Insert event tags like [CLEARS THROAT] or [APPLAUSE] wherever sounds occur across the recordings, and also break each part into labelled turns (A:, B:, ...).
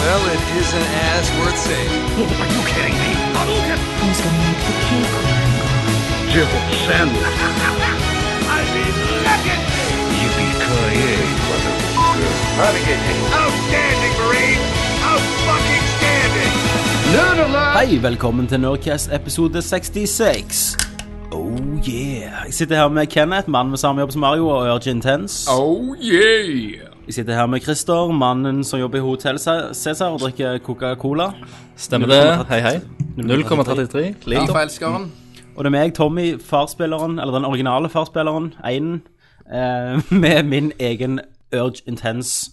A: Well, it isn't as worth saving.
B: Are you kidding me? Hadouken!
C: Who's gonna make the cake
B: Zero Sand. I mean, legendary! Yippee-ki-yay, motherfucker. Outstanding, Marine! Out-fucking-standing! Nerd alert!
D: Hei, velkommen til Nerdcast episode 66. Oh yeah. Jeg sitter her med Kenneth, mann med samme jobb som Mario og Urge Intense.
E: Oh yeah!
D: Jeg sitter her med Christer, mannen som jobber i Hotel Ce- Cæsar og drikker Coca-Cola.
F: Stemmer det. Hei, hei. 0,33.
E: Ja,
F: Clean.
E: forelskeren.
D: Og det er meg, Tommy, farspilleren, eller den originale farspilleren, einen, eh, [LAUGHS] med min egen Urge Intense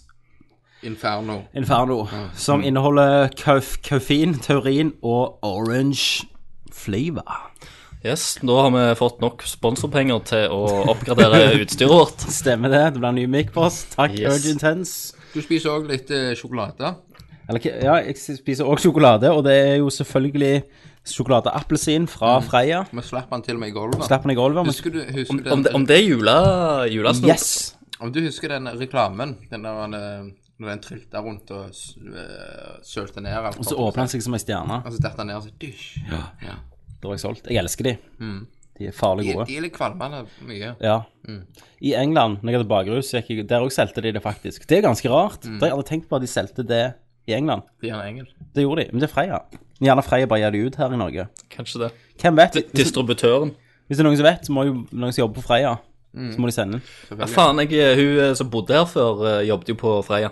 E: Inferno.
D: Inferno, som inneholder kauf, kaufin, taurin og orange flavor.
F: Yes, Da har vi fått nok sponsorpenger til å oppgradere utstyret vårt.
D: Stemmer det. Det blir en ny mic på oss. Takk,
F: Yes.
D: Urge Intense.
E: Du spiser òg litt eh, sjokolade.
D: Eller, ikke- ja, jeg spiser også sjokolade, og det er jo selvfølgelig sjokoladeappelsin
F: Mm.
D: fra Freia.
E: Vi slapp den til og med i gulvet.
D: Slapp den i gulvet. men-
E: Husker du, husker
F: Om,
E: den,
F: om, det, om det er jula, julesnop?
D: Yes!
E: om du husker den reklamen? Den der eh, når den trylta rundt og s- eh, sølte ned alt.
D: Og så åpner den seg som ei stjerne.
E: Og så datt den ned og så dysj. Ja.
D: Da har jeg solgt. Jeg elsker de.
F: Mm.
D: De er farlig
E: De,
D: gode.
E: de er litt kvalmende mye.
D: Ja. I England, når jeg hadde bakrus, gikk jeg, der òg solgte de det faktisk. Det er ganske rart.
F: Mm.
D: Det har jeg aldri tenkt på at de solgte det i England.
E: De er en engel.
D: Det gjorde de. Men det er Freia. Gjerne Freia bare gir det ut her i Norge.
F: Kanskje det.
D: Hvem vet?
F: D distributøren.
D: Hvis det er noen som vet, så må jo noen som jobber på Freia,
F: Mm.
D: så må de sende den.
F: Ja, faen, jeg, hun eh, som bodde her før, eh, jobbet jo på Freia.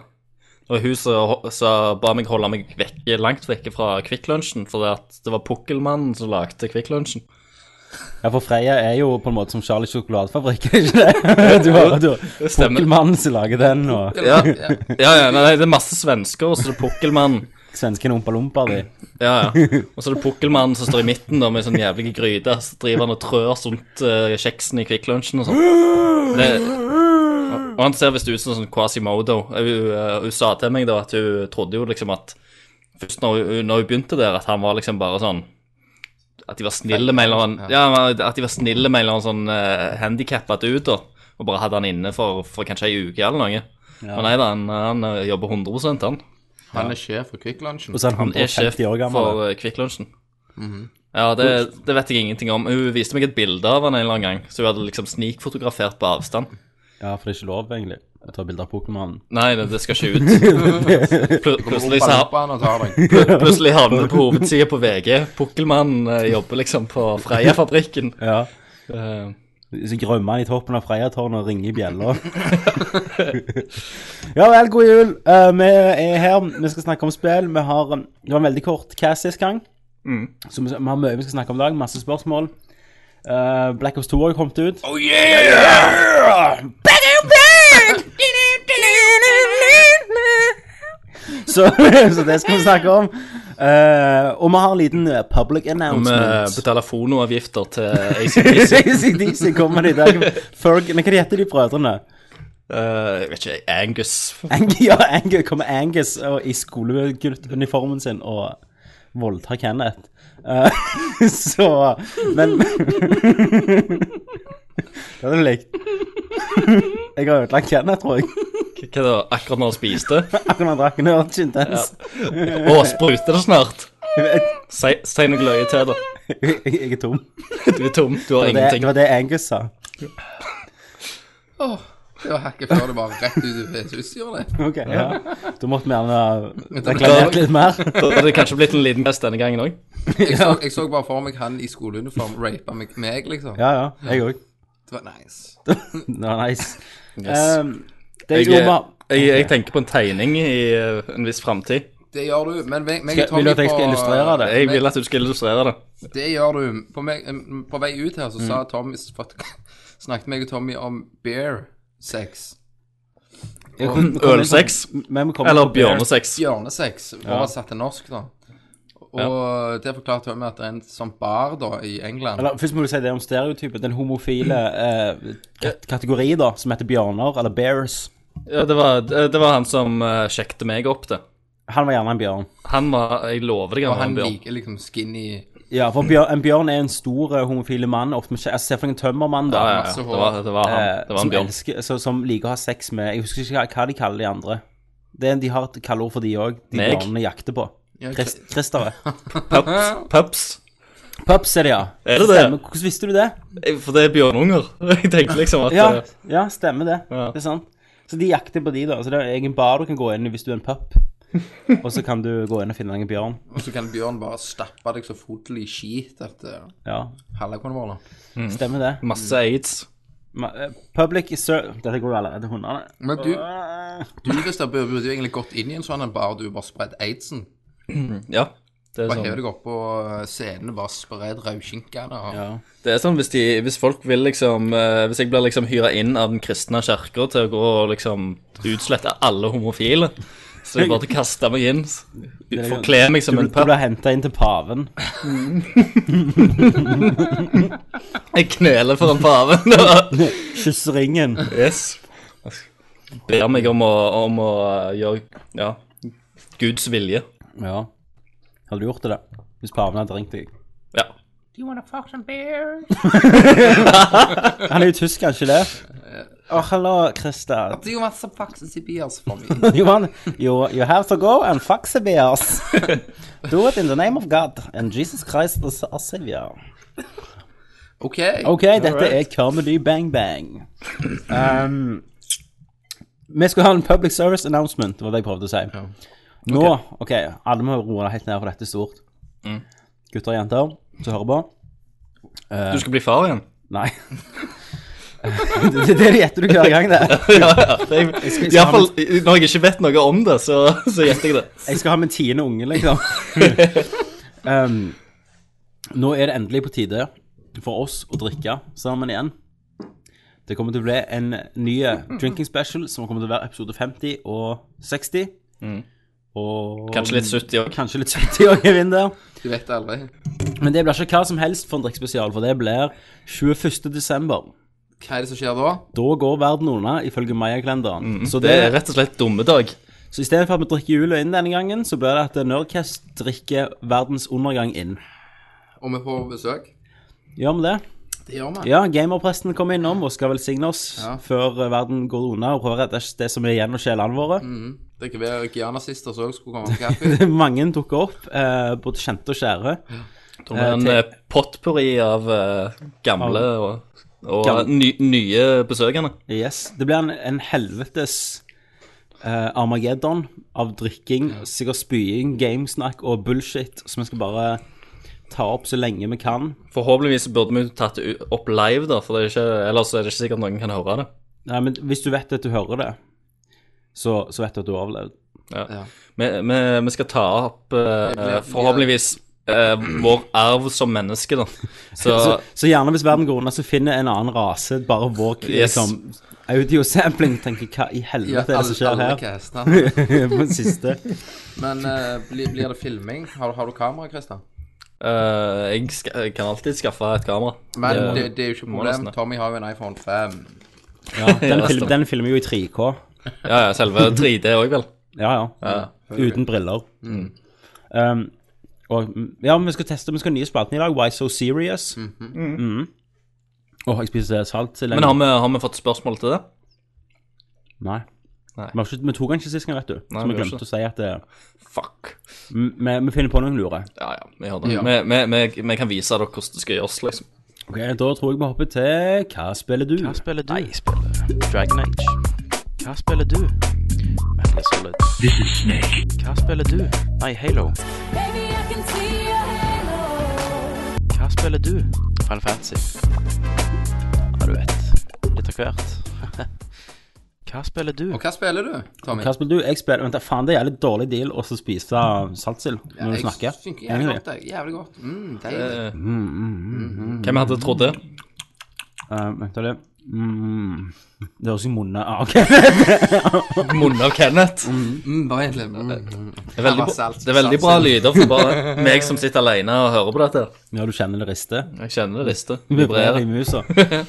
F: Og hun som ho- som ba meg holde meg vekke, langt vekke fra Kvikk Lunsjen, fordi at det var Pukkelmannen som lagde Kvikk Lunsjen.
D: Ja, for Freia er jo på en måte som Charlie sjokoladefabrikk, [LAUGHS] er ikke
F: [LAUGHS]
D: det? Du har, du har
F: stemmer.
D: Pokkelmannen som lager den, og
F: Ja, [LAUGHS] ja, ja nei, det er masse svensker, og så er det Pukkelmannen.
D: svensken Ompa Lompa di.
F: Ja, ja. Og så er det pukkelmannen som står i midten da, med sånn jævlig gryte. Så driver han og trør sånt eh, kjeksen i Kvikklunsjen og sånn. Det, og han ser visst ut som sånn Quasimodo. Hun, eh, hun sa til meg da at hun trodde jo liksom at Først når hun, når hun begynte der, at han var liksom bare sånn At de var snille med en eller annen Ja, at de var snille med en eller annen sånn uh, handikappa dude, da. Og bare hadde han inne for, for kanskje ei uke eller noe. Men nei da, han, han eh, jobber 100 han.
E: Han er sjef for Kvikk Lunsjen.
D: Og så er han
F: Han er sjef
D: 150 år gammel.
F: for eh, Kvikklunsjen.
D: Mhm.
F: Ja, det, det vet jeg ingenting om. Hun viste meg et bilde av han en eller annen gang, så hun hadde liksom snikfotografert på avstand.
D: Ja, for det er ikke lov, egentlig, å ta bilder av Pokémon.
F: Nei, det, det skal ikke ut.
D: [LAUGHS]
F: Pl plutselig, så, har-
E: Rumpa han og tar deg.
F: plutselig havner det på hovedsida på VG. Pukkelmannen eh, jobber liksom på Freia-fabrikken.
D: Ja.
F: Eh,
D: Så grømmer han i toppen av Freia-tårnet og ringer i bjella. [LAUGHS] ja vel, god jul. Eh, vi er her, vi skal snakke om spill. Vi har Det var en veldig kort cast sist gang.
E: Mm.
D: Så vi, vi har mye vi skal snakke om i dag. Masse spørsmål. Eh, Black Ops 2 har jo kommet ut.
E: Oh yeah!
D: [LAUGHS] Så, [LAUGHS] så det skal vi snakke om. Eh, og vi har en liten eh, public
F: Vi
D: announcement.
F: betaler fonoavgifter til ACDC.
D: ACDC kommer de der. Ferg, men hva de heter de brødrene?
F: Eh, Jeg vet ikke, Angus.
D: Ang ja, Ang kommer Angus og, i skoleguttuniformen sin og voldtar Kenneth. Eh, [LAUGHS] så Men [LAUGHS] Det hadde du likt. Jeg har ødelagt Kenneth, tror jeg.
F: Hva da? Akkurat når han spiste?
D: Akkurat han drakk en Urge Intense.
F: Å, spruter det snart?
D: Jeg vet,
F: Si, si noe løye til, da.
D: jeg, jeg er tom.
F: Du er tom, du har
D: Det, var det-
F: ingenting.
D: det var det Angus sa.
E: Åh, det var hakket før det var rett ut i PC-utstyret.
D: Ok, ja. Da måtte vi gjerne reklamert
F: reklamert
D: litt mer.
F: Da hadde det kanskje blitt en liten fest denne gangen òg.
E: Jeg, så- jeg så bare for meg han i skoleuniform rapa meg, meg, liksom.
D: Ja, ja, jeg òg.
E: Det var nice.
D: Det var nice.
F: Yes.
D: Ehm,
F: Jeg,
D: det jeg gjorde bare
F: jeg, jeg tenker på en tegning i eh, en viss framtid.
E: Det gjør du, men meg, meg og
D: Skal- Vil du at jeg skal illustrere det?
F: Jeg vil at du skal illustrere det.
E: Det gjør du. På, meg, em, på vei ut her så sa
F: Mm.
E: Tommy for, [LAUGHS] Snakket meg og Tommy om bear sex.
D: Jeg kom- kom inn på-
F: Ølsex?
D: Men vi kom inn
F: Eller
D: på bear.
F: bjørnesex.
E: Bjørnesex, oversatt til norsk, da. Og det forklarte Tommy at det er en sånn bar da i England.
D: Eller først må du si det om stereotypet. Den homofile eh, kat- kategori da, som heter bjørner, eller bears.
F: Ja, det, var, det var han som eh, sjekket meg opp, det.
D: Han var gjerne en bjørn.
F: Han var Jeg lover deg,
E: Og
F: han var
E: han
F: en bjørn.
E: liker liksom skinny
D: Ja, for bjør, en bjørn er en stor eh, homofile mann. Ofte med, skje- altså, Se for deg en tømmermann, da.
F: Ja, ja,
E: masse
F: ja.
E: hår.
F: Det var, det var han.
D: eh,
F: Det var
D: som,
F: en bjørn.
D: elsker, så, som liker å ha sex med Jeg husker ikke hva- hva de kaller de andre. Det er, de har et kallord for de òg, de
F: Meg?
D: barnene jakter på.
E: Ja,
D: Chris- Christere.
F: [LAUGHS] Pups. Pups.
D: Pups er det, ja.
F: Er det det?
D: Stemmer. Hvordan visste du det?
F: For det er bjørnunger. [LAUGHS] Jeg tenkte liksom at
D: Ja,
F: eh,
D: ja stemmer det.
F: Ja.
D: Det er sant. Så de jakter på de, da. Så det er egen bar du kan gå inn i hvis du er
F: [LAUGHS]
D: en pup. Og så kan du gå inn og finne deg en bjørn.
E: Og så kan Bjørn bare stappe deg så fotelig i skit eh, etter
D: Ja,
E: hallekonvoller.
F: Mm.
D: stemmer det.
F: masse aids.
D: Ma- eh, Public is ser... Dette går jo allerede hundene.
E: Men du, du Christer, burde burde jo egentlig gått inn i en sånn en bar du bare spredd aidsen.
F: Ja. Det er
E: Bare hev
F: sånn,
E: deg opp på eh, scenen og bare spred rødskinke der. og-
D: Ja.
F: det er sånn hvis, de, hvis folk vil liksom eh, Hvis jeg blir liksom hyra inn av den kristne kirka til å gå og liksom utslette alle homofile, så er det bare til å kaste meg inn. s- Forkle meg
D: Du,
F: som en
D: du
F: pup.
D: blir henta inn til paven. [LAUGHS]
F: Jeg kneler foran paven. [LAUGHS]
D: Kyss ringen.
F: yes. Ber meg om å, om å eh, gjøre ja, Guds vilje.
D: Ja. Hadde du gjort det, da? Hvis paven hadde ringt deg?
F: Ja.
D: Han er jo tysk, er han ikke det? Å, hallo, Christer.
E: Det er jo masse faxes i bias for meg.
F: [LAUGHS]
D: [LAUGHS] You, want, you, you have to go and fuck the bears. Do it in the name of God and Jesus Christ is our savior.
E: OK.
D: Ok, dette er Comedy Bang Bang. Um, vi skulle ha en public service announcement, det var det jeg prøvde å si. Nå, ok, alle må roe deg helt ned, for dette er stort.
F: Mm.
D: Gutter og jenter som hører på.
F: Du skal bli far igjen?
D: Nei. [LAUGHS] det, det, det gjetter du hver gang, det.
F: [LAUGHS] ja, ja. det er- I hvert fall, når jeg ikke vet noe om det, så, så gjetter jeg det.
D: Jeg skal ha min tiende unge,
F: [LAUGHS]
D: liksom. um, nå er det endelig på tide for oss å drikke sammen igjen. Det kommer til å bli en ny drinking special som kommer til å være episode 50 og 60. Og
F: Mm. Kanskje litt 70 òg.
D: Kanskje litt 70 òg, jeg vinner.
E: Du vet det aldri.
D: Men det blir ikke hva som helst for en drikkespesial, for det blir 21. desember.
E: Hva er det som skjer da?
D: Da går verden unna, ifølge Maya-kalenderen. Så
F: Mm, Det er
D: det,
F: rett og slett dummedag.
D: så i stedet for at vi drikker jula inn denne gangen, så blir det at Nerdcast drikker verdens undergang inn.
E: Og vi får besøk.
D: Gjør vi det?
E: Det gjør vi.
D: Ja, gamerpresten kommer innom og skal velsigne oss
E: Ja.
D: før eh, verden går unna og prøver å redde det som er igjen av sjelene våre.
E: Det kan være Giana-sister som også skulle komme på kaffe.
D: [LAUGHS] Mange dukker opp, eh, både kjente og kjære.
F: Det er en
D: Eh,
F: eh, potpourri av eh, gamle og,
D: Gamle.
F: og eh, ny, nye besøkende.
D: Yes. Det blir en, en helvetes eh, Armageddon av drikking, sikkert spying, gamesnakk og bullshit som vi skal bare ta opp så lenge vi kan.
F: Forhåpentligvis burde vi tatt det u- opp live, da, for det er ikke, ellers er det ikke sikkert noen kan høre det.
D: Nei, men hvis du vet at du hører det, så, så vet du at du har overlevd.
F: Ja.
E: Ja.
F: Vi, vi, vi skal ta opp eh,
E: blir-
F: forhåpentligvis eh, vår arv som menneske, da.
E: [LAUGHS]
F: Så
D: Så, så gjerne hvis verden går unna, så finner en annen rase bare vår
F: Yes.
D: liksom, audiosampling. Tenker hva i
E: Ja,
D: helvete er det
E: alle,
D: som skjer
E: alle
D: her?
E: castene.
D: [LAUGHS] På den siste.
E: Men eh, blir, blir det filming? Har, har du kamera, Christer?
F: eh, jeg, ska, jeg kan alltid skaffe et kamera.
E: Men det, det, er jo ikke et
F: må nesten
E: problem.
F: det.
E: Tommy har jo en iPhone 5.
D: Den, film, den filmer jo i 3K.
F: Ja, ja, selve 3D òg, vel.
D: Ja, ja. Uten briller. Um, og ja, men vi skal teste, vi skal ha nye spalten i dag. Why so serious? Mhm. Åh, jeg spiser salt så lenge.
F: Men har vi, har vi fått spørsmål til det?
D: Nei.
F: Nei.
D: Vi, har ikke, vi tok den ikke sist gang, vet du.
F: Nei,
D: så vi
F: vi gjorde
D: glemte
F: ikke
D: å si at det,
F: Fuck.
D: m- vi, vi finner på noen lure.
F: Ja, ja, vi gjør det.
E: Ja.
F: Vi, vi, vi, vi kan vise dere hvordan det skal gjøres, liksom.
D: Ok, Da tror jeg vi hopper til Hva spiller du?
C: Hva spiller du? Nei, jeg spiller Dragon Age. Hva spiller du? Metal Gear Solid. This is Snake. Hva spiller du? Nei, Halo.
G: Baby, I can see your halo.
C: Hva spiller du? Final Fantasy. Ja, du vet. Litt av hvert. [LAUGHS] Hva spiller du?
E: Og hva spiller du, Tommy?
D: Hva spiller du? Jeg spiller Vent, da, faen, det er jævlig dårlig deal å så spise saltsild når du snakker.
E: Jeg synes det er jævlig
D: Egentlig.
E: godt. det. Jævlig godt. Mm,
F: Eh,
E: deilig.
F: Hvem hadde trodd det?
D: Eh, vent, da, det mm, Det høres i munnen ah, OK.
F: Munnen av Kenneth.
E: Mm, bare egentlig. Mm.
F: Det er veldig,
E: Her var salt,
F: det er veldig
E: salt,
F: bra
E: salt.
F: lyder for bare meg som sitter alene og hører på dette. her.
D: Ja, du kjenner det rister.
F: Jeg kjenner det rister. Vibrerer.
D: Vibrerer i musa.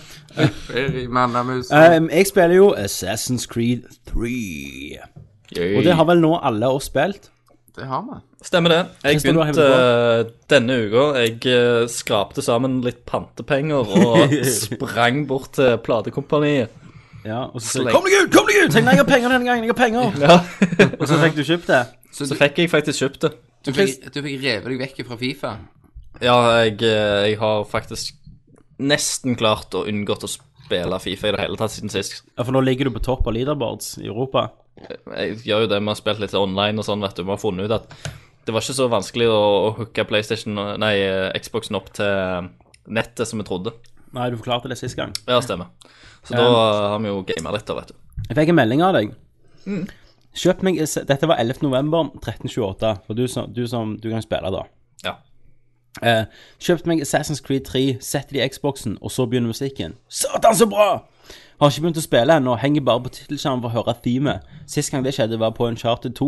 E: Ferry, mannamus.
D: Ehm, jeg spiller jo Assassin's Creed 3. Og det har vel nå alle oss spilt.
E: Det har vi.
F: Stemmer det. Jeg
D: Kristian, du har
F: begynte
D: hevet
F: eh, denne uka. Jeg eh,
D: [LAUGHS]
F: skrapte sammen litt pantepenger og sprang bort til platekompaniet
D: Ja, og så sier
F: Slay.
D: jeg, Kom deg ut! Kom deg ut! Så Jeg, nei, jeg har penger denne gangen! Jeg har penger!
F: Ja.
D: Og så fikk du kjøpt det.
E: Så
F: Så
E: du,
F: fikk jeg faktisk kjøpt det.
E: du, fikk, du fikk revet deg vekk fra Fifa?
F: Ja, jeg, eh, jeg har faktisk nesten klart å unngått å spille Fifa i det hele tatt siden sist.
D: Ja, For nå ligger du på topp av leaderboards i Europa.
F: Jeg gjør jo det, vi har spilt litt online og sånn, vet du. Vi har funnet ut at det var ikke så vanskelig å, å hooke PlayStation, nei, eh, Xboxen opp til nettet som vi trodde.
D: Nei, du forklarte det sist gang.
F: Ja, stemmer. Så da har vi jo gama litt, da, vet du.
D: Jeg fikk en melding av deg.
E: Mm.
D: Kjøp meg eh, Dette var 11. november 1328, for du som du, som, du kan spille da.
F: Ja.
D: Eh, kjøpt meg Assassin's Creed 3, sett det i Xboxen, og så begynner musikken. Satan, så bra! Har ikke begynt å spille ennå, henger bare på tittelskjermen for å høre themet. Sist gang det skjedde, var på Uncharted 2.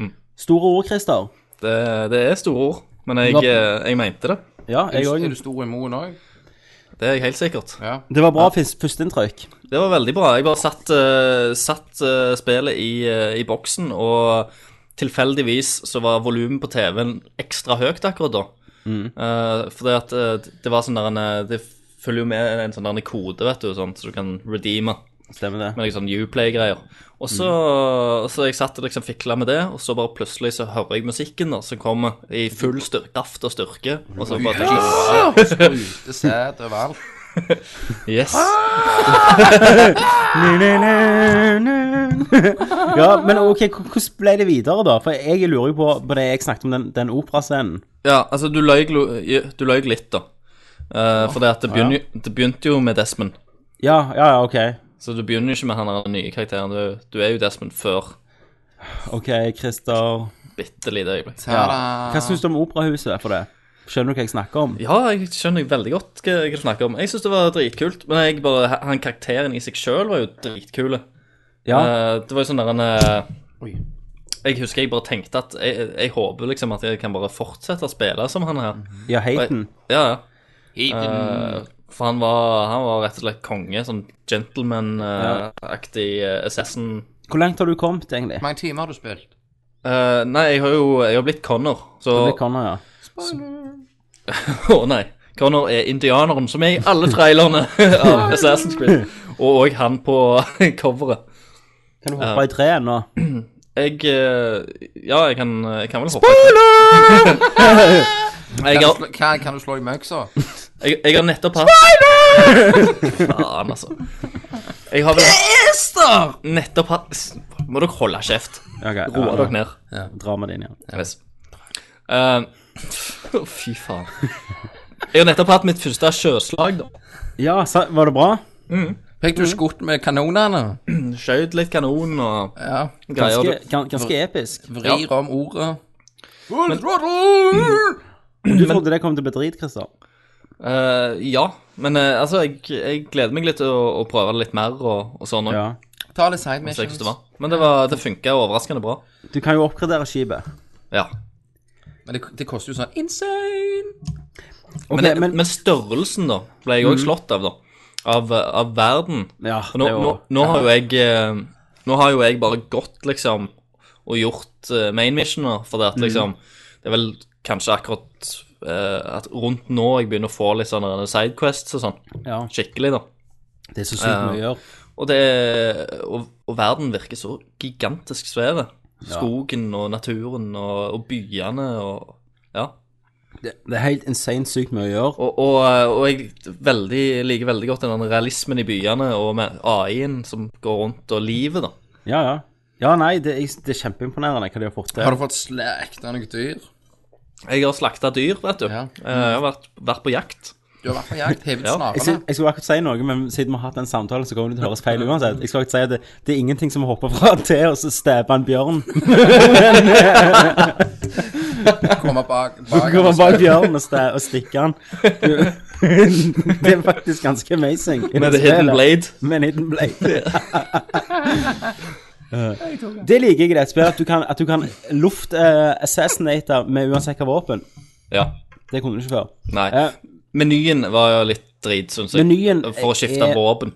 E: Mm.
D: Store ord, Christer.
F: Det, det er store ord, men jeg,
D: Ja.
F: eh, jeg mente det.
D: Ja, jeg
E: Er
D: òg.
E: du stor i moen òg?
F: Det er jeg helt sikkert.
E: Ja.
D: Det var bra fis- førsteinntrykk.
F: Det var veldig bra. Jeg bare satt, eh, satt eh, spillet i, eh, i boksen, og tilfeldigvis så var volumet på TV-en ekstra høyt akkurat da. Eh, fordi at eh, det var sånn der en eh, Det følger jo med en sånn der en kode, vet du, sånn, så du kan redeeme
D: Stemmer det.
F: med liksom Uplay-greier. Og så, så jeg satt og liksom fikla med det, og så bare plutselig så hører jeg musikken da, som kommer i full styr kraft og styrke. Og så bare tenker jeg
E: Sprute sæd overalt.
F: Yes!
D: [LAUGHS] Ja, men ok, h- hvordan ble det videre, da? For jeg lurer jo på, på det jeg snakket om, den, den operascenen.
F: Ja, altså, du løy, lo- du løy litt, da. Uh, for det, at det, begynner, jo- det begynte jo med Desmond.
D: Ja, ja, ja, ok.
F: Så du begynner jo ikke med han der nye karakteren. Du, du er jo Desmond før
D: Ok, Christer.
F: bitte lite øyeblikk.
D: Hva syns du om operahuset for det? Skjønner du hva jeg snakker om?
F: Ja, jeg skjønner veldig godt hva hva du snakker om. Jeg syns det var dritkult. Men jeg bare, han karakteren i seg sjøl var jo dritkul.
D: Ja,
F: Eh, det var jo sånn der en eh, Jeg husker jeg bare tenkte at jeg, jeg håper liksom at jeg kan bare fortsette å spille som han her.
D: ja Hayden.
F: Ja, ja. Eh,
E: Eden.
F: For han var, han var rett og slett konge. Sånn gentleman-aktig eh, assassin.
D: Hvor langt har du kommet, egentlig?
E: Hvor mange timer har du spilt?
F: Eh, nei, jeg har jo jeg har blitt Connor. Så
D: Det
F: Å
D: blir
F: [LAUGHS]
D: Connor, ja.
F: nei. Connor er indianeren som er i alle trailerne [LAUGHS] av Assassin's Creed. Og òg han på [LAUGHS] coveret.
D: Kan du
F: Eh,
D: hoppe i treet nå?
F: Jeg eh, Ja, jeg kan, jeg kan vel hoppe Spoiler! jeg, [LAUGHS]
E: Kan du,
F: har,
E: slå, kan, kan du slå i møksa?
F: jeg, jeg har nettopp hatt Spoiler! [LAUGHS] Faen, altså. Jeg har vel Nettopp hatt Må dere holde kjeft.
D: Ok, ja,
F: Roe dere ned.
D: Dra med din, ja.
F: Yes. Eh, [LAUGHS] å, fy faen. Jeg har nettopp hatt mitt første sjøslag. da.
D: Ja, sa, var det bra?
E: Fikk du skutt med kanonene?
F: Skjøt litt kanon og
E: Ja.
F: greier.
D: Eh, Ganske, gan- ganske episk.
E: Vrir om ordet. Mm.
D: Du trodde det kom til å bli drit, Christer?
F: Eh, ja, men eh, altså, jeg, jeg gleder meg litt til å, å prøve det litt mer og, og sånn.
D: Ja.
F: og
E: Ta litt side
F: se hvordan
E: missions.
F: det var. Men det, var- det funka overraskende bra.
D: Du kan jo oppgradere skipet.
F: Ja.
E: Men det, det koster jo sånn insane.
D: Ok,
F: Men, men, størrelsen, da, ble jeg òg
D: Mm.
F: slått av, da. Av, eh, av verden.
D: Ja,
F: Og nå,
D: det var-
F: nå, nå har jo jeg eh, Nå har jo jeg bare gått, liksom, og gjort eh, main missioner, fordi
D: Mm.
F: at liksom Det er vel kanskje akkurat eh, at rundt nå jeg begynner å få litt sånne sidequests og sånn.
D: ja.
F: Skikkelig, da.
D: Det er så sykt
F: Eh,
D: mye å gjøre.
F: Og det Og, og verden virker så gigantisk svære. Skogen og naturen og, og byene og Ja.
D: Det, det er helt insane sykt mye å gjøre.
F: Og, og, eh, og jeg veldig, liker veldig godt den realismen i byene og med AI-en som går rundt, og livet, da.
D: Ja, ja. Ja, nei, det, er- det er kjempeimponerende hva de har fått til.
E: Har du fått slakta noe dyr?
F: Jeg har slakta dyr, vet du.
E: Ja.
F: Eh, Jeg har vært, vært på jakt.
E: Du har vært på jakt, hevet
F: Ja.
D: Jeg,
E: snarene.
D: skulle- jeg skulle akkurat si noe, men siden vi har hatt den samtalen, så kommer det til å høres feil uansett. Jeg skulle akkurat si at det, det er ingenting som hopper fra [LAUGHS] til og så stabber en bjørn.
E: Komme [LAUGHS] bak,
D: Så
E: bak,
D: Går man bak bjørnen og, sta- og stikker den. [LAUGHS] Det er faktisk ganske amazing. i
F: Med The
D: det
F: Hidden
D: spillet.
F: Blade.
D: Med en hidden blade. [LAUGHS] det liker jeg i det spillet, at du kan, at du kan luft-assassinate med uansett hva våpen.
F: Ja.
D: Det kunne du ikke før.
F: Nei.
D: Eh,
F: Menyen var jo litt drit, syns jeg.
D: Menyen
F: eh, For å skifte
D: er-
F: våpen.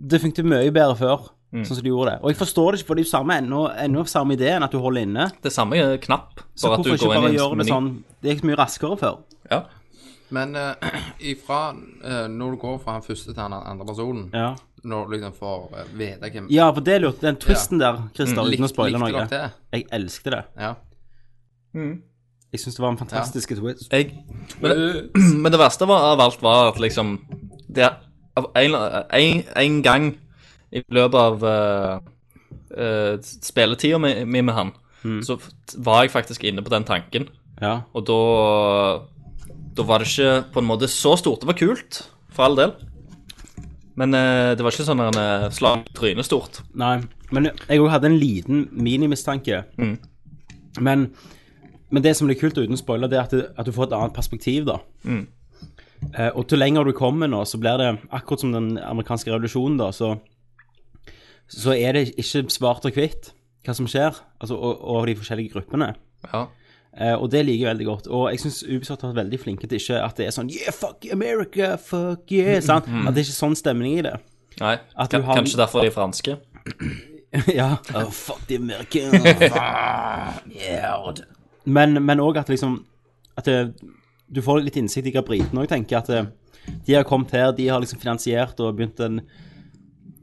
D: det funket mye bedre før,
F: Mm.
D: sånn som de gjorde det. Og jeg forstår det ikke, for det er jo samme, ennå, ennå samme ideen at du holder inne.
F: Det samme er knapp.
D: Så
F: Bare at
D: hvorfor
F: du
D: ikke
F: går inn
D: bare
F: i
D: gjøre
F: en
D: det
F: meny.
D: sånn Det gikk mye raskere før.
F: Ja.
E: [CLEARS THROAT] Men eh, ifra eh, når du går fra han første til han andre personen,
D: Ja.
E: når du liksom får eh, vite hvem
D: Ja, for det lurte Den twisten der,
F: Mm.
D: Christer, uten å
E: Lik-
D: spoile
E: likte
D: noe.
E: dere det?
D: Jeg elsket det.
E: Ja.
D: Jeg syns det var en fantastisk twist.
F: Jeg, [CLEARS THROAT] men, men det verste var, av alt var at liksom det, av en, en, en gang i løpet av eh, eh, spilletida mi mi med han, så f- var jeg faktisk inne på den tanken.
D: Ja.
F: Og da, da var det ikke på en måte så stort. Det var kult, for all del. Men eh, det var ikke sånn uh, slag i trynet stort.
D: Nei. Men jeg òg hadde en liten minimistanke. Men, men det som blir kult, og uten å spoile, det er at, det, at du får et annet perspektiv, da. Eh, og til lenger du kommer nå, så blir det akkurat som den amerikanske revolusjonen, da, så, så er det ikke svart og hvitt hva som skjer, altså, og, og de forskjellige gruppene.
E: Ja.
D: Eh, og det liker jeg veldig godt. Og jeg syns Ubisoft har vært veldig flinke til ikke at det er sånn Yeah, fuck America, fuck yeah. Sant? At det er ikke sånn stemning i det.
F: Nei,
D: At du
F: kan,
D: har-
F: Kanskje derfor de er franske.
D: ja. Oh, fuck the Americans. yeah. Men men òg at liksom At det, du får litt innsikt i hva britene òg tenker. At eh, de har kommet her, de har liksom finansiert og begynt en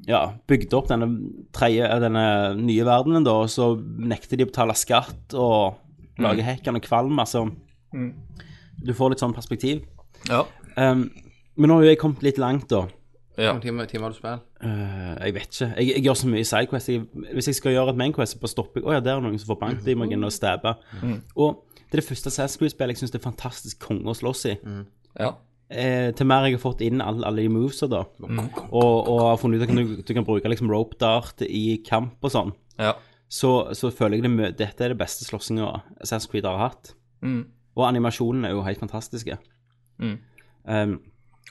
D: ja, bygd opp denne, tredje, eh, denne nye verdenen, da, og så nekter de å betale skatt og lager hekken og kvalm. Altså, du får litt sånn perspektiv.
F: Ja.
D: Um, men nå har jo jeg kommet litt langt, da.
F: ja.
E: Hvor mange timer, timer har du spilt?
D: Eh, jeg vet ikke. Jeg, jeg gjør så mye sidequest. Jeg, hvis jeg skal gjøre et mainquest, så bare stopper jeg. Å ja, der er noen som får bank. De må jeg inn og stabbe. Og det er det første Assassin's Creed-spillet jeg syns det er fantastisk konge å slåss i.
F: ja.
D: Eh, til mer jeg har fått inn alle, alle de movesa, da. Og, og har funnet ut at du, du kan bruke liksom rope dart i kamp og sånn.
F: ja.
D: Så, så føler jeg det mø dette er det beste slåssinga Assassin's Creed har hatt. Og animasjonene er jo helt fantastiske. Um,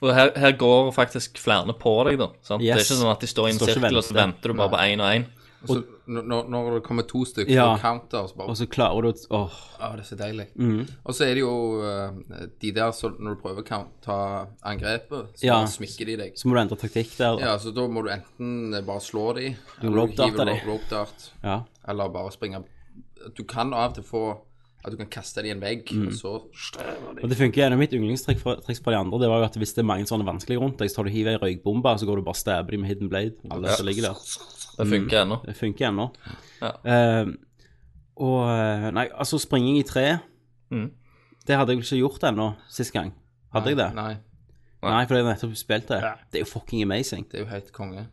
F: Og her, her går faktisk flere på deg, da. Sant? Det er
D: Yes.
F: ikke sånn at de står i en
D: Står ikke
F: sirkel, og så
D: venter.
F: venter du bare på én og én.
E: Og så når- når, når det kommer to stykker
D: Ja.
E: og counter, så bare
D: og så klarer du å Åh.
E: Å, det er så deilig.
D: Mm.
E: Og så er det jo eh, de der som når du prøver å count- ta angrepet, så
D: Ja.
E: bare smykker de deg.
D: Så må du endre taktikk der.
E: Ja, så da må du enten eh, bare slå de,
D: Du
E: eller
D: rope darter
E: hive
D: de.
E: ro- rope dart,
D: Ja.
E: eller bare springe Du kan av og til få at du kan kaste de i en vegg,
D: Mm.
E: og så
D: Og det funker gjennom mitt yndlingstriks fra, triks fra de andre. Det var jo at Hvis det er mange sånne vanskelige rundt deg, så tar du hiver ei røykbombe, og så går du bare og stabber dem med hidden blade. Alle som ligger der. Mm.
F: Det funker ennå.
D: Det funker ennå.
F: Ja.
D: Eh, og eh, Nei, altså, springing i tre
F: Mhm.
D: Det hadde jeg vel ikke gjort ennå sist gang. Hadde jeg det? Nei,
E: Nei,
D: for jeg nettopp spilt det. Det er jo fucking amazing.
E: det er jo helt konge.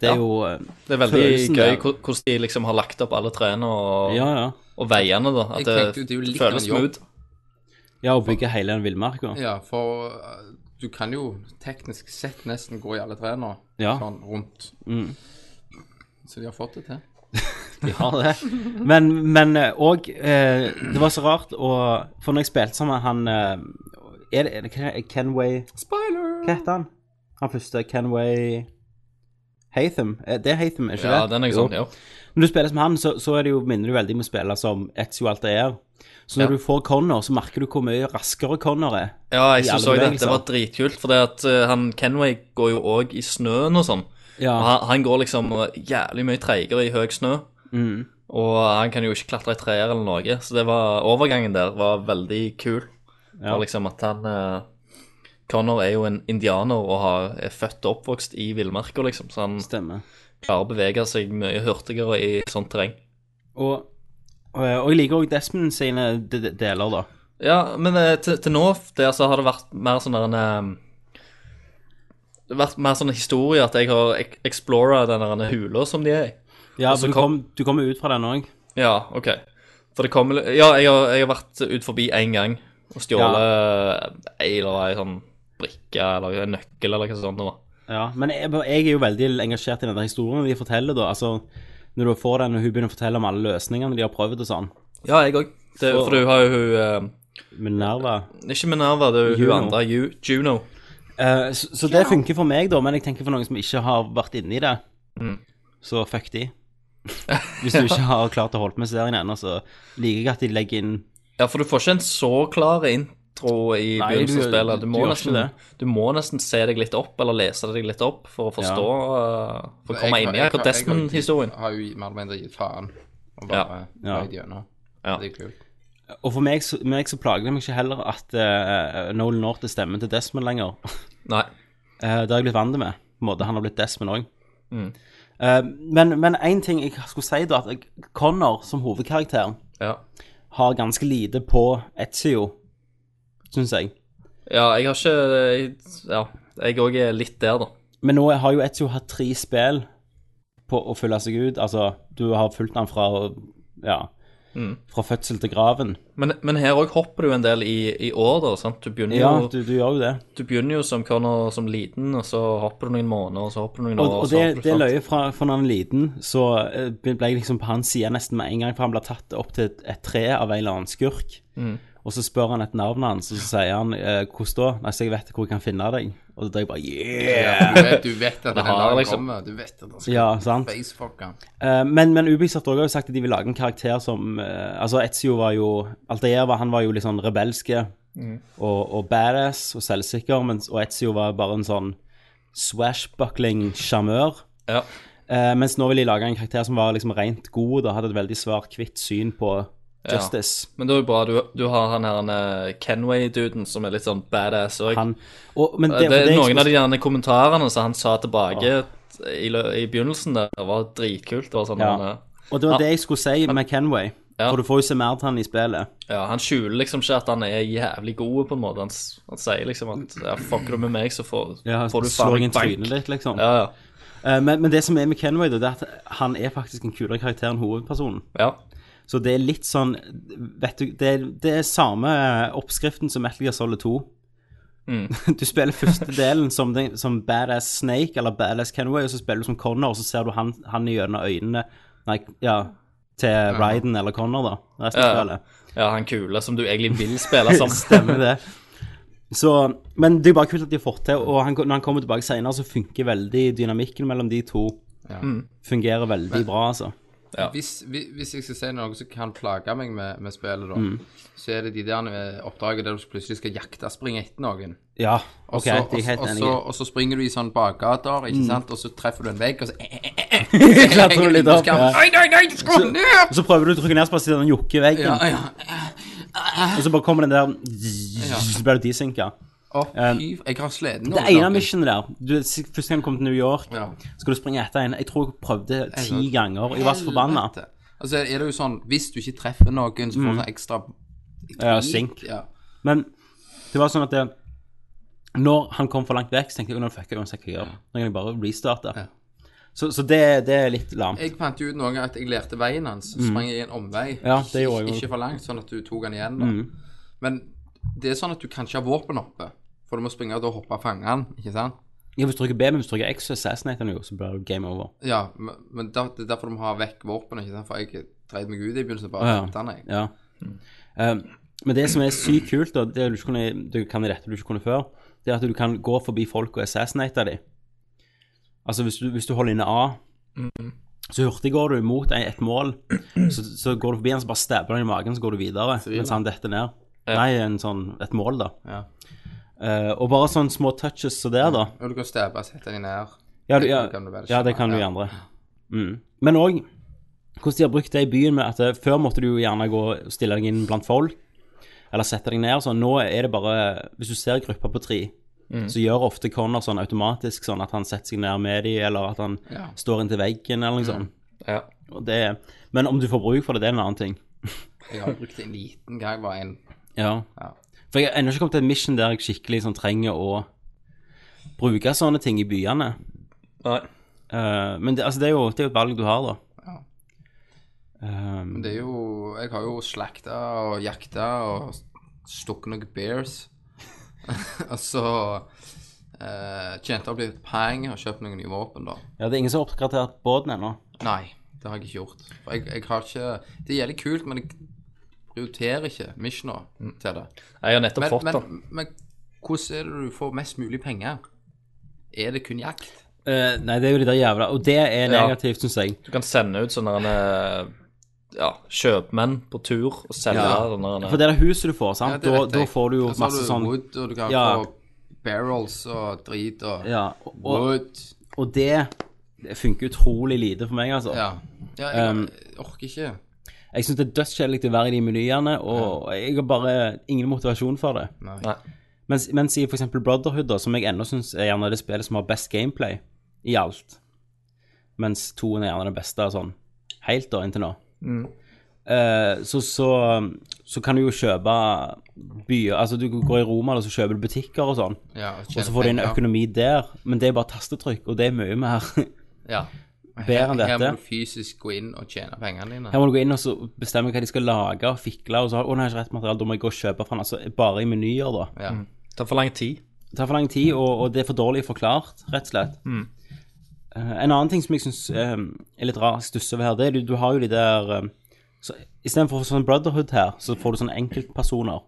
D: Det er
F: Ja.
D: jo eh,
F: Det er veldig
D: Følelsen
F: gøy
D: der.
F: hvor- hvordan de liksom har lagt opp alle trærne og,
D: Ja, ja.
F: og veiene, da. At
E: Jeg
F: det,
E: tenkte jo, det er jo litt av
F: føles
E: en jobb.
F: smooth.
D: Ja, å bygge hele den villmarka.
E: Ja, for eh, du kan jo teknisk sett nesten gå i alle trærne
D: Ja. Mm.
E: sånn rundt. Så de har fått det til.
D: [LAUGHS] Ja, det. Men, men eh, og eh, Det var så rart, og for når jeg spilte sammen med han eh, Er det, er det Ken- Kenway Hva heter han? Han første Kenway Hatham. Eh, Det er Hatham, er ikke
F: Ja,
D: det?
F: den er
D: Jo.
F: sånn, ja.
D: Når du spiller som han, så, så er det jo, minner du veldig om å spille som Ezio Altair. Så når
F: Ja.
D: du får Connor, så merker du hvor mye raskere Connor er.
F: Ja, jeg
D: I alle
F: syns òg det.
D: bevegelser.
F: Det var dritkult, for det at eh, han Kenway går jo òg i snøen og sånn.
D: Ja.
F: Og han, han går liksom eh, jævlig mye treigere i høy snø. Og han kan jo ikke klatre i trær eller noe, så det var, overgangen der var veldig kul.
D: Ja.
F: Og liksom at han eh, Connor er jo en indianer og har, er født og oppvokst i villmarka, liksom. Så han
D: Stemmer.
F: klarer å bevege seg mye hurtigere i sånt terreng.
D: Og, og, og jeg liker òg Desmond sine de de deler, da.
F: Ja, men eh, til, til nå der så har det vært mer sånn der en eh, Det har vært mer sånn historie at jeg har ek- explora den der en hula som de er i.
D: Ja,
F: Og så
D: for du
F: kom-
D: kom- du kommer ut fra den òg.
F: Ja, OK. For det kommer li- Ja, jeg har, jeg har vært ut forbi én gang og stjålet ei eller ei sånn brikke eller en nøkkel eller hva sånt det var.
D: Ja, men jeg, jeg er jo veldig engasjert i den der historien de forteller, da. Altså, når du får den, og hun begynner å fortelle om alle løsningene de har prøvd og sånn.
F: Ja, jeg òg. For du har jo hun eh,
D: Minerva.
F: Ikke Minerva, det er jo hun
D: Juno.
F: andre, Ju- Juno.
D: Eh, så, så det funker for meg, da, men jeg tenker for noen som ikke har vært inni det, så fuck de. Hvis du ikke har klart å holde med serien ennå, så liker jeg at de legger inn
F: Ja, for du får ikke en så klar intro i
D: Nei,
F: begynnelsen av
D: du-
F: spillet. Du må,
D: du gjør
F: nesten,
D: ikke
F: du må nesten se deg litt opp, eller lese deg litt opp, for å forstå eh, For å komme
E: Jeg-
F: inn i
E: jeg-
F: akkurat
E: jeg- jeg-
F: Desmond-historien.
E: Jeg har jo mer eller mindre gitt faen og bare
D: Ja.
E: løyd gjennom.
F: Ja.
E: Det er kult.
D: Og for meg, så- meg så plager det meg ikke heller at eh, Nolan North er stemmen til Desmond lenger.
F: Nei.
D: Eh, det har jeg blitt vant med. På en måte. Han har blitt Desmond òg. Eh, men- Men én ting jeg skulle si, da, at jeg- Connor som hovedkarakter
E: Ja.
D: har ganske lite på Etzio, syns jeg.
F: Ja, jeg har ikke jeg, Ja, jeg òg er litt der, da.
D: Men nå har jo Etzio hatt tre spill på å følge seg ut. Altså, du har fulgt han fra ja, fra fødsel til graven.
F: Men, men her òg hopper du en del i, i år, da. sant? Du begynner,
D: Ja,
F: jo,
D: du, du gjør jo det.
F: du begynner jo som Connor som liten, og så hopper du noen måneder, og så hopper du noen
D: Og,
F: år
D: og
F: så
D: det,
F: hopper du,
D: det
F: sant?
D: løye fra, fra når han er liten, så eh, ble jeg liksom på hans side nesten med en gang, for han ble tatt opp til et, et tre av en eller annen skurk. Og så spør han et navn hans, og så sier han eh, 'Hvordan da?' Nei, så jeg vet hvor jeg kan finne deg. Og da er jeg bare
E: Ja,
D: Yeah!
E: du, vet, du vet at den
F: har
E: dagen
F: liksom-
E: kommer. Du vet at den skal
D: Ja, sant.
E: facefucke han.
D: Eh, men men Ubisoft også har jo sagt at de vil lage en karakter som eh, Altså, Etzio var jo Altair var, han var jo litt sånn rebelske og, og badass og selvsikker, mens og Etzio var bare en sånn swashbuckling sjarmør.
F: Ja.
D: Eh, mens nå vil de lage en karakter som var liksom rent god og hadde et veldig svart-hvitt syn på justice.
F: Men det er jo bra. Du, du har han her eh, Kenway-duden som er litt sånn badass òg.
D: Han, og, men det,
F: Det,
D: og det
F: er
D: jeg
F: noen
D: skulle-
F: av de gjerne kommentarene som han sa tilbake i, lø- i begynnelsen der, var dritkult. Det var sånn
D: Ja.
F: han, eh,
D: og det var det jeg skulle si med Kenway.
F: Ja.
D: For du får jo se mer til han i spillet.
F: ja, han skjuler liksom ikke at han er jævlig god, på en måte. Han, s- han sier liksom at ja, fucker du med meg, så får, får du
D: Slår
F: faen
D: inn
F: meg bank.
D: trynet ditt, liksom.
F: Ja, ja.
D: Eh, men, men det som er med Kenway, det er at han er faktisk en kulere karakter enn hovedpersonen.
F: ja.
D: Så det er litt sånn Vet du, det er, det er samme oppskriften som Metal Gear Solid 2. [LAUGHS] Du spiller første delen som, den, som Badass Snake eller Badass Kenway, og så spiller du som Connor, og så ser du han, han i gjennom øynene Nei, ja, til Ryden eller Connor, da. Resten av
F: Ja.
D: spillet.
F: Ja, han kule som du egentlig vil
D: [LAUGHS]
F: spille som.
D: Stemmer det. Så, men det er bare kult at de har fått til, og han, når han kommer tilbake senere, så funker veldig dynamikken mellom de to. Fungerer veldig bra, altså.
E: Hvis, hvi- hvis jeg skal si noe som kan plage meg med, med spillet, da,
D: Mm.
E: så er det de der eh, oppdraget der du plutselig skal jakte, springe etter noen.
D: Ja,
E: Og
D: ok,
E: så-
D: jeg er
E: og-
D: helt
E: og
D: enig. Mm.
E: så- Og så springer du i sånn bakgater, ikke sant, og så treffer du en vegg, og så Eh,
D: [LAUGHS] Klatrer du litt opp, ja.
E: Nei, nei, nei, skru ned!
D: Og så prøver du å trykke ned på siden av den jukker i veggen,
E: Ja, ja.
D: og så bare kommer den der Så blir du desynka.
E: Å, fy, jeg har sleden
D: Det ene missionet der du, Første gang du kom til New York,
E: Ja.
D: skal du springe etter en Jeg tror jeg prøvde ti ganger, og jeg var så forbanna.
E: Altså, er det jo sånn, hvis du ikke treffer noen, så får du sånn ekstra
D: Mm. Ja, sink.
E: Ja.
D: Men det var sånn at det, når han kom for langt vekk, så tenkte jeg nå fucker jeg uansett hva jeg gjør. Nå kan jeg bare restarte.
E: Ja.
D: Så, så det, det er litt lamt.
E: Jeg fant jo ut noen gang at jeg lærte veien hans. Så sprang jeg i en omvei.
D: Mm. Ja, det gjorde jeg
E: ikke,
D: også. Mm.
E: ikke for langt, sånn at du tok han igjen. Da. Men det er sånn at du kan ikke ha våpen oppe. For du må springe og da hoppe og fange han, ikke sant?
D: Ja, Hvis du trykker B, men hvis du trykker X, så assassinater han jo, så blir det game over.
E: Ja, men men der, det er derfor du må ha vekk våpenet, ikke sant? For jeg dreit meg ut i begynnelsen, bare
D: Ja.
E: hentet han, jeg.
D: Ja. Um, men det som er sykt kult, da, det du ikke kunne, du kan i dette du ikke kunne før, det er at du kan gå forbi folk og assassinate dem. Altså hvis du, hvis du holder inne A, Mm. så hurtig går du mot en- et mål, så, så går du forbi han, så bare stabber han i magen, så går du videre mens han detter ned. Nei, en sånn, et mål, da.
E: Ja.
D: Eh, og bare sånne små touches så der, da.
E: Og du kan stabbe, sette han i nær.
D: Ja, du,
E: Det
D: ja,
E: kan du vel
D: ja det
E: skjønne,
D: kan du
E: ja.
D: gjerne. Mm. Men òg hvordan de har brukt det i byen med at eh, før måtte du jo gjerne gå og stille deg inn blant folk, eller sette deg ned. Sånn. Nå er det bare Hvis du ser grupper på tre,
E: Mm.
D: så gjør ofte Connor sånn automatisk sånn at han setter seg ned med dem, eller at han
E: Ja. Mm.
D: står inntil veggen, eller noe sånt.
F: Ja.
D: Og det, men om du får bruk for det, det er en annen ting.
E: Jeg har brukt det en liten gang, bare en.
D: Ja.
E: Ja.
D: For jeg har ennå ikke kommet til et mission der jeg skikkelig sånn, trenger å bruke sånne ting i byene.
F: Nei.
D: Eh, men det, altså, det, er jo, det er jo et valg du har, da.
E: Ja.
D: Um,
E: Men det er jo, jeg har jo slakta og jakta og stukket noen bears. [LAUGHS] og så eh, tjente jeg opp litt penger og kjøpt noen nye våpen, da.
D: Ja, det er ingen som har oppgradert båten ennå.
E: Nei, det har jeg ikke gjort. For jeg, jeg har ikke Det er jævlig kult, men jeg prioriterer ikke missiona
D: Mm.
E: til det.
F: Jeg har nettopp
E: Men,
F: fått
E: men,
F: den.
E: men hvordan er det du får mest mulig penger? Er det kun jakt?
D: Eh, nei, det er jo de der jævla Og det er
F: Ja.
D: negativt, syns jeg.
F: Du kan sende ut sånne eh, ja, kjøpmenn på tur og selge
E: Ja.
F: sånne
D: For det der huset du får, sant,
E: det
D: da,
E: vet
D: da
E: jeg.
D: får du jo
E: Og så har
D: masse
E: du
D: sånn
E: Wood, og du kan
D: Ja.
E: få barrels og drit og
D: Ja, og, og,
E: wood.
D: og det, det funker utrolig lite for meg, altså.
E: Ja. ja jeg
D: Um,
E: jeg orker ikke.
D: Jeg syns det er dødskjedelig å være i de menyene, og jeg har bare ingen motivasjon for det.
E: Nei.
F: Nei.
D: Mens, mens i f.eks. Brotherhood, da, som jeg ennå syns er gjerne det spillet som har best gameplay i alt, mens toen er gjerne det beste sånn helt da, inntil nå. Eh, så, så, så kan du jo kjøpe byer Altså, du går i Roma, og så kjøper du butikker og sånn,
E: Ja,
D: og så får du inn økonomi der, men det er bare tastetrykk, og det er mye mer.
E: Ja.
D: Bedre enn
E: Her- Her
D: dette.
E: må du fysisk gå inn og tjene pengene dine.
D: Her må du gå inn og så bestemme hva de skal lage og fikle, og så har Å, nei, jeg har ikke rett materiale, da må jeg gå og kjøpe fra den. Altså, bare i menyer, da.
E: Ja.
F: Det tar for lang tid.
D: Det tar for lang tid, og, og det er for dårlig forklart, rett og slett. Eh, en annen ting som jeg syns er litt rar, stusser over her, det er du, du har jo de der um, så, Istedenfor sånn brotherhood her, så får du sånne enkeltpersoner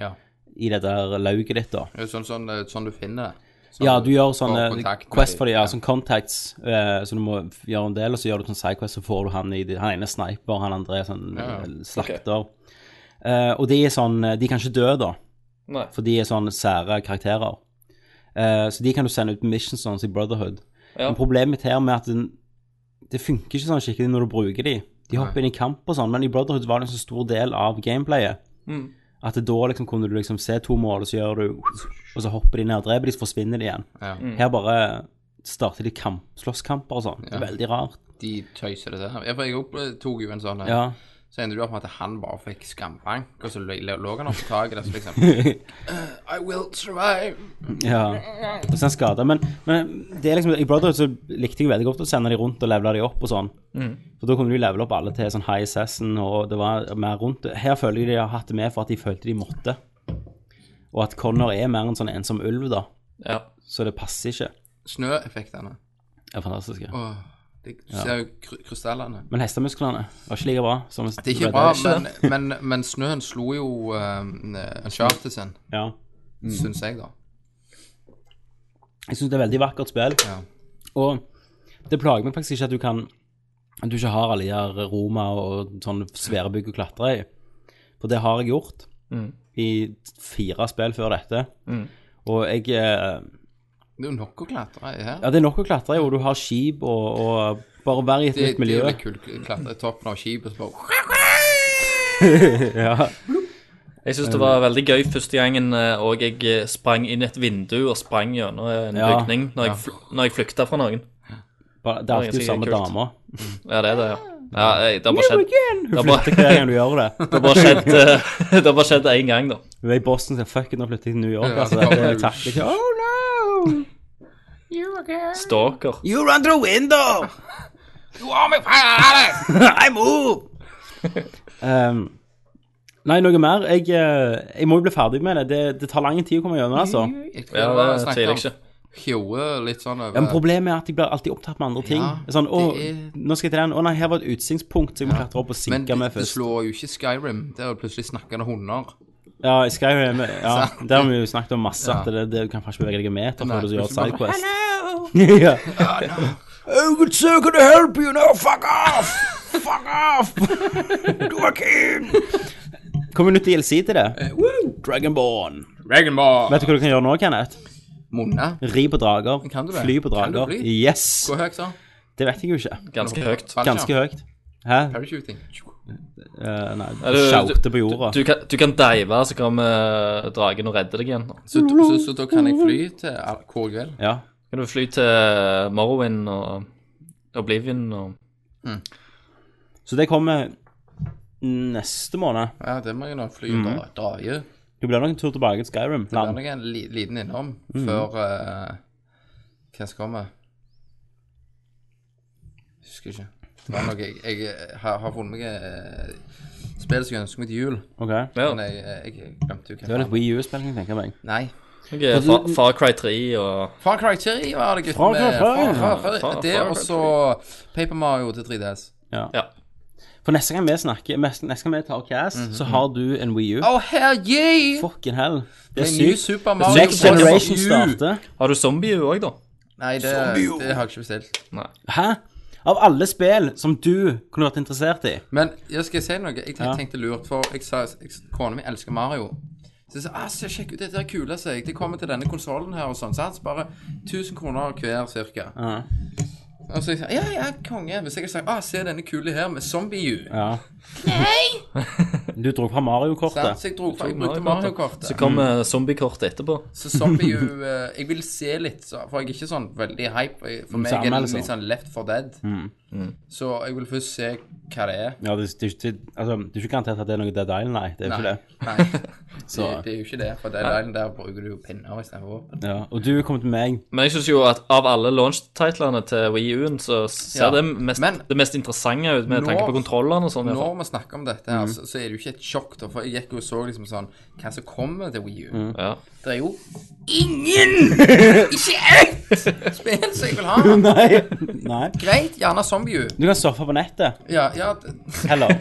E: ja.
D: i det der lauget ditt, da.
E: Det er jo sånn, sånn, sånn du finner det. Sånn
D: Ja, du gjør
E: får
D: sånne
E: kontakt med
D: quest for
E: de.
D: dem, ja, sånn contacts, eh, så du må f- gjøre en del, og så gjør du sånn sidequest, så får du han i de- Han ene er sniper, han andre er sånn
E: Ja, ja.
D: eh, slakter. Eh, og de er sånn eh, De kan ikke dø, da,
F: Nei.
D: for de er sånn sære karakterer. Eh, så de kan du sende ut missions sånn som i Brotherhood.
F: Ja.
D: Men problemet mitt her med at den, det funker ikke sånn skikkelig når du bruker de. De hopper inn i kamp og sånn, men i Brotherhood var det en så stor del av gameplayet.
E: Mm.
D: At det da liksom kunne du liksom se to mål, og så gjør du Og så hopper de ned og dreper de, så forsvinner de igjen.
E: Ja.
D: Her bare starter de kamp, slåsskamper og sånn. Det er veldig rart.
E: De tøyser det der. Ja, for jeg opp- tok jo en sånn eh,
D: Ja.
E: Så endte du opp med at han bare fikk skambank, og så lå lå han opp på taket der, så
D: [LAUGHS]
E: liksom «Eh, I will survive.
D: ja. Og så er han skada. Men, men det er liksom, i Brotherhood så likte jeg veldig godt å sende de rundt og levele de opp og sånn. For da kunne du levele opp alle til sånn high session, og det var mer rundt det. Her føler jeg de har hatt det med for at de følte de måtte. Og at Connor er mer en sånn ensom ulv, da.
F: Ja.
D: Så det passer ikke.
E: Snøeffektene.
D: Det er fantastisk. Ja.
E: Åh, det, du ser jo kry- krystallene.
D: Men hestemusklene var ikke like bra. Som
E: Det er ikke bra, men, men, men snøen slo jo um, Uncharted sin,
D: ja.
E: syns jeg, da.
D: Jeg syns det er veldig vakkert spill.
E: Ja.
D: Og det plager meg faktisk ikke at du kan At du ikke har alle de her Roma og sånne svære bygg å klatre i. For det har jeg gjort i fire spill før dette. Og jeg eh,
E: Det er jo nok å klatre i her.
D: Ja, det er nok å klatre i, og du har skip og, og Bare være i et
E: Det,
D: nytt
E: det er
D: miljø.
E: jo litt kult å klatre i toppen av skipet og så bare
D: [LAUGHS] Ja.
F: Jeg syns det var veldig gøy første gangen eh, og jeg eh, sprang inn et vindu og sprang gjennom eh, en
D: Ja.
F: bygning når jeg, fl når jeg flykta fra noen.
D: Bare, det er alltid
F: sikkert
D: jo samme
F: kult.
D: dama.
F: Ja, det er det, ja. ja jeg, det har bare skjedd
D: Hun
F: Det har
D: flytter
F: bare,
D: hver gang du gjør det.
F: [LAUGHS] det har bare skjedd eh, Det har bare skjedd én gang, da.
D: Hun er i Boston og sier 'fuck it, nå flytter jeg til New York'.
E: Ja,
D: altså,
E: så kommer
D: det
E: hun.
D: takler ikke. Oh no!
F: Stalker.
D: You run through
E: [LAUGHS]
D: window!
E: You are my father!
D: [LAUGHS] I move! um, nei, noe mer. Jeg, eh, jeg må jo bli ferdig med det. Det, det tar lang tid å komme gjennom, altså.
E: Jeg tror
F: Ja,
E: det var
F: det
E: snakket
F: tviler
E: om
F: jeg ikke.
E: Hjoe litt sånn
D: Ja, men
E: over
D: problemet er at jeg blir alltid opptatt med andre ting.
E: Ja,
D: sånn, å,
E: det er-
D: nå skal jeg til den. Å nei, her var et utsiktspunkt, så jeg må klatre opp og
E: Men
D: sinke
E: det,
D: meg
E: det
D: først.
E: slår jo ikke Skyrim. Der er det plutselig snakkende hunder.
D: Ja, i Skyrim, ja,
E: Sant.
D: der har vi jo snakket om masse, at
E: Ja.
D: det, det, du kan faktisk bevege deg en meter
E: Nei,
D: før du gjør et
E: plutselig bare,
D: sidequest. [LAUGHS] ja. Oh, good sir, can I help you? No, fuck off! Fuck off! du er keen! Kommer nytt DLC til det? Dragonborn.
E: Dragonball!
D: Vet du hva du kan gjøre nå, Kenneth?
E: Munne.
D: Ri på drager.
E: Kan du det?
D: Fly på
E: Kan du
D: drager.
E: fly?
D: Yes!
E: Hvor høyt, da?
D: Det vet jeg jo ikke.
F: Ganske høyt.
D: Ganske høyt. Hæ?
E: Parachuting.
D: Eh, nei,
F: Ja, du-
D: Sjaute på jorda.
F: Du kan, du kan dive, så kommer dragen og redder deg igjen.
E: Så, så, så da kan jeg fly til Al- KGL?
D: Ja.
F: Kan du fly til eh, Morrowind og Oblivion og
D: Så det kommer neste måned.
E: Ja, det må jeg nå fly og dra- dra i.
D: Det blir nok en tur tilbake til Skyrim.
E: Det blir
D: Land.
E: nok en li, liten innom
D: Mm.
E: før eh, Hva skal vi? Husker ikke. Det var noe jeg, jeg har, har funnet meg uh, spill som jeg ønsker meg til jul.
D: Ok.
F: Ja.
E: Men jeg, eh, jeg, jeg glemte jo
D: Det
E: hva
D: er
E: det
D: litt
E: var.
D: Wii U-spill, kan jeg tenke meg.
E: Nei.
F: Ok, Far, Far Cry 3 og
E: Far Cry 3 var det,
D: Far
E: gutten.
D: Cry
E: med-
D: Fire.
E: Far- Far-
F: Far-
E: Det
F: Far
E: og
F: Cry
E: så Paper Mario til 3DS.
D: Ja.
F: Ja.
D: For neste gang vi snakker, mes- neste gang vi tar cast,
E: Mhm.
D: så har du en Wii U.
E: Oh, hell yeah!
D: Fucking hell. Det
E: Det
D: er
E: er New
D: sykt.
E: Super Mario
D: Next
E: Bros.
D: Generation
E: U.
D: starter.
F: Har du Zombie òg, da?
E: Nei, det, det har jeg ikke bestilt.
D: Hæ? Av alle spill som du kunne vært interessert i.
E: Men jeg skal si noe. Jeg tenkte,
D: Ja.
E: tenkte lurt, for jeg sa jeg- kona mi elsker Mario. Så jeg sa ah, se, sjekk ut dette her kule, sa jeg. Det kommer til denne konsollen her og sånn. Sant? Så Bare 1000 kroner hver, cirka.
D: Ja.
E: Og så jeg sa ja, ja, konge. Hvis jeg hadde sagt ah, se denne kule her med zombie-u.
D: Ja. Du dro fra
E: Sant?
D: Mario-kortet.
E: Så jeg dro fra, jeg brukte
F: Så
E: Mario-kortet.
F: kom eh, zombie-kortet etterpå.
E: Så zombie jo eh, Jeg vil se litt, så- for jeg er ikke sånn veldig hype. Jeg-
D: Mm,
E: For meg er det
D: anmeldelser.
E: litt sånn Left for Dead.
D: Mm.
E: Så jeg vil først se hva det er.
D: Ja, det, det, er ikke- det, altså, det er ikke garantert at det er noe Dead Island, nei. Det er ikke
E: Nei,
D: det. [LAUGHS]
E: nei.
D: Så,
E: Det, det er jo ikke det. For den delen der bruker du jo pinner istedenfor våpen.
D: ja. Og du kom til meg.
F: Men jeg synes jo at av alle launch-titlene til Wii U-en, så ser
E: Ja.
F: det, mest,
E: Men-
F: det mest interessante ut med
E: Nå-
F: tanke på kontrollene og sånn. i hvert fall.
E: Når vi snakker om dette,
D: Mm.
E: her, så, så er det jo ikke et sjokk. Da, for jeg gikk jo og så liksom sånn Hva som kommer til Wii U.
D: Mm.
F: Ja.
E: Det er jo
D: [LAUGHS]
E: ingen! Ikke ett spill som jeg vil ha!
D: [LAUGHS] Nei. nei.
E: Greit, gjerne Zombie U.
D: Du kan surfe på nettet
E: Ja, ja, d- [LAUGHS]
D: heller.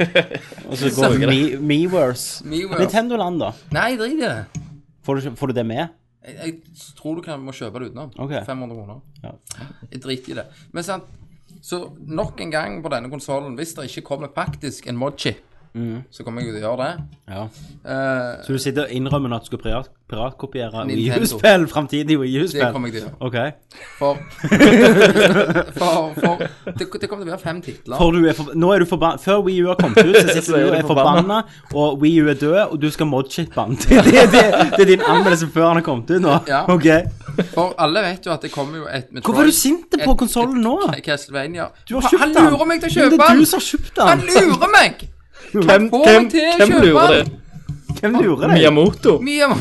D: Og så går
F: Surfer
D: Me- Miiverse.
E: Miiverse.
D: Nintendo-land, da.
E: nei, drit i det.
D: Får du, ikke- får du det med?
E: Jeg, jeg tror du kan, må kjøpe det utenom.
D: Ok.
E: 500 kroner.
D: Ja.
E: Jeg driter i det. Men sant, så nok en gang på denne konsollen, hvis det ikke kommer faktisk en mod-chip,
D: Mm.
E: så kommer jeg jo til å gjøre det.
D: ja.
E: Eh,
D: Så du sitter og innrømmer nå at du skal pirat, piratkopiere Wii
E: Nintendo.
D: U-spill? Framtidig Wii U-spill?
E: det kommer jeg til å gjøre.
D: OK. [LAUGHS]
E: For, for, for det, det kommer til å være fem titler.
D: For du er forba- Nå er du forbanna Før Wii U har kommet ut,
E: [LAUGHS]
D: så
F: Så
D: sitter
F: er
D: du og
F: du
D: er forbanna, og Wii U er død, og du skal modship han. [LAUGHS] Det, det, det, det er din anmeldelse før han har kommet ut nå.
E: Ja.
D: OK.
E: For alle vet jo at det kommer jo et Metroid
D: Hvorfor er du sint på
E: et-
D: konsollen nå?
E: et Castlevania.
D: Du har kjøpt
E: han
D: den.
E: lurer meg til å
D: Men
E: kjøpe
D: Det er
E: den!
D: du som har kjøpt
E: Han
D: den.
E: lurer meg!
F: Hvem,
E: Få
F: hvem,
E: meg til å
F: hvem
E: kjøpe
F: lurer det?
D: [LAUGHS] Hvem lurer deg?
F: Miyamoto?
E: Miyam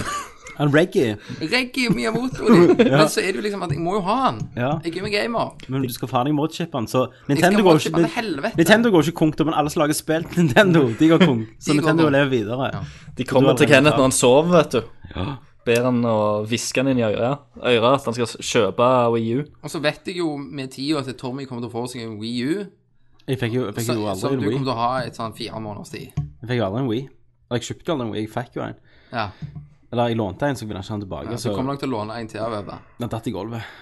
D: Han Reggie.
E: Reggie Miyamoto.
D: [LAUGHS]
E: de. Men så er det jo liksom at jeg må jo ha han.
D: Ja.
E: Jeg er jo gamer.
D: Men du skal faen meg modship han, så Nintendo går
E: modship
D: ikke
E: han til helvete.
D: Nintendo går ikke konk, da, men alle slag er spilt til Nintendo. De går konk. Så
E: De går
D: Nintendo
E: konk.
D: lever videre.
F: De kommer til
D: allerede
F: Kenneth
D: klar.
F: når han sover, vet du. Ber han å hviske han inn i øret, øret at han skal kjøpe Wii U.
E: Og så vet jeg jo med tida at Tommy kommer til å få seg en Wii U.
D: Jeg fikk jo, jeg fikk
E: Så,
D: jo aldri
E: som
D: en
E: du kommer
D: Wii.
E: til å ha i et sånn fire måneders tid.
D: Jeg fikk jo aldri en Wii. Eller jeg kjøpte jo aldri en Wii. Jeg fikk jo en.
E: Ja.
D: Eller jeg lånte en, så ville han ikke ha den tilbake.
E: Så
D: så
E: kommer nok til å låne en til av Ebba.
D: Den datt i gulvet. [LAUGHS]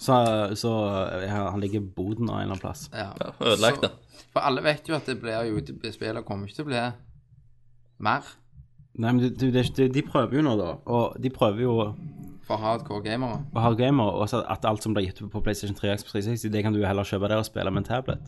D: Så, så ja, han ligger i boden av en eller annen plass.
E: Ja.
F: Ødelagt det.
E: Så- For alle vet jo at det blir jo det- Spillet kommer ikke til å bli mer
D: Nei, men du, det, er ikke- de- de prøver jo nå, da. Og de prøver jo å
E: for hardcore gamere.
D: ha gamer, og så at alt som blir gitt ut på PlayStation 3 og Xbox 360, det kan du jo heller kjøpe der og spille med en
E: [LAUGHS]
D: tablet.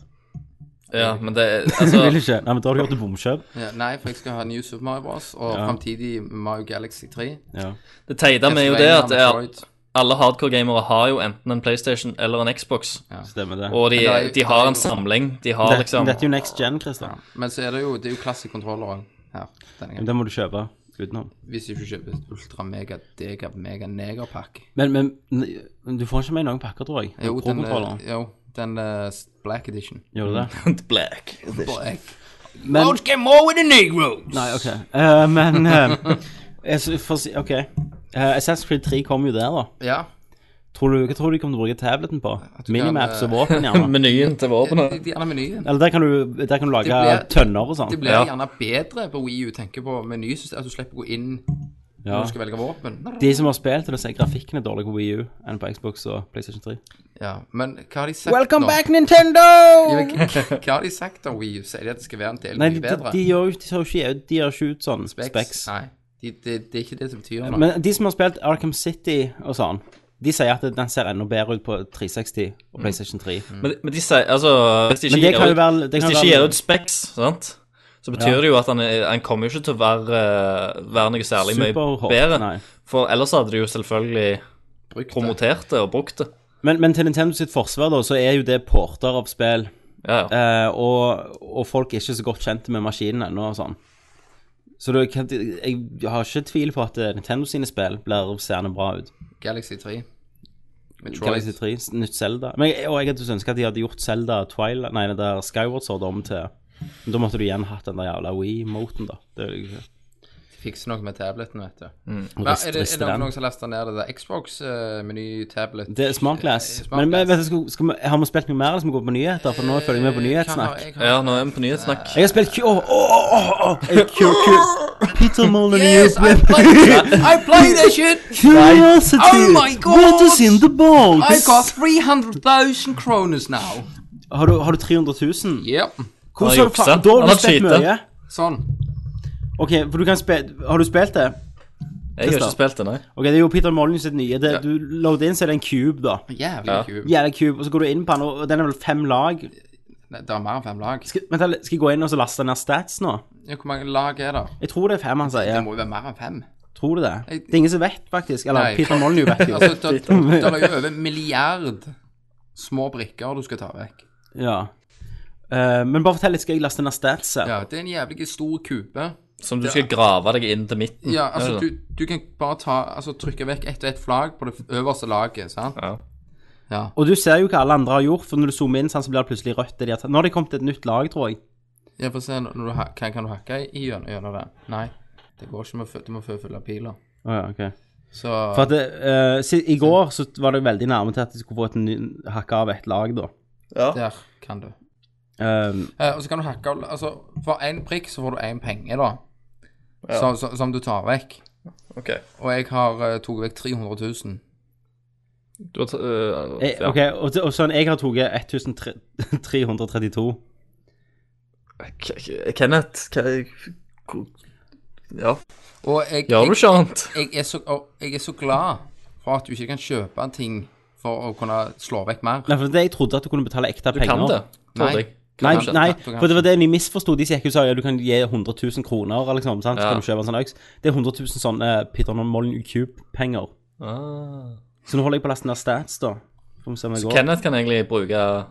F: Ja, men det [LAUGHS] er-
D: Du
F: altså,
D: vil ikke? Nei, men da har du gjort et bomkjøp.
E: Ja, nei, for jeg skal ha New Super Mario Bros. og fremtidig Mario Galaxy 3.
D: Ja.
F: Det teite med jo det
E: Castlevania,
F: at det er,
E: Metroid.
F: alle hardcore-gamere har jo enten en PlayStation eller en Xbox.
D: Stemmer det.
F: Og de,
E: Men det er jo-
F: de har en samling. De har
D: det,
F: liksom
D: Dette er jo next gen, Christian.
E: Men så er det jo, det er jo classic controller også her. Denne
D: Men
E: gangen.
D: Det må du kjøpe utenom.
E: Hvis du ikke kjøper et ultra mega dega mega negerpakke.
D: Men, men n- du får ikke med i noen pakker, tror jeg.
E: Jo, den,
D: Pro-kontrolleren.
E: eh, jo, den eh, Black Edition.
D: Gjør du det?
F: [LAUGHS] Black.
E: Black.
D: Men
E: Don't get more with the Negroes!
D: Nei, OK. Eh, men eh, jeg s- får si OK. Eh, Assassin's Creed 3 kom jo der, da.
E: Ja.
D: Tror du, hva tror du de kommer til å bruke tableten på?
E: du
D: Minimaps og
E: kan, eh,
D: våpen,
E: [LAUGHS]
D: gjerne.
F: Menyen til våpenet.
E: Gjerne menyen.
D: Eller der kan du, der kan du lage
E: blir-
D: tønner og sånn.
E: Det blir
F: Ja.
E: gjerne bedre på Wii U, tenker på menysystemet. At du slipper å gå inn
D: Ja.
E: når du skal velge våpen.
D: De som har spilt det, sier grafikken er dårlig på Wii U enn på Xbox og PlayStation 3.
E: Ja, men hva har de sagt
D: Welcome
E: nå?
D: back, Nintendo!
E: Ja, men hva hva har de sagt om Wii U? Sier de at det skal være en del
D: Nei, de,
E: mye
D: de,
E: bedre?
D: de gjør jo de ser jo ikke, de gjør ikke ut sånn
E: Specs?
D: specs.
E: Nei, de- det det er ikke det som betyr noe.
D: Men de som har spilt Arkham City og sånn, de sier at den ser enda bedre ut på 360
E: Mm.
D: og PlayStation 3.
F: Men, men de sier Altså Hvis de ikke
D: Men det
F: gir
D: kan jo
F: ut-
D: være det
F: Hvis
D: kan
F: de
D: jo
F: ikke
D: være-
F: gir ut Specs, sant? så betyr
D: Ja.
F: det jo at han, er- han kommer jo ikke til å være, eh, være noe særlig mye
D: Superhot,
F: bedre.
D: nei.
F: For ellers hadde de jo selvfølgelig
E: Brukt det.
F: promotert det og brukt det.
D: Men, men til Nintendo sitt forsvar, da, så er jo det porter av spill.
F: Ja, ja.
D: Eh, og, og folk er ikke så godt kjent med maskinen ennå og sånn. Så det, kan- jeg har ikke tvil på at eh, Nintendo sine spill blir seende bra ut.
E: Galaxy 3.
D: Galaxy 3, nytt Zelda. Men, jeg- og jeg hadde ønska at de hadde gjort Zelda Twilight, nei, det der Skyward Sword om til Men Da måtte du igjen hatt den der jævla Wii-moten, da. Det er jo ikke
E: Fikser noe med tableten, vet du.
D: Og
E: Nei,
D: rist-
E: er det, er
D: riste
E: det
D: den.
E: noen som laster ned det der eh, Xbox-meny-tablet?
D: Det er Smart Glass.
E: Smart
D: Men, men vet
E: Glass.
D: du, skal, skal vi, har vi spilt noe mer, eller skal vi gå på nyheter? For nå følger vi
E: Eh,
D: med på nyhetssnakk.
F: ja, nå er vi på nyhetssnakk.
D: Jeg har spilt Q... Åh, åh, åh, åh, åh. Q, Q. Peter Molyneux
E: Yes, I play, I play that shit!
D: Curiosity!
E: Oh my God!
D: What is in the box?
E: I got 300,000 kroners now.
D: Har du, har du 300 000?
E: Yep.
D: Hvordan
F: Han har
D: har du fa-
F: juksa.
D: Da
F: Han
D: har du
F: har
D: spilt
F: cheatet.
D: mye.
E: Sånn.
D: Ok, for du kan spille Har du spilt det?
F: Jeg har
D: Kristian.
F: ikke spilt det, nei.
D: Ok, det er jo Peter Molyneux sitt nye. Det, Du loader inn, så er det en cube, da.
E: Jævlig kul.
D: Jævla cube, og så går du inn på den, og den er vel fem lag?
E: Nei, Det er mer enn fem lag.
D: Skal, vent, da, skal jeg gå inn og så laste ned stats nå?
E: Ja, hvor mange lag er det?
D: Jeg tror det er fem han
E: Det
D: sier.
E: må jo være mer enn fem.
D: Tror du det? Det er ingen som vet, faktisk. Eller
E: Nei.
D: Peter Molyneux vet jo.
E: Altså, det det er jo over en milliard små brikker du skal ta vekk.
D: Ja. Eh, men bare fortell litt, skal jeg laste ned stats? her?
E: Ja, det er en jævlig stor kube.
F: Som du skal grave deg inn til midten.
E: Ja, altså,
F: er det det?
E: du, du kan bare ta, altså, trykke vekk ett og ett flagg på det øverste laget, sant?
F: Ja.
D: Og du ser jo hva alle andre har gjort, for når du zoomer inn, sånn, så blir det plutselig rødt. det De har tatt. Nå har de kommet til et nytt lag, tror jeg.
E: Ja, få se, når du, ha- kan, kan du hakke i- i gjennom gjennom den? Nei, det går ikke, du må fø- du må fø- fylle piler.
D: Å ja, ok.
E: Så,
D: For at det, eh, si- I går så var det veldig nærme til at de skulle få et ny, hakke av et lag, da.
E: der kan du.
D: Ehm,
E: Eh, og så kan du hakke, av- altså, for en prikk så får du en penge da, som, som, som du tar vekk.
F: Ok.
E: Og jeg har uh, tog vekk 300 000.
F: Du har t- øh,
D: jeg,
F: ja.
D: Eh, ok, og, og sånn, jeg har tatt [LAUGHS] 1332.
H: K- K- Kenneth, hva hvor- Ja.
E: Og jeg,
F: Gjør du
E: jeg,
F: ikke annet?
E: jeg, er så, og jeg er så glad for at du ikke kan kjøpe ting for å kunne slå vekk mer.
D: Nei, for det jeg trodde at du kunne betale ekte
F: Du
D: penger.
F: kan det.
E: Nei.
F: Tror jeg.
D: Nei,
E: Kanskje.
D: nei,
E: Ja,
D: for det var det de misforsto. De som gikk ut og sa ja, du kan gi 100 000 kroner, eller liksom, sant? så
F: Ja.
D: kan du kjøpe en sånn øks. Det er 100 000 sånne Peter Molyneux Cube-penger.
F: Ah.
D: Så nå holder jeg på å laste ned stats, da. Får vi se om jeg går.
F: Kenneth kan egentlig bruke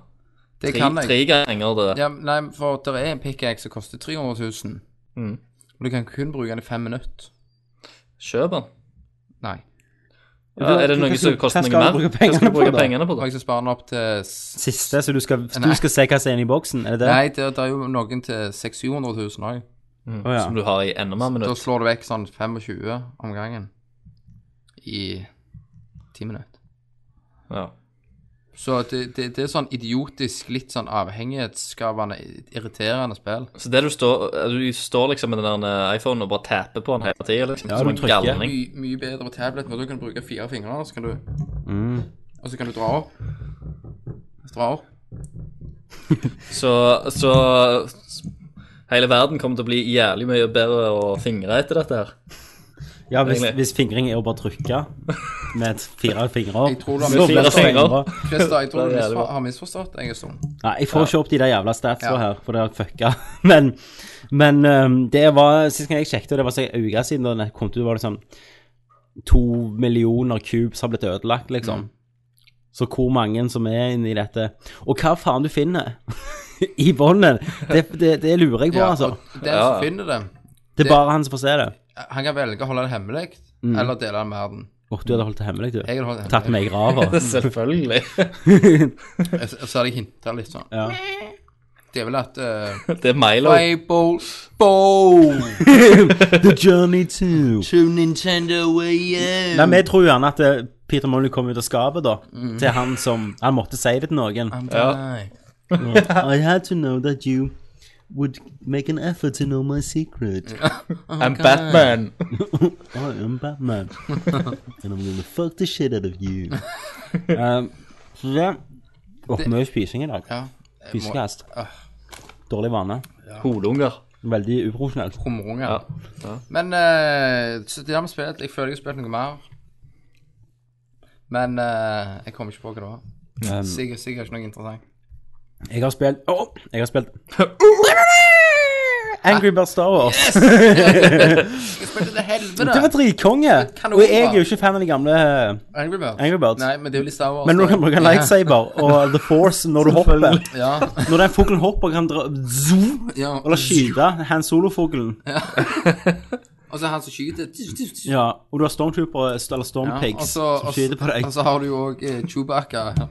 E: Det
F: tre,
E: kan jeg.
F: tre ganger det.
E: Ja, nei, for det er en pickaxe som koster 300 000.
F: Mm.
E: Og du kan kun bruke den i fem minutter.
F: Kjøp den.
E: Nei.
F: Ja, er det
D: Hva
F: noe
D: skal-
F: som koster
D: hva
F: noe
D: skal
F: mer?
D: du bruke
F: Hva skal
D: pengene
F: du bruke
D: på, da?
F: pengene på?
E: Og
F: da?
E: jeg skal spare den opp til s-
D: Siste, så du skal, du
E: Nei.
D: skal se hva som er inne i boksen? Er det det?
E: Nei, det, det er jo noen til 600 000 òg.
D: Å, ja.
F: Som du har i enda mer
E: Da
F: minutt.
E: slår du vekk sånn 25 om gangen i ti minutter.
F: Ja.
E: Så det, det, det er sånn idiotisk, litt sånn avhengighetsskapende, irriterende spill.
F: Så det du står, du står liksom med den der iPhone og bare tapper på den hele tida, liksom.
D: Ja,
F: som
D: du
F: en
D: trykker.
F: galning.
E: Mye, mye bedre på tablet, for da kan du bruke fire fingre, så kan du,
D: Mm.
E: og så kan du dra opp. Dra opp.
F: Så, så hele verden kommer til å bli jævlig mye bedre å fingre etter dette
D: [LAUGHS]
F: her.
D: Ja, hvis,
F: Egentlig.
D: hvis fingring er å bare trykke med et- fire fingre
E: Jeg tror du har
D: så blir det
F: fire fingre.
D: fingre.
E: Christer, jeg tror du
F: Det er jævlig
E: misfor,
F: bra.
E: har misforstått en stund.
D: Nei, jeg får ikke opp de der jævla statsa
E: Ja.
D: her, for det har jeg fucka. [LAUGHS] Men, men ehm, det var Sist gang jeg sjekket, og det var så en uke siden, da det kom til, var det sånn To millioner cubes har blitt ødelagt,
E: Mm.
D: liksom. Så hvor mange som er inni dette Og hva faen du finner [LAUGHS] i båndet, det, det, det lurer jeg på,
E: Ja,
D: altså.
E: og den
F: Ja, ja.
E: som finner det
D: Det er bare han som får se det.
E: Han kan velge å holde det hemmelig, eller dele det med verden.
D: Åh, du hadde holdt det hemmelig, du.
E: Jeg hadde holdt det
D: Tatt meg i
E: hemmelig. [LAUGHS]
D: grava.
F: Selvfølgelig. [LAUGHS]
E: Jeg- Så hadde jeg hinta litt sånn.
D: Ja.
E: Det er vel
F: [LAUGHS]
E: at uh,
F: Det er Milo.
E: Playbowl Bow
D: The Journey to
E: to Nintendo Wii U.
D: Nei, vi tror gjerne at eh, Peter Molyneux kom ut av skapet, da.
E: Mm.
D: Til han som Han måtte si det til noen.
E: Ja.
D: I had to know that you would make an effort to know my secret.
F: I'm Batman.
D: I am
E: [LAUGHS]
D: Batman. And I'm gonna fuck the shit out of you. um, så det Åh, mye spising i dag.
E: ja.
D: Fiskekast. Dårlig vane.
F: Hodunger.
D: Veldig uprofesjonelt.
E: Humrunger.
F: Ja.
E: Men eh, så det har vi spilt. Jeg føler jeg har spilt noe mer. Men eh, jeg kommer ikke på hva det var.
D: Um,
E: Sikkert, sikkert ikke noe interessant.
D: jeg har spilt Åh, jeg har spilt [LAUGHS] Ah. Angry Bird Star Wars.
E: Jeg spilte til
D: Det var
E: helvete!
D: dritkonge!
E: Kanon,
D: Og jeg er
E: da.
D: jo ikke fan av de gamle
E: Angry Birds.
D: Angry Birds.
E: Nei, men det er jo litt Star Wars.
D: Men når du kan
E: da.
D: bruke
E: [LAUGHS]
D: lightsaber og The Force når du hopper
E: Ja,
D: Når den fuglen hopper, kan dra zoom,
E: ja.
D: Eller skyte Han Solo-fuglen.
E: Og så er han som skyter.
D: Ja, og du har stormtrooper eller stormpigs
E: og så,
D: som
E: og,
D: skyter på
E: så-
D: deg.
E: og så har du jo òg eh, Chewbacca.
D: Ja,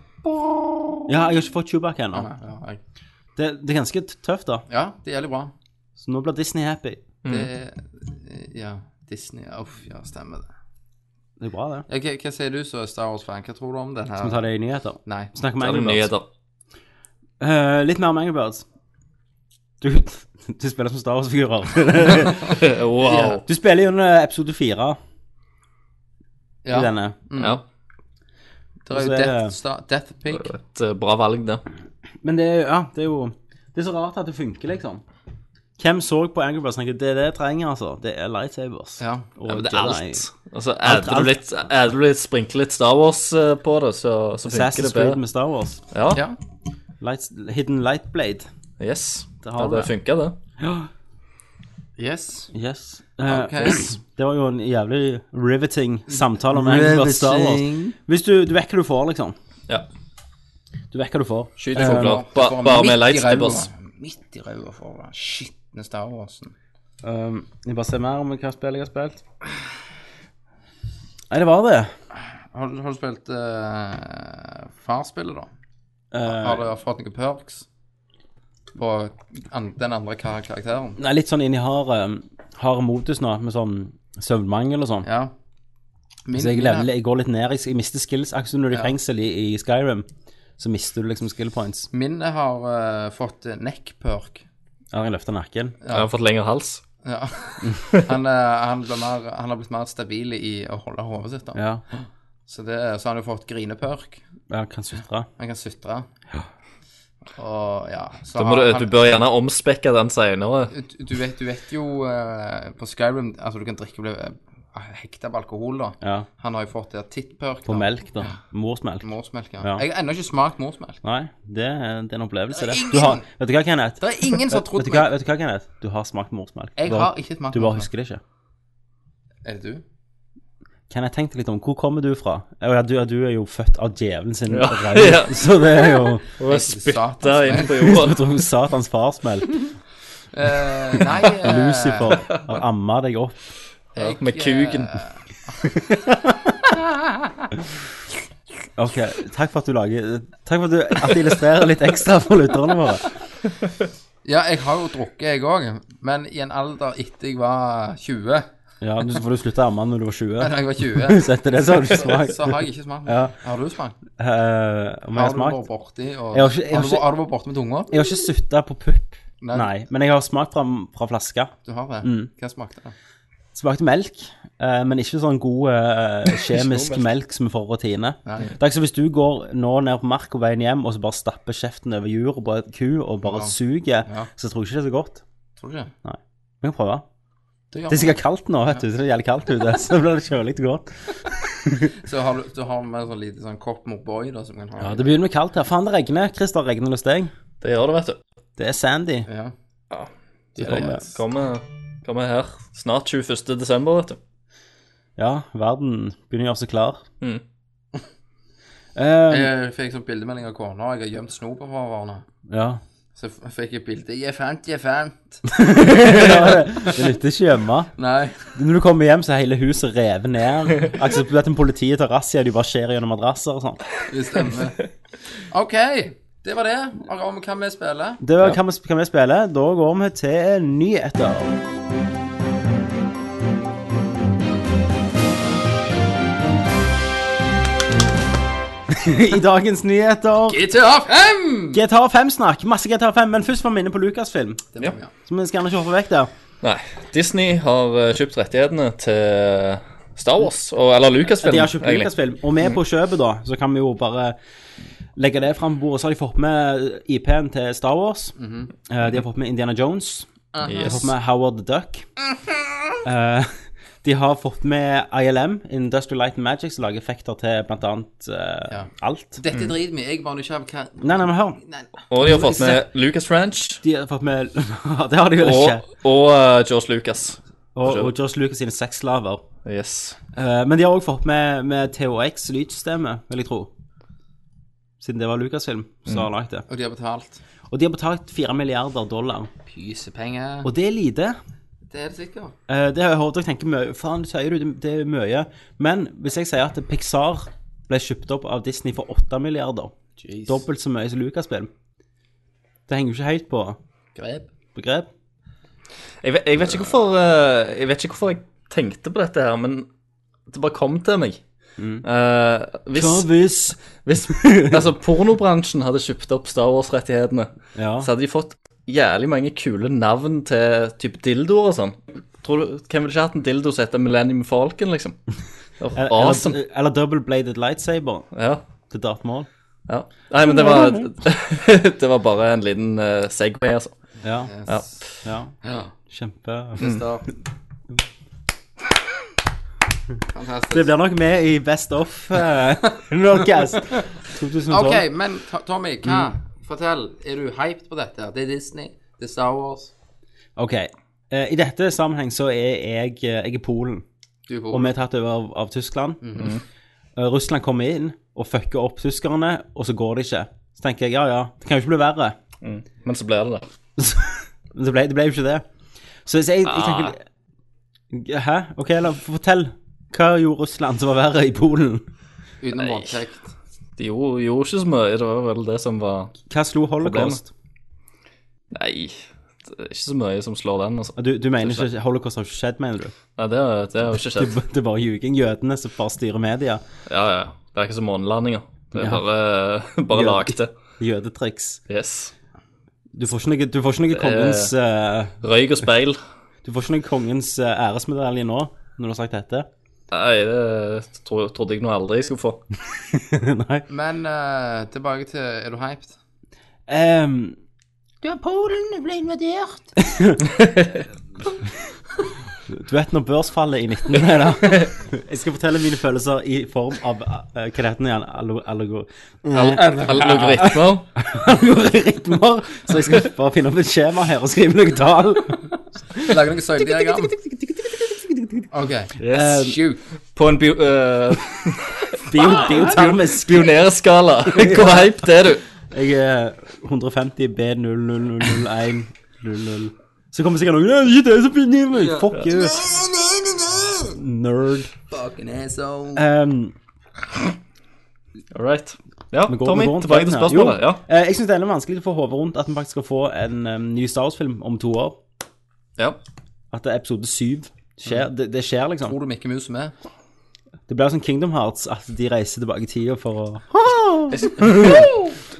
D: jeg har ikke fått Chewbacca ennå.
E: Ja, ja, jeg-
D: Det, det er ganske tøft, da.
E: ja, det er jævlig bra.
D: Så nå blir Disney happy.
E: Det eh, Ja, Disney Uff, ja, stemmer det.
D: Det er bra, det.
E: Ja, hva, hva sier du som Star Wars-fan? Hva tror du om den
D: Skal vi
E: her?
D: ta det i nyheter?
E: Nei.
D: Snakk om
F: Det er
D: Angry Birds.
F: nyheter. [LAUGHS]
D: Eh, litt mer om Angry Birds. Du, [LAUGHS] du spiller som Star Wars-figurer.
F: Wow.
D: Du spiller gjennom episode fire i
E: Ja,
D: denne.
F: Ja. Mm.
E: det
D: så
E: er jo
D: er
E: Death,
D: det-
E: Star, Death Pig.
F: Et eh, bra valg, det.
D: Men det er, jo- ja, det er jo Det er så rart at det funker, liksom. Hvem så på Angry Birds og tenkte det er det jeg trenger, altså? Det er lightsabers.
E: Ja.
D: Og
F: Ja, men det er
D: Jedi.
F: alt. Altså,
D: Alt,
F: adder du
D: alt.
F: litt, adder du litt sprinkle litt Star Wars eh, på det, så, så funker det
D: Assassin's Creed
F: bedre.
D: med Star Wars.
F: Ja.
E: ja.
D: Lights, Hidden
F: [GASPS]
D: Lightblade.
F: Yes.
D: Det
F: Det
D: har
F: hadde
D: det.
F: funka, det.
E: Yes.
D: Yes. Eh,
E: Ok.
D: Det var jo en jævlig riveting samtale om Angry Star Wars. Hvis du, du vet hva du får, liksom.
F: Ja.
D: Du vet hva du får.
E: Skyt
F: Eh,
E: fugler.
F: ba-
E: Får
F: bare
E: midt
F: med
E: i
F: lightsabers.
E: ræva. Midt i ræva får han. Skitne Star Warsen.
D: Um, jeg bare ser mer om hva spill jeg har spilt. Nei, det var det.
E: Har, du- har du spilt uh, Farspillet, da?
D: Eh,
E: Har du fått noen perks på an den andre kar karakteren?
D: Nei, litt sånn inn i hard, um, hard modus nå, med sånn søvnmangel og sånn.
E: Ja. Min,
D: Så jeg,
E: min-
D: leveler, jeg går litt ned, jeg, jeg mister skills. Akkurat som når du er i
E: Ja.
D: fengsel i, i Skyrim, så mister du liksom skill points.
E: Min har eh, fått neck-perk.
D: Eller jeg løfter nakken.
F: Jeg har fått lengre hals.
E: Ja. [LAUGHS] han, eh, han, ble mer, han har blitt mer stabil i å holde hodet sitt. da.
D: Ja,
E: Så, det, så han har fått grineperk.
D: jeg kan sutre.
E: Han kan sutre. Og ja så
F: Da
E: har
F: må du,
E: han,
F: du bør gjerne omspekke den seinere.
E: du, du, vet, du vet jo eh, på Skyrim Altså, du kan drikke og bli eh, hekta på alkohol, da.
D: Ja,
E: Han har jo fått det titt-perk.
D: på melk da. Morsmelk.
E: Morsmelk, ja.
D: Ja.
E: Jeg har ennå ikke smakt morsmelk.
D: Nei, det, er- det er en opplevelse det.
E: Det er
D: Du har,
E: ingen-
D: vet du hva, Kenneth?
E: Det er ingen som har
D: Vet
E: trodd
D: du hva,
E: meg.
D: vet du hva Kenneth? Du har smakt morsmelk.
E: Jeg
D: Du
E: har ikke smakt
D: Du bare
E: morsmelk.
D: husker det ikke.
E: Er det du?
D: Kenneth, tenk deg litt om, hvor kommer du fra? Å Ja, du, ja, du er jo født av djevelen sin. reir,
F: ja.
D: [LAUGHS] Så det er jo
F: Og
E: satans
F: spytte inn på
D: Jeg
F: jorda.
D: tror satans farsmelk.
E: Eh,
D: [LAUGHS]
E: nei eh,
D: Lucifer har amma deg opp.
E: jeg,
F: Med kuken.
E: eh,
D: Ok, takk for at du lager Takk for at du at du illustrerer litt ekstra for lytterne våre.
E: ja, jeg har jo drukket, jeg òg. Men i en alder etter jeg var [LAUGHS] 20
D: Ja, du får du slutte å amme når du var 20.
E: Da jeg var 20
D: [LAUGHS] Så etter det så har du
E: så,
D: smakt.
E: så har jeg ikke smakt.
D: Ja.
E: Har du smakt?
D: Eh, om jeg
E: Har
D: har
E: du vært
D: smakt?
E: borti og
D: Jeg har ikke- jeg
E: har,
D: har
E: du,
D: ikke-
E: har du vært borti med tunga?
D: Jeg har ikke sutta på pupp, nei. Mm. Men jeg har smakt fra, fra flaska.
E: Du har det? Hva smakte det?
D: Smakte melk, eh, men ikke sånn god [LAUGHS] eh, kjemisk melk som er for rutine.
E: Nei.
D: Det er ikke som hvis du går nå ned på mark og veien hjem, og så bare stapper kjeften over juret på en ku og bare
E: Ja.
D: suger,
E: Ja.
D: så tror jeg ikke det er så godt.
E: Tror du ikke?
D: Vi kan prøve.
E: Det
D: Det er
E: gjør man.
D: sikkert kaldt nå, vet du. Så det er jævlig kaldt ute. [LAUGHS] Så blir det kjølig og godt.
E: Så har du, du har med sånn lite sånn kopp med boy da, som kan ha
D: Ja, det begynner med kaldt her. Faen, det regner. Christer, regner det hos deg?
F: [LAUGHS] Det gjør det, vet du.
D: Det er Sandy.
E: Ja.
D: De
F: Det
D: kommer.
F: kommer, kommer her snart 21. desember, vet du.
D: Ja, verden begynner å gjøre seg klar.
F: Mm.
D: Eh,
E: Jeg fikk sånn bildemelding av kona, og jeg har gjemt snop fra hverandre.
D: ja.
E: Så f- fikk jeg bilde. Jeg fant, jeg fant.
D: Det nytter ikke hjemme.
E: Nei.
D: Når du kommer hjem, så er hele huset revet ned. Akkurat som at en politiet tar razzia, de bare skjer gjennom madrasser og sånn.
E: Det
D: [LAUGHS]
E: stemmer. OK, det var det. Og om hva vi spiller.
D: Det var hva vi- hva vi spiller. Da går vi til nyheter. I dagens nyheter
E: GTA 5!
D: GTA 5-snakk. Masse GTA 5, men først var vi inne på Lucasfilm.
E: Det var, ja.
D: Så vi skal gjerne ikke hoppe vekk der.
F: Nei. Disney har eh, kjøpt rettighetene til Star Wars, og, eller Lucasfilm,
D: De har kjøpt Lucasfilm, og med
F: Mm.
D: på kjøpet, da, så kan vi jo bare legge det fram på bordet. Så har de fått med IP-en til Star Wars. Eh, De har fått med Indiana Jones. De har
F: Mhm. Yes.
D: fått med Howard the Duck. Eh, de har fått med ILM, Industrial Light and Magic, som lager effekter til blant annet eh,
E: Ja.
D: alt.
E: Dette driter vi i. Jeg er bare nysgjerrig på hva
D: Nei, nei, men hør.
E: Nei.
F: Og de har fått med Lucas Ranch
D: De har fått med [LAUGHS] Det har de vel
F: og,
D: ikke.
F: og eh, George Lucas.
D: Og, og George Lucas sine sexslaver.
F: Yes.
D: Eh, men de har òg fått med, med THX-lydsystemet, vil jeg tro. Siden det var Lucasfilm
F: Mm.
D: som har lagd det.
E: Og de har betalt
D: Og de har betalt 4 milliarder dollar.
E: pysepenger.
D: Og det er lite.
E: Det er det sikkert.
D: Eh, det har jeg hørt dere tenker mye Faen, sier du det- det er mye. Men hvis jeg sier at Pixar ble kjøpt opp av Disney for 8 milliarder, dobbelt så mye som Lucasfilm Det henger jo ikke høyt på
E: Grep.
D: begrep.
F: Jeg vet, jeg, vet ikke hvorfor, eh, jeg vet ikke hvorfor jeg tenkte på dette her, men det bare kom til meg. Eh, hvis,
D: Travis!
F: hvis [LAUGHS] altså, pornobransjen hadde kjøpt opp Star Wars-rettighetene,
D: Ja.
F: så hadde de fått jævlig mange kule navn til type dildoer og sånn. Tror du, Hvem ville ikke hatt en dildo som heter Millennium Falcon, liksom? Det var
D: [LAUGHS] Eller,
F: Awesome.
D: eller, eller double bladed lightsaber
F: Ja,
D: til Darth Maul.
F: ja. Nei, men det var, [LAUGHS] det var bare en liten eh, segway, altså.
D: Ja.
F: Ja.
D: ja.
E: Ja.
D: Kjempe
E: Stopp. Fantastisk.
D: Det blir nok med eh,
F: [LAUGHS]
D: [LAUGHS] i Best Off uh, Nordcast 2012.
E: OK, men Ta- Tommy, hva Fortell, er du hyped på dette? Det er Disney, det er Star Wars.
D: OK. Eh, I dette sammenheng så er jeg, eh, jeg er Polen,
E: Du er på
D: og vi er tatt over av, av Tyskland. Eh, Russland kommer inn og fucker opp tyskerne, og så går det ikke. Så tenker jeg ja, ja, det kan jo ikke bli verre. [LAUGHS]
F: Men så blir det det.
D: Men det ble, det ble jo ikke det. Så hvis jeg, jeg tenker Hæ? OK, la, fortell. Hva gjorde Russland som var verre i Polen?
E: Utenom voldtekt.
F: De gjorde, gjorde ikke så mye. Det var vel det som var
D: Hva slo holocaust?
F: Nei, det er ikke så mye som slår den. Altså.
D: Ah, Du, du mener ikke holocaust har ikke skjedd, mener du?
F: Nei, det har det har jo ikke
D: Det, [LAUGHS]
F: skjedd.
D: det er bare ljuging. Jødene som bare styrer media.
F: Ja, ja. Det er ikke som månelandinger. Det er
D: Ja.
F: bare, [LAUGHS] bare
D: Ja.
F: lagd det.
D: Jødetriks.
F: Yes.
D: Du får ikke noe, du får ikke noe kongens eh,
F: Røyk og speil.
D: Du får ikke noe kongens eh, æresmedalje nå, når du har sagt dette. [LAUGHS]
F: Nei, det tro, trodde jeg nå aldri jeg skulle få.
D: Nei.
E: Men eh, tilbake til Er du hyped?
D: Ehm,
E: Ja, Polen ble invadert.
D: [LAUGHS] du vet når børsfallet i 19 ble, da? Jeg skal fortelle mine følelser i form av eh, Hva det heter det igjen? Allo- Allegor...
F: Algoritmer.
D: [LAUGHS] algoritmer. Så jeg skal bare finne opp et skjema her og skrive noen tall.
E: Lager noen søylediagram. OK.
F: Yes.
D: Ehm,
E: Shoot.
F: På en bio, eh,
D: Bio, biotermisk.
F: pionerskala. [LAUGHS]
D: [LAUGHS]
F: Hvor hyped er du?
D: Jeg er 150 B00001 00. Så kommer sikkert noen «Ja, Ikke det som finner meg! Fuck you! Nerd.
E: Fucking asshole.
D: Ehm,
F: All right. Ja,
D: vi går-
F: Tommy,
D: vi går rundt
F: tilbake til
D: den her.
F: spørsmålet.
D: Jo,
F: Ja.
D: eh, Jeg syns det er litt vanskelig å få hodet rundt at vi faktisk skal få en em, ny Star Wars-film om to år.
F: ja.
D: At det er episode syv. Skjer,
F: Mm.
D: det, det skjer, liksom.
E: Tror du Mikke Mus er med?
D: Det blir sånn Kingdom Hearts, at de reiser tilbake i tida for å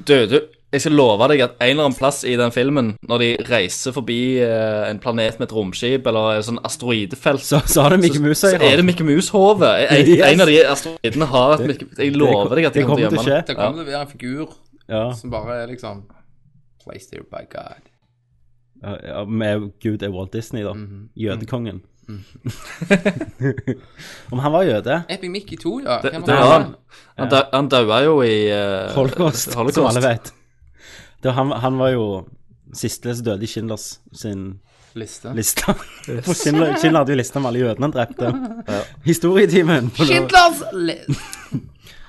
F: Du, du, jeg skal love deg at en eller annen plass i den filmen, når de reiser forbi eh, en planet med et romskip eller et sånn asteroidefelt,
D: Så, så har det Mikke Mus
F: så er det Mikke Mus-hode. En,
D: Yes.
F: en av de asteroidene har et Mikke Jeg lover deg at de
D: det
F: kommer til å gjemme
D: skje.
F: det.
E: Det kommer til å være en figur
D: Ja.
E: som bare er liksom Placed here by God.
D: Ja, ja, med Gud er Walt Disney, da.
F: Mhm.
D: Jødekongen. [LAUGHS] Om han var jøde?
E: Epic Mickey 2, ja.
F: Det,
E: Hvem
F: det
E: er
F: var han. Han dau- Han daua jo i eh,
D: Holocaust, som alle vet. Det, var- han, han var jo siste som døde i Schindlers sin
E: Liste.
D: liste. For Schindler, Schindler hadde jo lista med alle jødene han drepte.
F: [LAUGHS]
D: Historietimen. på lov-
E: Schindlers li-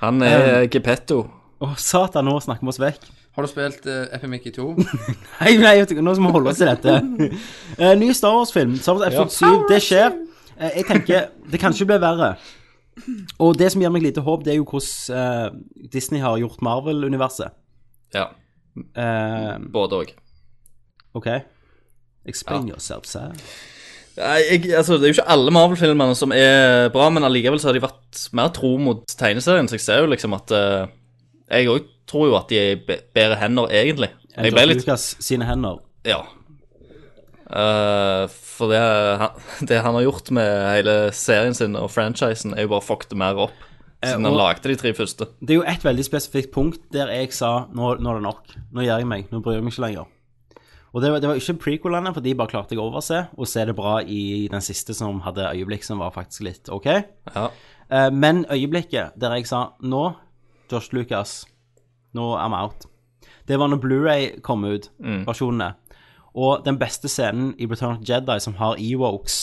F: Han
D: Um.
F: er Geppetto.
D: Å, satan, nå snakker vi oss vekk.
E: Har du spilt uh, Epic Mickey
D: [LAUGHS]
E: 2?
D: Nei, nei, vet du, nå skal vi holde oss til dette.
F: [LAUGHS]
D: Eh, ny Star Wars-film. Star Wars episode 7. Det skjer. Eh, jeg tenker det kan ikke bli verre. Og det som gir meg lite håp, det er jo hvordan eh, Disney har gjort Marvel-universet.
F: Ja,
D: Eh,
F: både òg.
D: OK? Explain yourself, sir.
F: Altså, det er jo ikke alle Marvel-filmene som er bra, men allikevel så har de vært mer tro mot tegneserien, så jeg ser jo liksom at eh, Jeg òg tror jo at de er i be- bedre hender, egentlig. Jeg ble
D: George
F: litt
D: Lucas sine hender.
F: Ja. Eh, for det han, [LAUGHS] det han har gjort med hele serien sin og franchisen, er jo bare fucket mer opp. Siden han
D: Eh, og-
F: lagde de tre første.
D: Det er jo et veldig spesifikt punkt der jeg sa nå, nå er det nok. Nå gjør jeg meg. Nå bryr jeg meg ikke lenger. Og det var, det var ikke prequelene, for de bare klarte jeg å overse. Og så er det bra i den siste som hadde øyeblikk som var faktisk litt OK.
F: Ja.
D: Eh, Men øyeblikket der jeg sa Nå, Josh Lucas, nå er vi out. Det var når Blu-ray kom ut, versjonene. Og den beste scenen i Return of the Jedi som har Ewokes,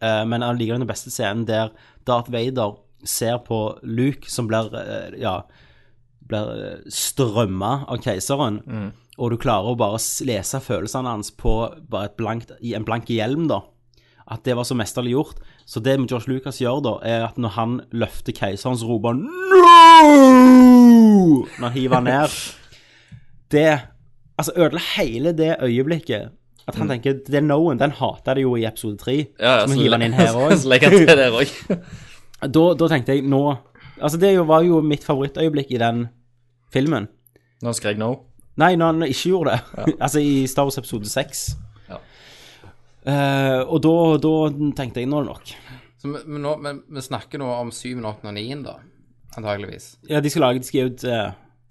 D: eh, men allikevel den beste scenen der Darth Vader ser på Luke som blir eh, ja, blir strømma av keiseren,
F: Mm.
D: og du klarer å bare s- lese følelsene hans på bare et blankt, i en blank hjelm, da at det var så mesterlig gjort. Så det med George Lucas gjør da, er at når han løfter keiseren, så roper han NO! Når han hiver han ned. Det altså ødela hele det øyeblikket. At han tenker Det er no-en. Den hater det jo i episode tre.
F: Mm. Ja,
D: så må vi
F: [LAUGHS]
D: hive han inn her
F: Så
D: òg.
F: legger han til der òg.
D: [LAUGHS] Da, da tenkte jeg nå Altså, det jo- var jo mitt favorittøyeblikk i den filmen.
F: Når han skrek no.
D: Nei, når han ikke gjorde det. [LAUGHS] altså i Star Wars episode seks.
F: Ja.
D: Eh, og da, da tenkte jeg nå er det nok.
E: Så vi, men nå, men vi snakker nå om 7, 8 og 9, da. Antageligvis.
D: Ja, de skal lage De skal gi ut eh,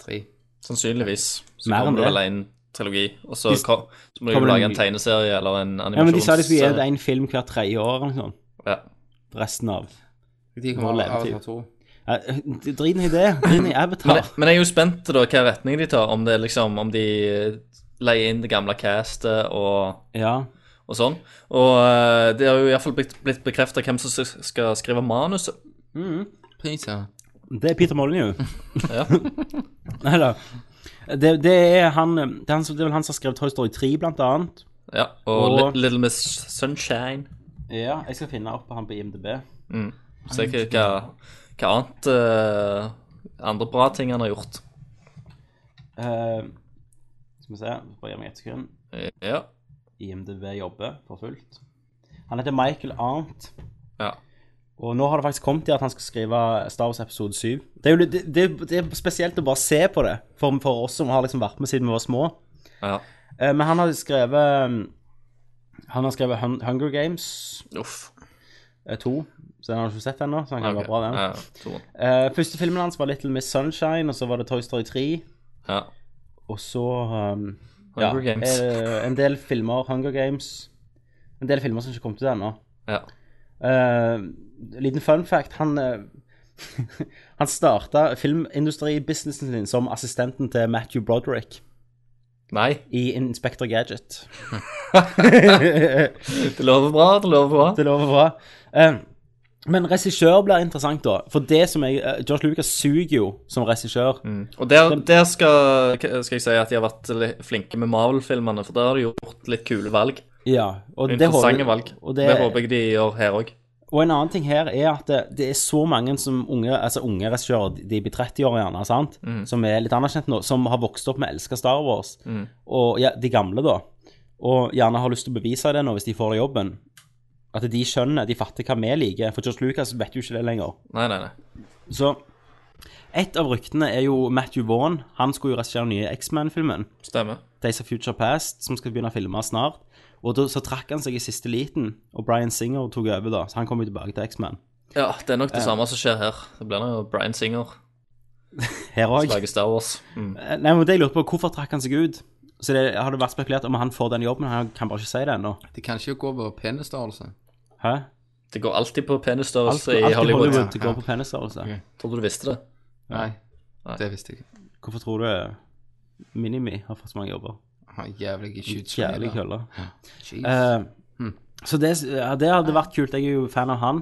E: 3.
F: Sannsynligvis. Så
D: Mer enn
F: kommer det
D: det.
F: vel en trilogi, og så,
D: De-
F: kom, så må de jo
D: kommer det
F: lage
D: en-
F: en tegneserie eller en
D: Ja, men de sa de skulle gi ut
F: animasjonsserie.
D: en film hvert tredje år eller noe sånt.
F: Ja.
D: Resten av.
E: De
D: Nå
E: kommer
D: lever
E: av
D: tid.
E: Avatar 2.
D: Eh, Drit i det. [LAUGHS] Drit i
F: Men,
D: Avatar.
F: jeg- men jeg er jo spent da hva retning de tar, om det er liksom, om de eh, leier inn det gamle castet og,
D: Ja.
F: og sånn. Og eh, det har jo iallfall blitt, blitt bekrefta hvem som s- skal skrive manuset.
E: Pris, ja.
D: Det er Peter [LAUGHS] Molyneux.
F: Ja.
D: Nei da. Det, det er han det er, han som- det er vel han som har skrevet Toy Story 3, blant annet.
F: Ja, og,
D: Og-
F: Li- Little Miss Sunshine.
D: Ja, jeg skal finne opp han på IMDb.
F: Se hva, hva, hva annet eh, andre bra ting han har gjort.
D: Eh, skal vi se, bare gi meg ett sekund.
F: Eh, Ja.
D: IMDb jobber for fullt. Han heter Michael Arnt.
F: ja.
D: Og nå har det faktisk kommet til at han skal skrive Star Wars episode 7. Det er jo litt- det, det, det er spesielt å bare se på det, for, for oss som har liksom vært med siden vi var små.
F: ja.
D: Eh, men han har skrevet um, Han har skrevet Hun- Hunger Games
F: Uff.
D: 2. Så den har du ikke sett ennå, så den kan
F: Ok.
D: være bra, den.
F: Ja, toeren.
D: Eh, første filmen hans var Little Miss Sunshine, og så var det Toy Story 3.
F: ja.
D: Og så um,
F: Hunger Games.
D: eh, en del filmer. Hunger Games. En del filmer som ikke kom til det ennå.
F: ja.
D: Eh, liten fun fact. Han, eh, [LAUGHS] han starta filmindustribusinessen sin som assistenten til Matthew Broderick
F: Nei,
D: i Inspector
F: [LAUGHS]
D: Gadget.
F: det lover bra, det lover bra.
D: Det lover bra. Eh, men regissør blir interessant, da. For det som jeg eh, George Lucas suger jo som regissør.
F: Og der, der skal, skal jeg si at de har vært litt flinke med Marvel-filmene, for der har de gjort litt kule valg.
D: Ja, og det
F: Interessante
D: håper-
F: valg.
D: Og
F: det... håper jeg de gjør her òg.
D: Og en annen ting her er at det, det er så mange som unge, altså unge regissører, de blir 30 år gjerne, sant? som er litt anerkjent nå, som har vokst opp med å elske Star Wars, og ja, de gamle da, og gjerne har lyst til å bevise det nå hvis de får jobben. At de skjønner, de fatter hva vi liker, for George Lucas vet jo ikke det lenger.
F: Nei, nei, nei.
D: Så et av ryktene er jo Matthew Vaughn, han skulle jo regissere den nye X-Men-filmen.
F: Stemmer.
D: Days of Future Past, som skal begynne å filme snart. Og da, så trakk han seg i siste liten, og Bryan Singer tok over da, så han kom jo tilbake til X-Men.
F: Ja, det er nok det samme som skjer her. Det blir nå Bryan Singer
D: Her
F: som
D: òg.
F: lager Star Wars. Mm.
D: Nei, men det jeg lurte på, hvorfor trakk han seg ut? Så det har det vært spekulert om han får den jobben, han kan bare ikke si det ennå.
E: De kan ikke gå over penisstørrelse.
D: Hæ?
F: Det går alltid på penisstørrelse i
D: Alt i
F: Hollywood.
D: Hollywood det går på altså. penisstørrelse.
F: Tror du du visste det?
E: Nei.
F: Nei.
E: Det visste jeg ikke.
D: Hvorfor tror du eh, Minimi har fått så mange jobber?
E: Han er Jævlig i
D: Jævlig
E: skytskjell.
D: køller. Eh,
E: Hmm.
D: Så det, ja, det hadde vært kult. Jeg er jo fan av han.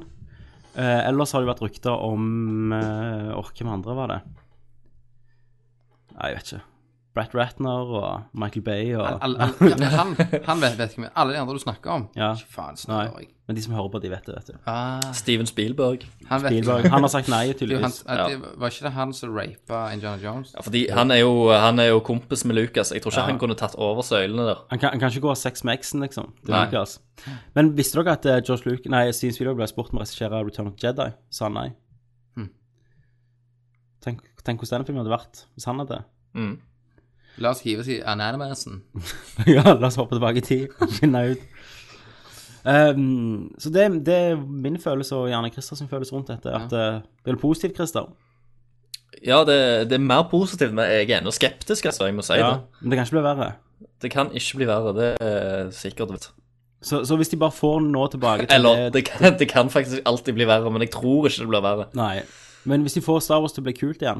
D: Eh, ellers har det vært rykter om uh, Hvem andre var det? Nei, jeg vet ikke. Brett Ratner og Michael Bay og
E: Han,
D: [LAUGHS]
E: han, han vet, vet ikke mer. Alle de andre du snakker om
D: Ja.
E: Ikke faen,
D: Nei.
E: snakker jeg.
D: Men de som hører på, de vet det, vet du.
E: Ah,
F: Steven Spielberg.
E: han vet
D: Spielberg. Han har sagt nei,
E: [LAUGHS] Det er jo han,
D: tydeligvis.
E: at det, var ikke det han som rapa Indiana Jones?
F: Ja, fordi han er, jo, han er jo kompis med Lucas. Jeg tror ikke han kunne tatt over søylene der.
D: Han kan, han kan ikke gå av sex med eksen, liksom. Det
F: Nei.
D: er Lucas. Men visste dere at eh, George Luke, nei, Steven Spielberg ble spurt om å regissere Return of the Jedi? Sa han nei.
F: Hm.
D: Tenk, tenk hvordan den filmen hadde vært hvis
F: [LAUGHS]
D: han hadde
E: La oss hive oss i Ananimasen.
D: Ja, la oss hoppe tilbake i tid og finne ut. Ehm, så det, det er min følelse, og gjerne Christer sin følelse rundt dette. At eh, det er vel positivt, Christer.
F: Ja, det, det er mer positivt, men jeg er ennå skeptisk, altså. Jeg må si
D: Ja,
F: det.
D: men det kan ikke bli verre.
F: Det kan ikke bli verre, det er sikkert. vet du.
D: Så, så hvis de bare får nå tilbake til
F: Eller det kan, det kan faktisk alltid bli verre, men jeg tror ikke det blir verre.
D: Nei. Men hvis de får Star Wars til å bli kult igjen,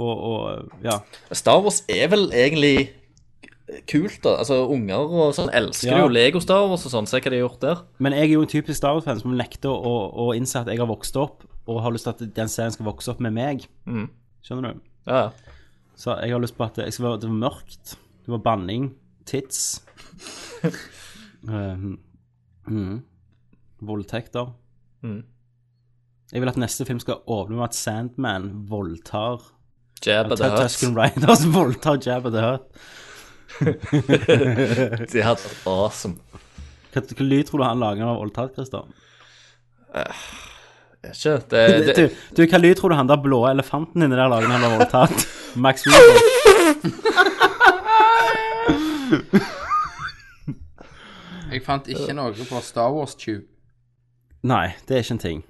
D: og, og ja.
F: Star Wars er vel egentlig kult, da. Altså, unger og sånn elsker
D: Ja.
F: jo Lego Star Wars og sånn. Se hva de har gjort der.
D: Men jeg er jo en typisk Star Wars-fan som nekter å, å innse at jeg har vokst opp, og har lyst til at den serien skal vokse opp med meg.
F: Mm.
D: Skjønner du?
F: Ja,
D: Så jeg har lyst på at det jeg skal være, det var mørkt, det var banning, tits.
F: [LAUGHS]
D: um, mm, voldtekter.
F: Mm.
D: Jeg vil at neste film skal åpne med at Sandman voldtar
F: Jabba the
D: Tusken
F: Hutt.
D: Riders [LAUGHS] voldtar Jabba the Hutt.
F: Det hadde vært awesome.
D: Hva, hva lyd tror du han lager når han har voldtatt, Christer?
F: Er Ikke? Det, Eh, det,
D: Du, du, hva lyd tror du han der blå elefanten inni der lager når han har voldtatt? Max Weaver.
E: Jeg fant ikke noe på Star Wars Tube.
D: Nei, det er ikke en ting.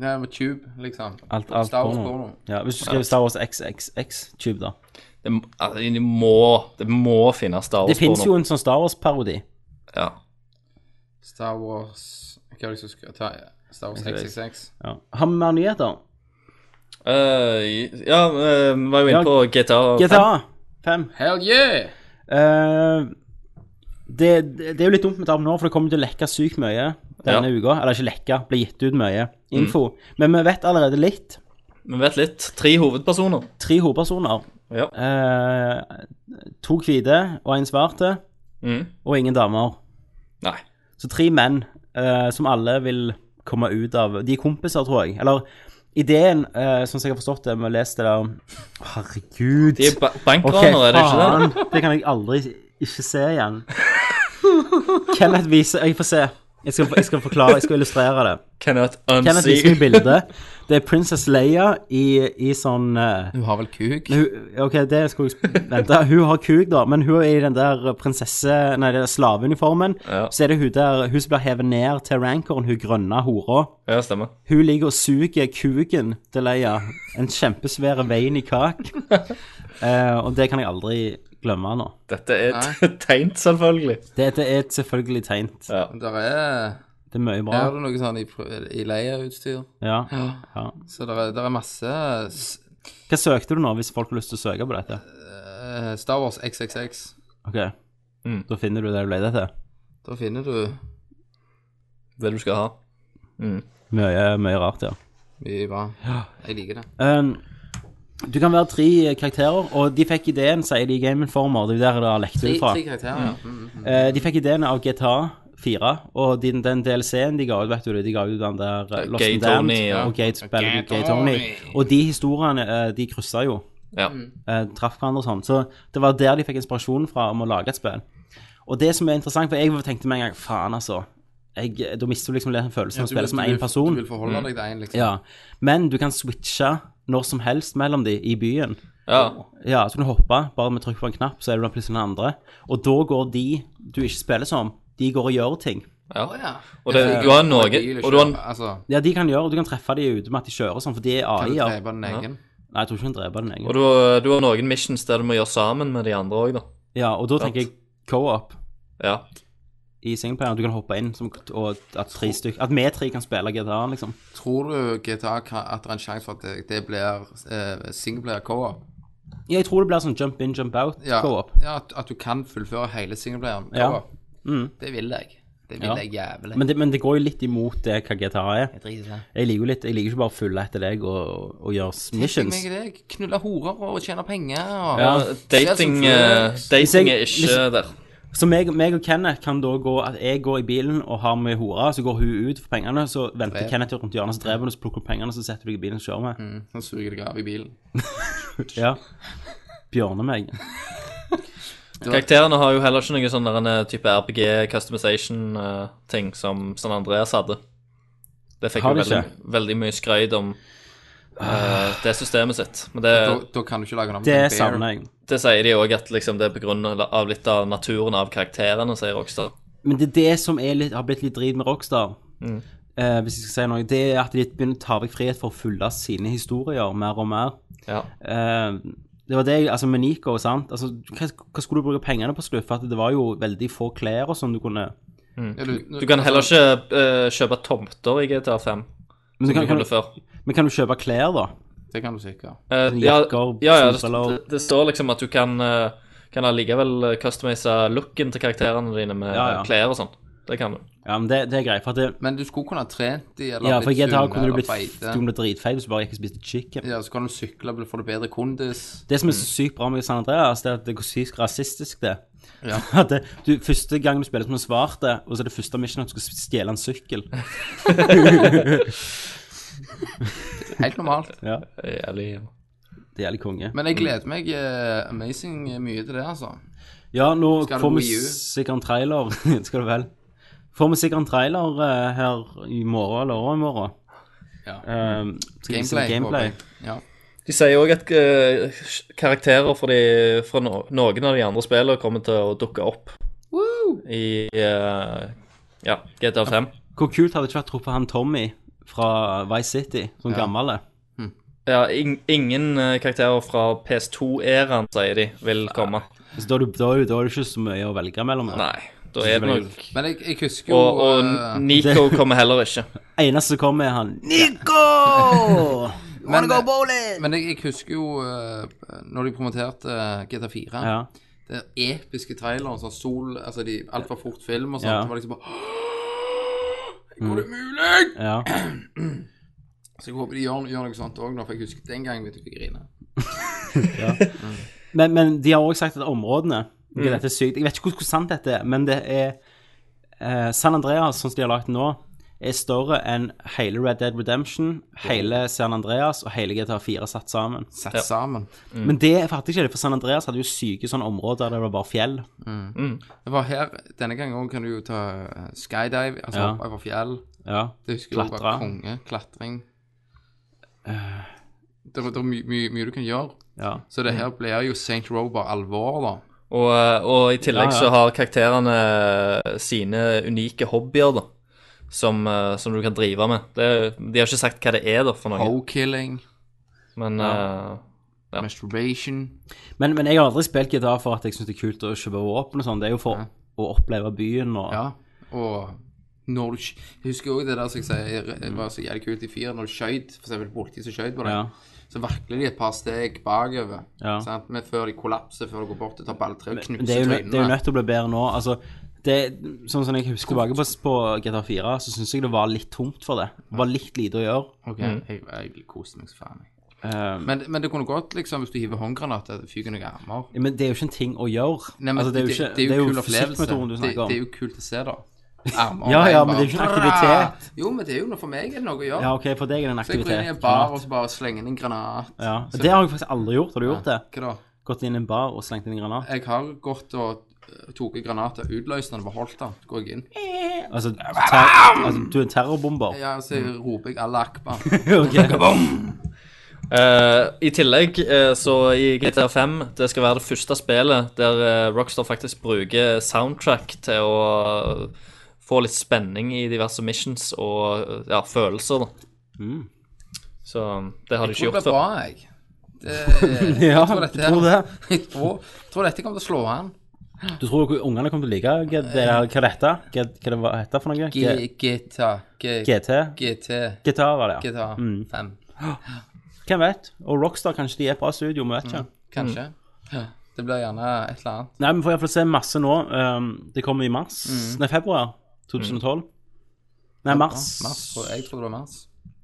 E: Nei, med Tube, liksom.
D: Alt, alt
E: Star Wars
D: porno.
E: porno.
D: Ja, hvis du skriver Star Wars XXX-tube, da.
F: det, altså, de må, det må finnes Star
D: Det
F: Wars
D: fins jo en sånn Star Wars-parodi.
F: Ja.
E: Star Wars Hva er det jeg skal ta? Star Wars XXX.
D: Ja. Har vi mer nyheter?
F: Eh, ja, eh, vi var jo inne
D: Ja.
F: på GTA.
D: GTA 5.
E: Hell yeah!
D: Eh, det, det er jo litt dumt med det nå, for det kommer til å lekke sykt mye denne uka. Eller ikke lekke, bli gitt ut mye info. Men vi vet allerede litt.
F: Vi vet litt. Tre hovedpersoner.
D: Tre hovedpersoner.
F: Ja.
D: Eh, to hvite og en svarte,
F: Mm.
D: og ingen damer.
F: Nei.
D: Så tre menn eh, som alle vil komme ut av De er kompiser, tror jeg. Eller ideen, eh, sånn som jeg har forstått det, med å lese det der Herregud.
F: De er ba bankranere, er det ikke det?
D: faen. Det kan jeg aldri ikke se igjen. Kenneth viser Jeg får se. Jeg skal, jeg skal forklare, jeg skal illustrere det.
F: Cannot
D: Kenneth
F: unsee.
D: viser meg bildet. Det er Princess Leia i, i sånn eh,
E: Hun har vel kuk?
D: hun, OK, det skulle jeg sp- vente. Hun har kuk, da, men hun er i den der prinsesse... Nei, det er slaveuniformen.
F: Ja.
D: Så er det hun der Hun som blir hevet ned til rankeren, hun grønne hora.
F: Ja, stemmer.
D: Hun ligger og suger kuken til Leia. En kjempesvær vein i kak. Eh, og det kan jeg aldri glemme nå.
F: Dette er [LAUGHS] tegnt, selvfølgelig.
D: Dette er et selvfølgelig tegnt.
F: Ja.
E: Der er
D: Det er mye bra.
E: Er det noe sånn i, pr- i leieutstyr?
D: Ja. ja.
E: Så der er, der er masse s-
D: Hva søkte du nå, hvis folk har lyst til å søke på dette?
E: eh, Star Wars XXX.
D: Ok, Da finner du det du leter etter.
E: Da finner du
F: Det du skal ha.
D: Mye, mye rart, ja.
E: mye bra. Jeg liker det.
D: Um, du kan være tre karakterer, og de fikk ideen, sier de i Game Informer. Det er jo der det har lekt
E: Tre,
D: ut fra.
E: tre karakterer. ja. Mm.
D: Eh, de fikk ideen av GTA 4, og den, den DLC-en de ga ut, vet du det, de ga ut den der eh, Lost
F: Gay
D: and Damned
F: Tony, ja.
D: og Gay, Gay, Gay Tony. Og de historiene, eh, de kryssa jo.
F: Ja.
E: Mm.
D: eh, traff hverandre og sånn. Så det var der de fikk inspirasjonen fra om å lage et spill. Og det som er interessant, for jeg tenkte med en gang Faen, altså. Jeg, da mister du liksom den følelsen av å
E: Du vil-
D: spille som
E: du
D: én
E: vil-
D: person.
E: Du vil forholde deg til én, liksom.
D: Ja. Men du kan switche når som helst mellom de i byen.
F: ja.
D: Ja, så kan du hoppe, bare med trykk på en knapp, så er du da plutselig den andre. Og da går de du ikke spiller som, de går og gjør ting.
E: Å, ja.
F: Og det,
E: Jeg
F: du har
E: liker
F: noe
E: bil
F: Og du har en
E: kjøre. Altså,
D: Ja, de kan gjøre, og du kan treffe de ute med at de kjører sånn, for de er
E: kan du
D: AI-er.
E: drepe den egen?
D: Nei, jeg tror ikke hun dreper den
F: Og
D: egentlig.
F: du, har- du har noen missions der du må gjøre sammen med de andre òg, da.
D: Ja, og da tenker jeg
F: Sant.
D: co-op
F: Ja.
D: i singleplayeren. Du kan hoppe inn, som, og at tre stykk At vi tre kan spille GTA, liksom.
E: Tror du GTA kan, at det er en sjanse for at det, det blir eh, singleplayer co-op?
D: Ja, jeg tror det blir sånn jump in, jump out,
E: Ja,
D: co-op.
E: ja at, at du kan fullføre hele singleplayeren
D: Ja. Mm.
E: co-op. Det vil jeg. Det vil
D: Ja.
E: jeg jævlig.
D: Men det, men det går jo litt imot det hva GTA er.
E: jeg driter i det.
D: Jeg liker jo litt, jeg liker ikke bare å følge etter deg og, og gjøre
E: Tenk
D: missions.
E: meg det. Knulle horer og tjene penger og
D: Ja.
F: Dating, eh,
D: Hvis jeg-
F: dating er ikke
D: hvis-
F: der.
D: Så meg, meg og Kenneth kan da gå At jeg går i bilen og har med hora, så går hun ut for pengene, så venter Kenneth rundt hjørnet, så dreper hun, så plukker hun pengene, så setter du deg i bilen og kjører med.
E: Mm, Nå suger jeg deg av i bilen.
D: Ja. Bjørne meg.
F: Karakterene har jo heller ikke noe sånn der en, eh, type RPG customization-ting eh, som San Andreas hadde. Det fikk
D: Har
F: jo
D: de
F: veldig, veldig mye skrøyd om eh, det systemet sitt. Men det,
E: Da, da kan du ikke lage den om
D: eh, Det
E: til en bear.
D: savner jeg.
F: det sier de òg at liksom, det er på grunn av litt av naturen av karakterene, sier Rockstar.
D: Men det er det som er litt, har blitt litt drit med Rockstar,
F: Mm.
D: eh, hvis jeg skal si noe, det er at de begynner å ta vekk frihet for å følge sine historier mer og mer.
F: Ja.
D: Eh, det var det jeg, altså med Nico, sant? Altså, hva, hva skulle du bruke pengene på slutt? For at det var jo veldig få klær og sånn du kunne
E: Ja, du, altså,
F: Du kan heller ikke eh, kjøpe tomter i GTA 5,
D: Men, du
F: som
D: kan,
F: du kunne
D: kan,
F: før.
D: men kan du kjøpe klær, da?
E: Det kan du sikkert.
F: Eh,
D: Sånn
F: ja,
D: jakker,
F: ja, ja det,
D: solbriller.
F: det, det står liksom at du kan, eh, kan allikevel customize looken til karakterene dine med
D: Ja, ja.
F: klær og sånn. Det kan du.
D: Ja, men det, det er greit. For at det,
E: Men du skulle kunne ha trent de, eller
D: ja, for
E: blitt
D: GTA
E: sunn,
D: kunne du
E: eller
D: blitt
E: feite.
D: du kunne blitt dritfeit hvis du bare gikk og spiste chicken.
E: Ja, så kan du sykle, bli- får du bedre kondis.
D: Det som er så sykt bra med San Andreas, det er at det er sykt rasistisk, det.
E: Ja.
D: [LAUGHS] At det, du, første gang du spiller som en svarte, og så er det første mission at du skal stjele en sykkel.
E: Helt normalt.
D: Ja,
F: Det er Jævlig
D: Det gjelder konge.
E: Men jeg gleder meg eh, amazing mye til det, altså.
D: Ja, nå
E: Skal det
D: får vi
E: Wii U?
D: sikkert en trailer. [LAUGHS] skal du vel. Får vi sikkert en trailer eh, her i morgen eller over i morgen.
E: Ja.
D: Um, skal vi se
E: Gameplay.
D: gameplay.
E: håper jeg. Ja.
F: De sier òg at eh, karakterer fra, de, fra no noen av de andre spillene kommer til å dukke opp i eh, ja, GTA 5.
D: Hvor kult hadde det ikke vært å treffe han Tommy fra Vice City, sånn gammel?
F: Ja, ing ingen eh, karakterer fra PS2-æraen, sier de, vil komme.
D: Så Altså, da er, du, da, er du, da er det ikke så mye å velge mellom. da.
F: Nei, da er det nok
E: Men jeg, jeg husker jo
F: Og, og
E: eh,
F: Nico kommer heller ikke.
D: Eneste som kommer, er han Nico!
E: Men, men jeg, jeg husker jo eh, når de promoterte eh, GTA 4.
D: Ja.
E: Den episke traileren, sånn sol Altså de altfor fort film og sånt.
D: Ja. Mm.
E: Det var liksom bare Går det mulig?
D: ja.
E: Så jeg håper de gjør, gjør noe sånt òg nå, for jeg husker den gangen vi fikk grine.
D: Men, men de har også sagt at områdene ok, Dette er sykt. Jeg vet ikke hvor, hvor sant dette er, men det er eh, San Andreas, sånn som de har lagd nå, er større enn hele Red Dead Redemption, hele San Andreas og hele GTA 4 satt sammen.
E: Satt sammen.
D: Men det fatter jeg ikke, for San Andreas hadde jo syke sånne områder der det var bare fjell.
E: Det var her Denne gangen òg kan du jo ta eh, skydive, altså
D: Ja.
E: hoppe over fjell.
D: Ja.
E: Det husker jeg også
D: Klatre. Eh.
E: var konge. Klatring. Det er, det er mye, mye, mye du kan gjøre.
D: ja.
E: Så det
D: Mm.
E: her blir jo St. Rober alvor, da.
F: Og, eh, og i tillegg
D: Ja, ja.
F: så har karakterene eh, sine unike hobbyer, da. Som, eh, som du kan drive med. Det, de har ikke sagt hva det er, da, for noe.
E: Ho-killing,
F: Men eh, Ja.
E: masturbation
D: Men, men jeg har aldri spilt GTA for at jeg syns det er kult å kjøpe våpen og sånn. Det er jo for å oppleve byen og
E: Ja. Og når du sk- Jeg husker også det der som jeg sier det var så jævlig kult i fire, når du skjøt, for eksempel politiet som skjøt på deg,
D: Ja.
E: så vakler de et par steg bakover.
D: Ja.
E: Sant? Men før de kollapser, før de går bort og tar balltre og
D: Men Det er,
E: knuser
D: jo, nø- det er jo
E: trynene.
D: nødt til å bli bedre nå. Altså, det, sånn som jeg husker tilbake på, på GTA 4, så syns jeg det var litt tomt for det. Det var litt lite å gjøre.
E: Ok, jeg, jeg koste meg så faen. jeg.
D: Mm. Eh,
E: Men, men det kunne godt, liksom, hvis du hiver håndgranat, at det fyker noen armer.
D: men det er jo ikke en ting å gjøre.
E: Nei, men
D: altså, det er jo ikke det er jo
E: kul opplevelse.
D: fysikkmetoden du
E: Det,
D: snakker om.
E: det er jo kult å
D: [LAUGHS]
E: se, da. Armer,
D: Ja,
E: og
D: ja,
E: bein
D: men det er jo ikke en
E: bare-
D: aktivitet.
E: Jo, men det er jo noe for meg er det noe å gjøre.
D: Ja, OK, for deg er det en
E: så jeg går inn i
D: aktivitet.
E: en bar
D: klart.
E: og så bare slenger inn en granat.
D: ja. Det har jeg faktisk aldri gjort. Har du gjort det?
E: Hva da?
D: Gått inn i en bar og slengt inn en granat?
E: Jeg har gått og eh, tok granater utløst når det beholdt den. Så går jeg inn.
D: Altså, ter altså du er en terrorbomber?
E: Ja, så
D: Mm.
E: roper jeg Allah
D: [LAUGHS]
E: akbar.
D: Ok.
F: Eh, I tillegg, eh, så i GTA 5 Det skal være det første spillet der eh, Rockstar faktisk bruker soundtrack til å eh, få litt spenning i diverse missions og eh, ja, følelser, da. Så um, det har de ikke
E: Det ble
F: gjort før.
E: bra, jeg. [LAUGHS] Det,
D: [LAUGHS]
E: jeg
D: Ja,
E: tror
D: du
E: dette,
D: tror det?
E: Jeg tror, tror dette kommer til å slå an.
D: Du tror ikke ungene kommer til å like hva det her- hva dette Hva hva det var- heter for noe?
E: G
D: G
E: GTA. G
D: GT?
E: GT.
D: Gitar, var det, ja.
E: GTA 5.
D: Hvem vet? Og Rockstar, kanskje de er et bra studio, vi vet ikke.
E: Kanskje.
D: Mm.
E: Det blir gjerne et eller annet.
D: Nei, vi får iallfall se masse nå. Um, det kommer i mars
E: Mm.
D: Nei, februar 2012. Nei, mars.
E: Mars. tror Jeg Jeg tror det var mars.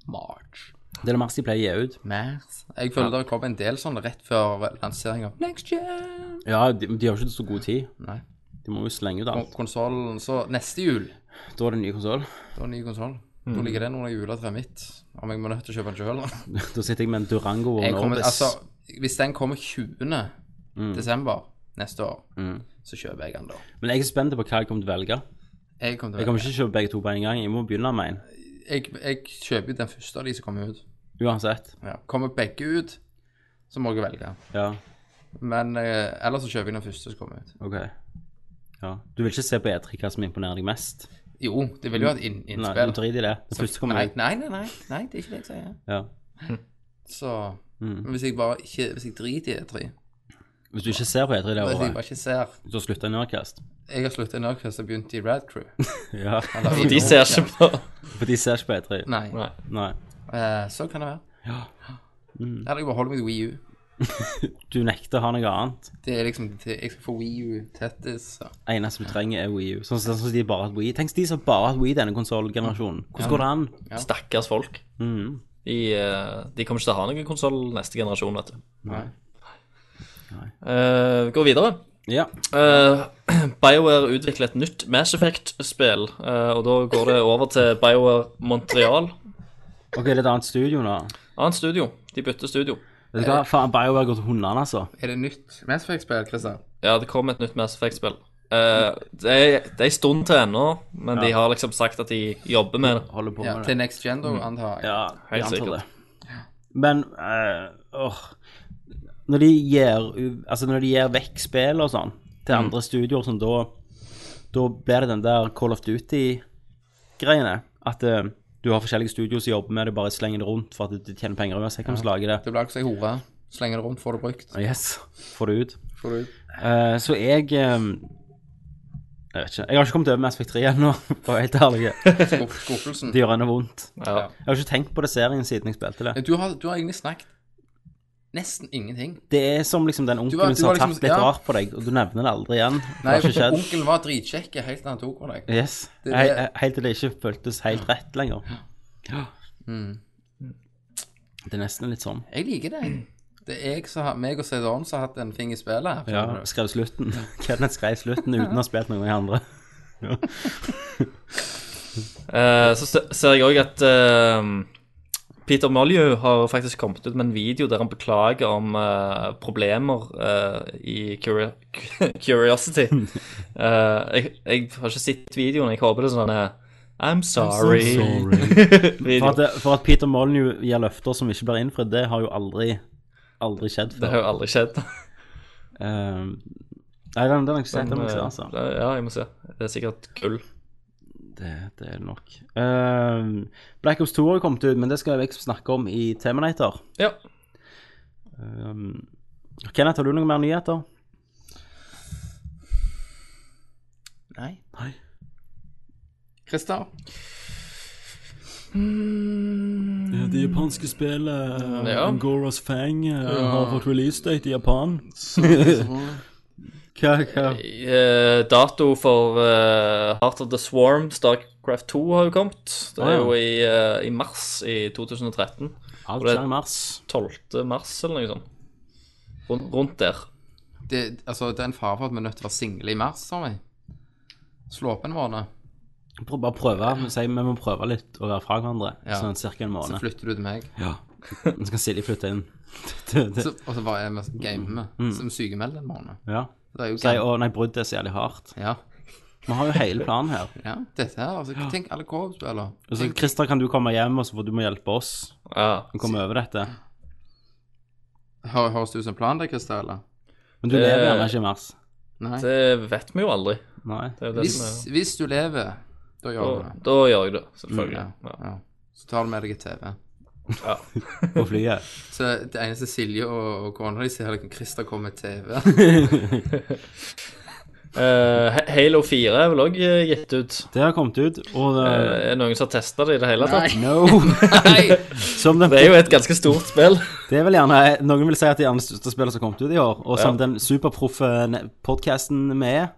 E: March.
D: Det er det mars de pleier å gi ut.
E: Mars. Jeg føler det kom en del sånn rett før lansering av Next Gen.
D: Ja, de, de har jo ikke så god tid.
E: Nei.
D: De må jo slenge ut alt.
E: Konsollen så neste jul.
D: Da er det en ny konsoll. [LAUGHS]
E: Det var en ny konsoll. Da ligger den under juletreet mitt. Om jeg må nødt til å kjøpe den sjøl.
D: da sitter jeg med en Durango og en Orbis.
E: Altså, hvis den kommer 20.
D: Mm.
E: desember neste år, så kjøper jeg den da.
D: Men jeg er spent på hva jeg kommer til å velge.
E: Jeg, kommer
D: Jeg
E: til å
D: kommer ikke til å kjøpe begge to på en gang. Jeg må begynne med en.
E: jeg, jeg kjøper jo den første av de som kommer ut.
D: Uansett.
E: Ja. Kommer begge ut, så må jeg velge.
D: Ja,
E: Men eh, ellers så kjøper jeg den første som kommer ut.
D: OK. Ja. Du vil ikke se på E3 hva som imponerer deg mest?
E: Jo, det vil jo ha et inn,
D: Nei,
E: innspill.
D: du driter i det. Det første kommer
E: nei,
D: jeg.
E: nei, nei, nei, nei, det er ikke det jeg sier.
D: Ja.
E: Så
D: Mm.
E: Men hvis jeg bare ikke Hvis jeg driter i E3,
D: Hvis du ikke ser på E3 det
E: hvis jeg
D: året,
E: bare ikke ser
D: så slutter Nerdcast.
E: Jeg har sluttet i Nerdcast og begynt i Rad Crew.
D: [LAUGHS] Ja.
F: For [LAUGHS] de ser ikke på
D: For de ser ikke på E3.
E: Nei.
F: Nei.
D: Nei.
E: Eh, så kan det være.
D: Mm.
E: Eller jeg bare holder meg til Wii U.
D: Du nekter å ha noe annet.
E: Det er liksom det, Jeg skal få Wii U tettis. så.
D: eneste vi trenger, er Wii U. Sånn som sånn, som de bare har hatt Wii. Tenk de som bare har hatt Wii i denne konsollgenerasjonen. Hvordan går det an?
F: stakkars folk. De, eh, de kommer ikke til å ha noen konsoll neste generasjon, vet du.
E: Nei.
F: Eh, gå videre.
D: Ja.
F: Eh, [CLEARS THROAT] BioWare utvikler et nytt Mass Effect-spill, eh, og da går det over til BioWare Montreal.
D: OK, det er et annet studio nå.
F: Annet studio. De bytter studio.
D: Vet du hva? Faen, BioWare går til hundene, altså.
E: Er det nytt Mass Effect-spill, Christian?
F: Ja, det kom et nytt Mass Effect-spill. Eh, det, er, det er en stund til ennå, men de har liksom sagt at de jobber med det.
D: Holder på
E: Ja,
D: med det. Mm.
E: til Next Gen, da, antar jeg.
D: Ja,
F: Helt
D: jeg antar
F: sikkert.
D: det. Men eh, åh. Når de gir u- Altså, når de gir vekk spill og sånn
F: Mm.
D: til andre studioer, sånn, da Da blir det den der Call of Duty-greiene. At eh, du har forskjellige studioer som jobber med det, bare slenger det rundt for at de tjener penger uansett hvem som lager det.
E: Det blir ikke så jeg hore. Slenger det rundt, får det brukt.
D: Yes, får det ut.
E: Får det ut.
D: Eh, så jeg eh, Jeg vet ikke. Jeg har ikke kommet over Mass Effect 3 ennå, [LAUGHS] for å være helt ærlig. [LAUGHS]
E: Skuff- Skuffelsen.
D: Det gjør henne vondt.
F: Ja.
D: Jeg har ikke tenkt på det serien siden jeg spilte det.
E: Du har, du har egentlig snakket nesten ingenting.
D: Det er som liksom den
E: var-
D: onkelen
E: du
D: som
E: var
D: har
E: liksom-
D: tatt litt
E: ja.
D: vart på deg, og du nevner det aldri igjen. Det
E: Nei,
D: har ikke skjedd.
E: onkelen var dritkjekk helt til han tok på deg.
D: Yes.
E: [LAUGHS] Det-
D: He- he- Helt til det ikke føltes helt rett lenger.
E: Mm.
D: Det er nesten litt sånn.
E: Jeg liker det. Det er jeg som har, meg og Cedon som har hatt en ting i spillet. her,
D: Ja,
E: skjønner du.
D: skrev slutten. [LAUGHS] Kenneth skrev slutten uten å ha spilt noen av de andre.
F: Eh, så se- ser jeg òg at eh, Peter Molyneux har faktisk kommet ut med en video der han beklager om eh, problemer eh, i Curio [LAUGHS] Curiosity. Eh, jeg, jeg har ikke sett videoen. Jeg håper det er sånn eh, I'm sorry.
D: For
F: [LAUGHS] video.
D: at, det- for at Peter Molyneux gir løfter som ikke blir innfridd, det har jo aldri, aldri skjedd
F: Det har
D: før.
F: jo aldri skjedd.
D: Eh, Nei, den den har jeg ikke sett. Den må jeg
F: Men,
D: se,
F: eh,
D: altså.
F: det- Ja, jeg må se. Det er sikkert gull.
D: eh, Det, det er det nok. Ehm, Black Ops 2 har jo kommet ut, men det skal jeg snakke om i Terminator.
F: Ja.
D: Ehm, Kenneth, har du noen mer nyheter?
E: Nei.
D: Nei.
E: Christer,
D: Eh, Det japanske spillet
F: Ja.
D: Angoras Fang eh, har fått releasedate i Japan. [LAUGHS] hva, hva?
F: Eh, dato for eh, Heart of the Swarm, Starcraft 2, har jo kommet. Det
D: Ah,
F: er
D: ja.
F: jo i, eh, i mars i 2013.
D: Alt
F: det-
D: skjer i mars.
F: 12. mars eller noe sånt. Rundt, rundt der.
E: det, altså, det er en fare for at vi er nødt til å være single i mars, sa vi. Slå opp en måned,
D: Jeg tror Bare prøve. Vi sier vi må prøve litt å være fra hverandre
E: Ja.
D: sånn ca. en
E: så
D: måned.
E: flytter du til meg.
D: Ja. Så kan Silje flytte inn. [LAUGHS] Det- det-
E: Så, og så bare er vi gamer, så vi sykemelder en måned.
D: ja.
E: Det er jo
D: Sier å nei, bruddet er så jævlig hardt.
E: Ja.
D: Vi har jo hele planen [LAUGHS] her.
E: ja, dette her, altså, tenk alle co-op-spiller.
D: Og så, Christer, kan du komme hjem, og så får du må hjelpe oss
F: Ja.
D: å komme over dette.
E: Hø- Høres det ut som en plan det, Christer, eller?
D: Men du
F: Det-
D: lever gjerne ikke i mars.
E: Nei.
F: Det vet vi jo aldri.
D: Nei.
F: Det er jo det
E: Hvis,
F: som er
E: hvis du lever, da gjør du
F: da,
E: det.
F: da gjør jeg det, selvfølgelig.
D: Mm,
E: Ja.
F: Ja.
E: ja. Så tar du med deg et TV.
D: På flyet.
E: Så det eneste Silje og, og kona di ser, er at Christer kommer med TV.
F: Eh, Ha- Halo 4 er vel òg gitt ut.
D: Det har kommet ut, og det,
F: Eh, er det noen som har testa det i det hele tatt?
D: No!
E: [LAUGHS] Nei!
D: Som
F: [LAUGHS]
D: den,
F: Det er jo et ganske stort spill.
D: det er vel gjerne Noen vil si at det er gjerne det største spillet som har kommet ut i år. Og som den superproffe ne- podcasten vi er,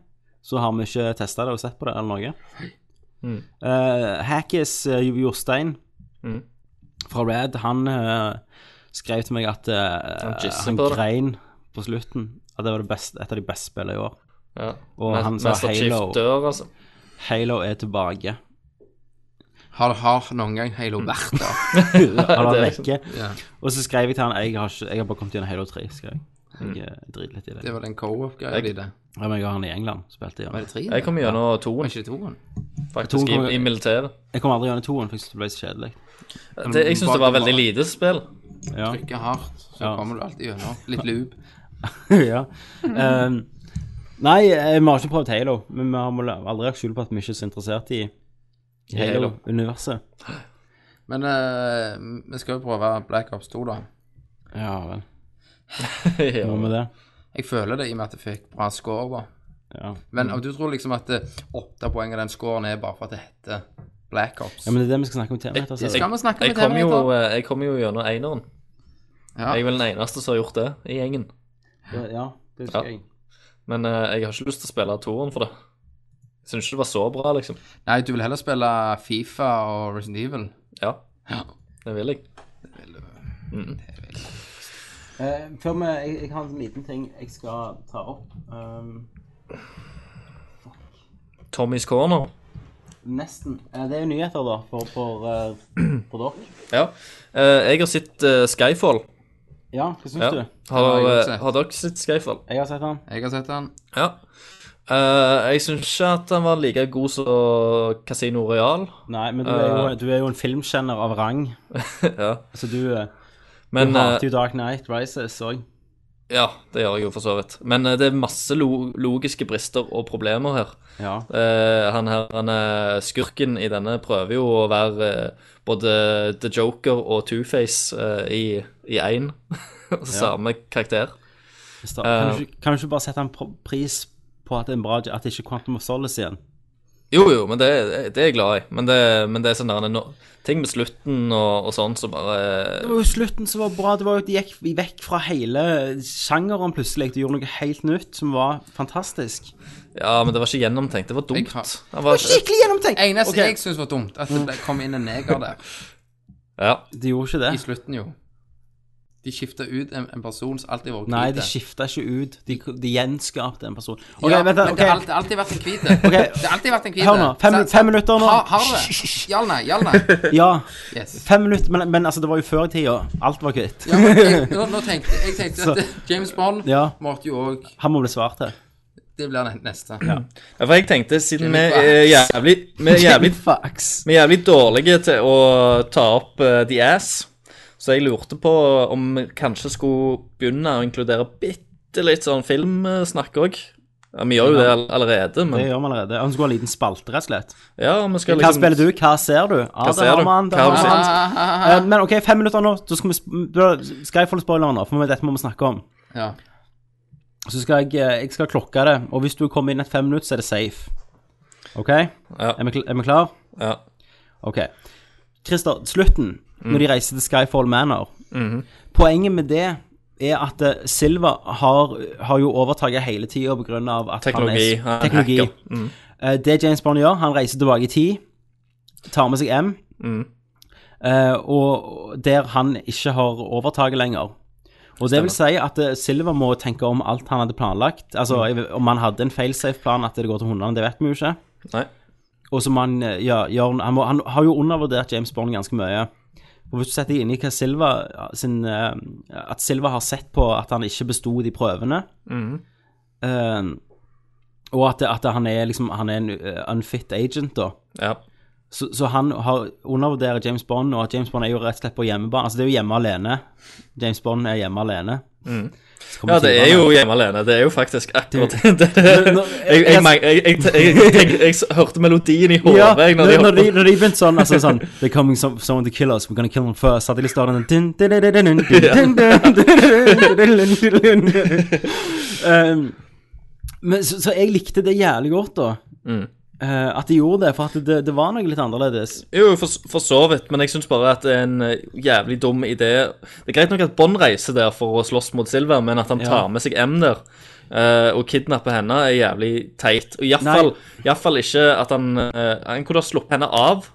D: så har vi ikke testa det og sett på det eller noe. Eh, Hackis eh, Jostein
F: Mm.
D: fra Red, han eh, skrev til meg at eh,
F: Han jisser
D: han
F: på det.
D: grein på slutten. At det var det beste, et av de beste spillene i år.
F: Ja.
D: Og
F: Mas-
D: han sa
F: Master Chief
D: Halo.
F: dør, altså.
D: Halo er tilbake.
E: Har, har noen gang
D: Mm.
E: Halo
D: [LAUGHS]
E: vært der?
F: [LAUGHS]
D: Han
F: Det
D: var
F: er liksom-
D: vekke.
E: Ja.
D: Og så skrev jeg til han Jeg har, ikke, jeg har bare kommet gjennom Halo 3, skrev jeg.
F: Mm.
D: Jeg eh, driter litt i det.
E: Det var den co-op-greia di, det.
D: Ja, men jeg har han i England. Spilte
E: Var
D: gjennom.
E: det tre?
F: Jeg kom gjennom toen,
E: Var ikke det toen?
F: faktisk,
D: Toen kom-
F: i, i militæret.
D: Jeg kom aldri gjennom toen, for jeg syntes det ble så kjedelig.
F: Det, jeg syns det var veldig lite spill. [LAUGHS]
D: Ja.
E: Trykke hardt, så
D: Ja.
E: kommer du alltid gjennom. Litt loop.
D: [LAUGHS] ja. Ehm, nei, eh, vi har ikke prøvd Halo, men vi har mål- aldri lagt skjul på at vi ikke er så interessert i i
F: Halo.
D: Halo-universet.
E: Men eh, vi skal jo prøve Black Ops 2, da.
D: Ja vel.
F: Ja.
D: Hva med det?
E: Jeg føler det i og med at jeg fikk bra score. da.
D: Ja.
E: Men og du tror liksom at eh, åtte poeng av den scoren er bare for at det heter Black Ops?
D: ja, men det er det vi skal snakke om temaet.
E: det
D: Altså.
E: skal vi snakke
F: Jeg
E: med
F: kom
E: TV
F: jo,
E: etter.
F: eh, jeg kom jo gjennom eneren.
E: Ja.
F: Jeg er vel den eneste som har gjort det i gjengen.
D: Ja, det husker
F: Ja.
D: jeg.
F: Men eh, jeg har ikke lyst til å spille toeren for det. Jeg syns ikke det var så bra, liksom.
E: Nei, du vil heller spille Fifa og Resident Evil.
F: Ja, det vil jeg.
D: Eh, før vi jeg, jeg har en liten ting jeg skal ta opp. Ehm,
F: Tommy's Corner.
D: nesten. Eh, det er jo nyheter, da, for, for, eh, for dere.
F: Ja. Eh, jeg har sett eh, Skyfall.
D: Ja, hva syns
F: Ja.
D: du?
F: Har,
E: Ja, jeg har
F: eh,
E: sett.
F: har dere sett Skyfall?
D: Jeg har sett den.
E: Jeg har sett den.
F: Ja. Eh, jeg syns ikke at den var like god som Casino Royal.
D: Nei, men du er jo, du er jo en filmkjenner av rang. [LAUGHS]
F: Ja.
D: Så du, eh,
F: Men
D: du hater
F: eh,
D: jo Dark Knight Rises òg.
F: Ja, det gjør jeg jo for så vidt. Men eh, det er masse lo logiske brister og problemer her.
D: Ja.
F: Eh, han her, han eh, skurken i denne prøver jo å være eh, både The Joker og Two-Face eh, i- i én. [LAUGHS] Altså Samme karakter.
D: Eh. Hvis da- Kan du ikke, kan du ikke bare sette en pr- pris på at det er en bra At det ikke er Quantum of Solace igjen.
F: Jo, jo, men det, det er jeg glad i. Men det, men det er sånn der, det er no, ting med slutten og, og sånn som
D: Det
F: bare
D: var jo slutten som var bra. Det var jo at De gikk vekk fra hele sjangeren plutselig. De gjorde noe helt nytt som var fantastisk.
F: Ja, men det var ikke gjennomtenkt. Det var
E: Jeg
F: dumt.
E: har-
F: Det var,
D: Skikkelig gjennomtenkt!
E: Eneste
D: Ok. Mm.
E: jeg syns var dumt, at det ble- kom inn en neger der
F: ja.
D: De gjorde ikke det.
E: i slutten, jo. De skifta ut en, en person som alltid har vært
D: Nei,
E: hvit.
D: de skifta ikke ut. De, de gjenskapte en person. OK,
E: Ja,
D: vent da.
E: men
D: ok.
E: det har alt- det har alltid vært en
D: [LAUGHS]
E: hvit. Det har alltid vært en hvit.
D: Hør nå. Fem,
E: Så- så-
D: fem minutter nå.
E: Har har du det? Jalna,
D: [LAUGHS]
E: jalna.
D: Ja.
E: Yes.
D: Fem minutter. Men, men altså, det var jo før i tida. Alt var hvitt.
E: Ja, men jeg, nå, nå tenkte, jeg tenkte at James Bond
D: Ja.
E: måtte jo òg
D: Han må bli svart til.
E: Det blir den neste.
F: Ja, For jeg tenkte, siden vi
E: Jimmy
F: er jævlig, vi er
D: [LAUGHS]
F: jævlig,
D: Fax.
F: vi er jævlig dårlige til å ta opp eh, The Ass, så jeg lurte på om vi kanskje skulle begynne å inkludere bitte litt sånn filmsnakk òg. Ja, vi gjør jo det all- allerede,
D: Det
F: men
D: gjør vi allerede. Han skulle ha en liten spalte, rett og slett.
F: ja, vi skal
D: Hva
F: liksom
D: spiller du? Hva ser du? Ja,
F: Hva
D: det
F: ser
D: har
F: du?
D: man. Det
F: Hva
D: har
F: har du
D: man.
F: sett?
D: Eh, Men OK, fem minutter nå. Da skal vi sp- da skal jeg få litt spoiler nå, for dette må vi snakke om.
E: Ja.
D: Så skal jeg, eh, jeg skal klokke det, og hvis du kommer inn et fem minutter, så er det safe. OK?
F: Ja.
D: Er vi, kl- er vi klar?
F: Ja.
D: Ok. Christer, slutten, når de reiser til Skyfall Manor. Poenget med det er at eh, Silva har, har jo overtaket hele tida pga. at
F: Teknologi,
D: han
F: han
D: er
F: er
D: teknologi.
F: hacker.
D: Eh, Det James Bond gjør, han reiser tilbake i tid, tar med seg M,
F: Mm.
D: eh, og der han ikke har overtaket lenger. Og det vil si at eh, Silva må tenke om alt han hadde planlagt. Altså,
F: Mm.
D: jeg vet- om han hadde en failsafe-plan, at det går til hundene, det vet vi jo ikke.
F: Nei.
D: Og som han eh, ja, gjør han, må, han har jo undervurdert James Bond ganske mye. Og hvis du setter deg inn i hva Silva sin, eh, At Silva har sett på at han ikke besto de prøvene.
F: Mm.
D: eh, og at, at han er liksom Han er en eh, unfit agent, da.
F: Ja.
D: Så, så han har undervurderer James Bond, og at James Bond er jo rett og slett på hjemmebane. Altså, det er jo hjemme alene. James Bond er hjemme alene. Så kommer
F: Mm. ja, det er
D: Silva-
F: jo hjemme alene. Det er jo faktisk akkurat det. det-
D: nå-
F: Jeg, jeg, jeg, jeg, jeg, jeg, jeg, jeg hørte melodien i hodet
D: Ja,
F: jeg,
D: når,
F: når de
D: når, de,
F: holdt på.
D: når de begynte sånn, altså sånn They're coming some, someone to kill us, we're gonna kill them first. Så Hadde de startet den dun, dun, dun, dun, dun, dun, dun, dun, dun, dun. Um, Men så, så jeg likte det jævlig godt, da.
F: Mm.
D: Eh, at de gjorde det, for at det, det var noe litt annerledes.
F: Jo, for, for så vidt, men jeg syns bare at det er en eh, jævlig dum idé Det er greit nok at Bond reiser der for å slåss mot Silver, men at han
D: Ja.
F: tar med seg M der eh, og kidnapper henne, er jævlig teit. Og iallfall fall ikke at han eh, Han kunne ha sluppet henne av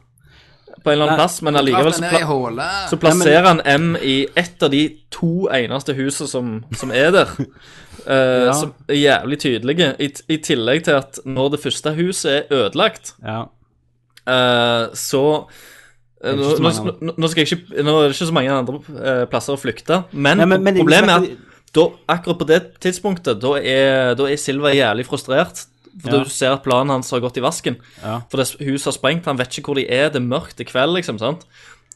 F: på en eller
D: Nei.
F: annen plass, men allikevel så,
E: Traff den ned i
F: pla
E: håla.
F: så plasserer han M i ett av de to eneste husene som, som er
D: [LAUGHS]
F: der. eh,
D: Ja.
F: Som er jævlig tydelige. I, t- I tillegg til at når det første huset er ødelagt
D: Ja.
F: Eh, så eh, nå,
D: Det er ikke
F: nå,
D: så mange
F: nå- nå, skal jeg ikke, nå er det ikke så mange andre eh, plasser å flykte, men,
D: Nei, men- men det-
F: problemet er at da, akkurat på det tidspunktet, da er, da er Silva jævlig frustrert. For
D: Ja.
F: Du ser at planen hans har gått i vasken.
D: Ja.
F: For det huset har sprengt, han vet ikke hvor de er, det er mørkt, det er kveld, liksom. sant?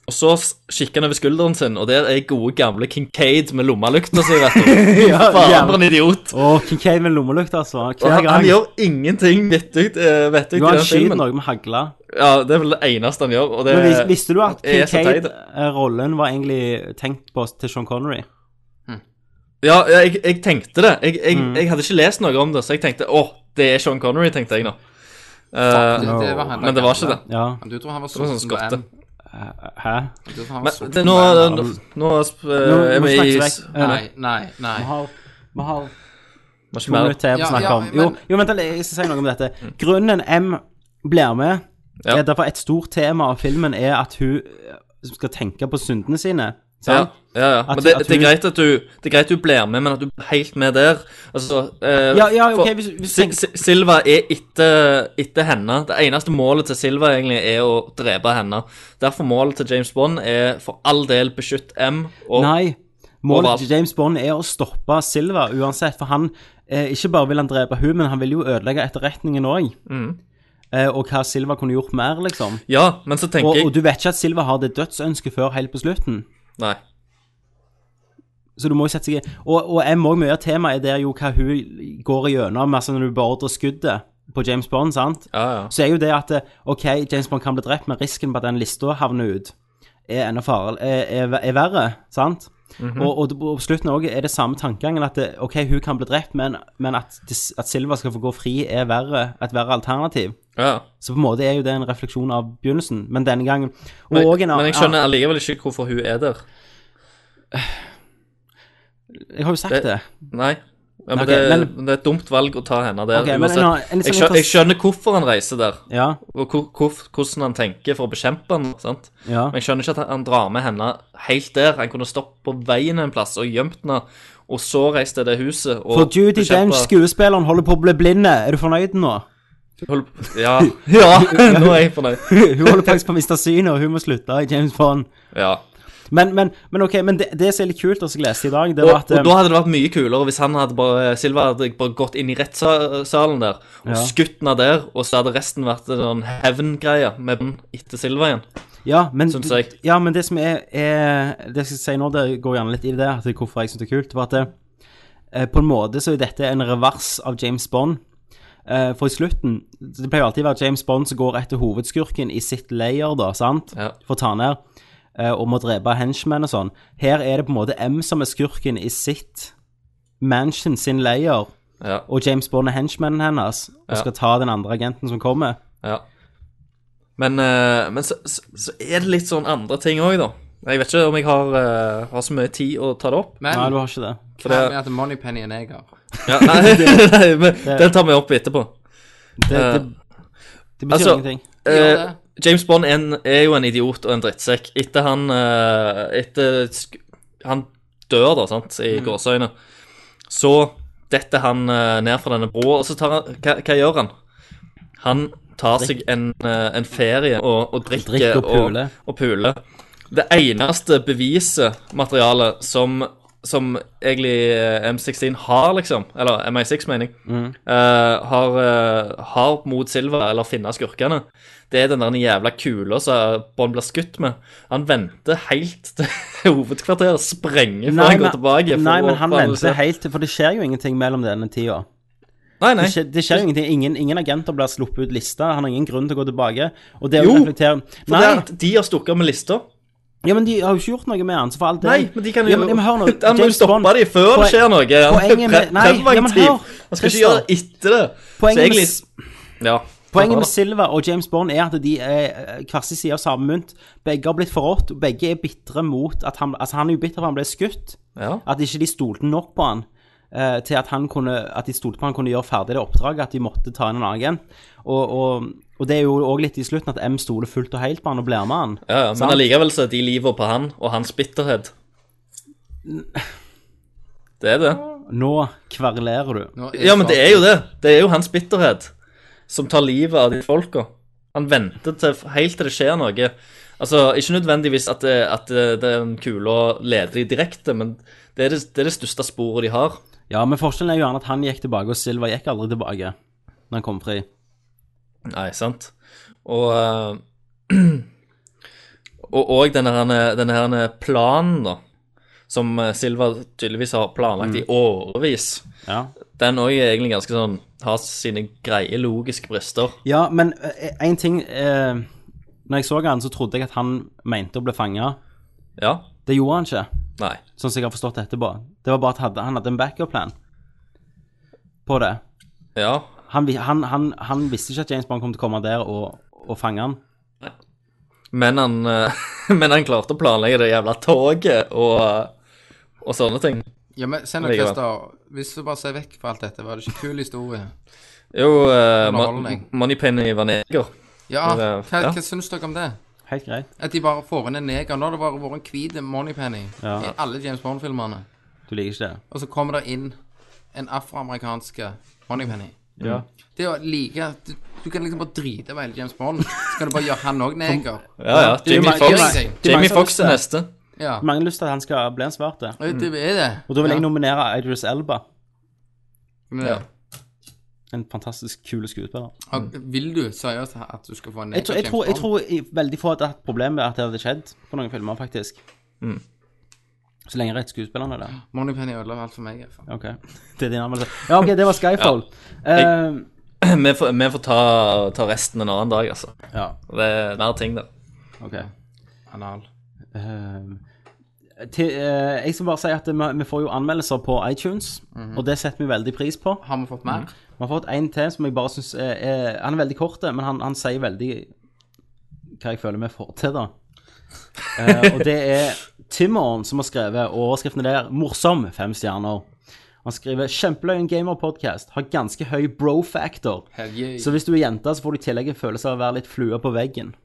F: Og så s- kikker han over skulderen sin, og der er gode, gamle Kincaid med lommelykta si, vet du.
D: [LAUGHS]
F: Faen,
D: ja
F: for
D: jævlig.
F: en idiot.
D: Og Kincaid med lommelukt, altså.
F: Og
D: Hver
F: han,
D: gang.
F: han gjør ingenting vettugt eh, vettugt
D: Jo,
F: i
D: han
F: den
D: skyter
F: filmen.
D: noe med hagla.
F: Ja, det er vel det eneste han gjør. Og det,
D: Men vis, visste du at
F: er så teit.
D: Kincaid-rollen var egentlig tenkt på til Sean Connery?
F: Ja, jeg, jeg tenkte det. Jeg, jeg, jeg hadde ikke lest noe om det, så jeg tenkte åh, det er Sean Connery, tenkte jeg nå. Eh,
E: Det- det var han
F: men det var ikke det.
D: Ja.
E: Men Du tror han var
F: Det var sånn
E: sulten på
F: skotte.
E: M?
D: Hæ?
E: Du tror han var
F: Men
E: sulten
F: det,
E: på
F: nå,
E: M?
F: nå, nå eh,
D: Nå
F: er
D: må
F: vi
D: vi
F: i
D: snakke vekk.
E: Nei, nei, nei.
D: Vi har, vi har
F: var ikke
D: to
F: mer.
D: minutter til å
E: Ja,
D: snakke
E: ja,
D: om.
E: men-
D: Jo, jo, vent, da, jeg skal si noe om dette. Grunnen M blir med,
F: Ja.
D: er derfor et stort tema av filmen er at hun eh, skal tenke på syndene sine.
F: Ja,
D: Sant?
F: ja, ja.
D: At-
F: Men det,
D: at
F: det er
D: hun-
F: greit at du Det er greit du blir med, men at du blir helt med der. Altså eh,
D: Ja, ja,
F: for
D: ok, hvis- hvis du
F: Si-
D: tenker-
F: Si- Silva er etter, etter henne. Det eneste målet til Silva egentlig er å drepe henne. Derfor målet til James Bond er for all del beskytt M. Og,
D: Nei. Målet
F: Overalt.
D: til James Bond er å stoppe Silva uansett, for han eh, Ikke bare vil han drepe hun, men han vil jo ødelegge etterretningen òg.
F: Mm.
D: Eh, og hva Silva kunne gjort mer, liksom.
F: Ja, men så
D: Og,
F: tenker
D: og
F: jeg
D: du vet ikke at Silva har det dødsønsket før helt på slutten.
F: Nei.
D: Så du må jo sette seg i Og, og jeg må jo mye av temaet er der jo hva hun går igjennom altså når du beordrer skuddet på James Bond, sant?
F: Ja, ja.
D: Så er jo det at eh, OK, James Bond kan bli drept, men risken på at den lista havner ut, er enda farlig, er, er, er verre, sant?
F: Mhm.
D: og, og det- på slutten også er det samme tankegangen at det, ok, hun kan bli drept, men, men at, dis- at Silva skal få gå fri er verre, et verre alternativ.
F: Ja.
D: Så på en måte er jo det en refleksjon av begynnelsen, men denne gangen og
F: Men,
D: også en
F: men
D: annen-
F: jeg skjønner allikevel ikke hvorfor hun er der.
D: Jeg har jo sagt
F: Det-
D: det.
F: Nei. Ja, men,
D: Ok,
F: det,
D: men-
F: men det er et dumt valg å ta henne der.
D: Ok, men
F: uansett.
D: en annen- en litt
F: jeg,
D: sånn
F: skjønner, jeg skjønner hvorfor han reiser der,
D: Ja,
F: og hvor, hvor, hvordan han tenker for å bekjempe han, sant?
D: ja.
F: Men jeg skjønner ikke at han- han drar med henne helt der. Han kunne stoppet på veien en plass og gjemt henne, og så reist til det huset og
D: For Judy
F: bekjempet-
D: Dench, skuespilleren, holder på å bli blinde. Er du fornøyd nå? [LAUGHS]
F: Hold- Ja, ja, [LAUGHS] nå er jeg fornøyd.
D: Hun holder faktisk på å miste synet, og hun må slutte i James Bond.
F: Ja.
D: Men, men, men ok, men det, det som er litt kult, altså, jeg leste i dag, det
F: Og,
D: var at
F: og da
D: eh,
F: hadde det vært mye kulere hvis han hadde bare, eh, Silva hadde bare gått inn i rettssalen der og
D: Ja.
F: skutt henne der, og så hadde resten vært en sånn hevngreie med den etter Silva igjen.
D: ja, men,
F: synes jeg.
D: ja, men det som er, er Det jeg skal si nå, det går gjerne litt i det, at hvorfor jeg syns det er kult, var at eh, på en måte så er dette en revers av James Bond. Eh, For i slutten Det pleier jo alltid å være James Bond som går etter hovedskurken i sitt layer, da, sant?
F: Ja.
D: For å ta ned. eh, Og må drepe henchmen og sånn. Her er det på en måte M som er skurken i sitt mansion, sin layer.
F: Ja,
D: Og James Bond er henchmanen hennes og
F: Ja.
D: skal ta den andre agenten som kommer.
F: ja. Men, eh, men så, så, så er det litt sånn andre ting òg, da. Jeg vet ikke om jeg har, eh, har så mye tid å ta det opp.
E: Men
D: Nei, du
E: hva
D: har ikke det.
F: For det,
E: med at Moneypenny er neger?
F: ja, [LAUGHS] nei, nei, men den tar vi opp etterpå.
D: Det,
F: Eh,
D: det, det betyr
F: altså-
D: ingenting.
E: Gjør
F: Eh,
E: det.
F: James Bond er, en, er jo en idiot og en drittsekk. Etter han eh, Etter sk han dør, da, sant,
D: Mm.
F: i gåseøyne, så detter han eh, ned fra denne broa, og så tar han Hva, hva gjør han? Han tar seg en, eh, en ferie og, og drikker
D: Drikker og puler.
F: Og, og puler. Det eneste bevisematerialet som, som egentlig eh, M16 har, liksom, eller MI6, mener jeg,
D: Mm.
F: eh, har, eh, har mot Silva, eller finne skurkene, det er den der jævla kula som Bond blir skutt med. Han venter helt til [LAUGHS] hovedkvarteret sprenger før han går tilbake. for
D: nei,
F: å
D: men han
F: analysere.
D: venter helt til For det skjer jo ingenting mellom denne tida.
F: Nei, nei.
D: Det skjer, det skjer jo ingenting. Ingen, ingen agenter blir sluppet ut lista. Han har ingen grunn til å gå tilbake. Og det å
F: Jo,
D: reflektere
F: For
D: Nei,
F: det er at de har stukket av med lista.
D: ja, men de har jo ikke gjort noe med han, så for all del.
F: Nei, men de kan jo
D: ja, men, ja, men, hør
F: [LAUGHS]
D: nå,
F: Han
D: [LAUGHS]
F: må jo
D: James
F: stoppe
D: Bond-
F: dem før det
D: Poen-
F: skjer noe. Han
D: poenget med-
F: pre-
D: nei, ja, men
F: preventiv.
D: hør,
F: Han skal ikke
D: Christer.
F: gjøre det etter det.
D: Poenget
F: så
D: med
F: egentlig
D: s-
F: Ja.
D: Poenget med Silva og James Bond er at de er eh, hver sin side av samme mynt. Begge har blitt forrådt, og begge er bitre mot at han Altså, han er jo bitter for han ble skutt.
F: ja.
D: At ikke de stolte nok på han eh, til at, han kunne, at de stolte på han kunne gjøre ferdig det oppdraget, at de måtte ta inn en annen agent. Og, og, og det er jo òg litt i slutten at M stoler fullt og helt på han og blir med han.
F: Ja, ja, men
D: Sant?
F: allikevel så er de livet på han og hans bitterhet. Det er det.
D: Nå kverulerer du.
E: Nå sånn-
F: Ja, men det er jo det. Det er jo hans bitterhet som tar livet av de folka. Han venter til, helt til det skjer noe. Altså, Ikke nødvendigvis at, det, at eh, det, den kula leder de direkte, men det er det, det er det største sporet de har.
D: Ja, men forskjellen er jo gjerne at han gikk tilbake, og Silva gikk aldri tilbake når han kom fri.
F: Nei, sant. Og eh, [CLEARS THROAT] Og òg denne, herne- denne herne planen, da, som eh, Silva tydeligvis har planlagt i årevis.
D: Ja.
F: Den òg er egentlig ganske sånn Har sine greie logiske brister.
D: Ja, men én ting eh, Når jeg så han, så trodde jeg at han mente å bli fanga.
F: Ja.
D: Det gjorde han ikke,
F: Nei.
D: sånn som jeg har forstått det etterpå. Det var bare at hadde, han hadde en backup-plan på det.
F: Ja.
D: Han, vi- han, han, han visste ikke at James Bond kom til å komme der og, og fange han.
F: Men han, eh, [LAUGHS] men han klarte å planlegge det jævla toget og, og sånne ting.
E: Ja, men se nå,
F: Likevel.
E: Christer. Hvis du bare ser vekk fra alt dette, var det ikke en kul historie?
F: Jo, eh,
E: Underholdning.
F: Ma- Moneypenny var neger.
E: Ja, hva,
F: Det- ja.
E: hva syns dere om det?
D: Helt greit.
E: At de bare får inn en neger. Nå har det bare vært en hvit Moneypenny i alle James Bond-filmene.
D: Du liker ikke det?
E: Og så kommer det inn en afroamerikanske Moneypenny.
D: Ja.
E: Det å like du, du kan liksom bare drite i hele James Bond. Så kan du bare gjøre han òg neger.
F: Ja, ja. Jamie
E: mange-
F: Fox.
E: det er mange-
D: det er mange
F: Jamie
D: som
F: Fox er
D: har
F: neste. [CLEARS THROAT]
E: Ja.
D: Mange har lyst til at han skal bli en svarte.
E: Ja, Det er det.
D: Og da vil jeg
E: ja.
D: nominere Idris Elba.
E: Men det-
D: En fantastisk kul skuespiller.
E: og Vil du seriøst at du skal få en neger
D: Jeg tror, jeg tror, jeg
E: James Bond?
D: tror i- veldig få hadde hatt problemer med at det hadde skjedd på noen filmer, faktisk. Så lenge rett skuespilleren er der.
E: Moneypenny ødela alt for meg. i hvert fall.
D: Ok, [LAUGHS] det er din anmeldelse. Ja, ok, det var Skyfall. Eh,
F: Vi får, vi får ta, ta resten en annen dag, altså.
D: ja,
F: Det er mer ting, da.
D: ok.
E: Anal.
D: Eh, til, eh, jeg skal bare si at vi, vi får jo anmeldelser på iTunes, og det setter vi veldig pris på.
E: Har vi fått mer?
D: Vi har fått en til som jeg bare syns er, er Han er veldig kort, men han, han sier veldig hva jeg føler vi får til, da. Eh, og det er Timmeren som har skrevet, og overskriften er der 'Morsom', fem stjerner. Han skriver 'Kjempeløyen gamerpodkast har ganske høy bro-factor'.
E: Hell yeah.
D: Så hvis du er jente, så får du i tillegg en følelse av å være litt flue på veggen.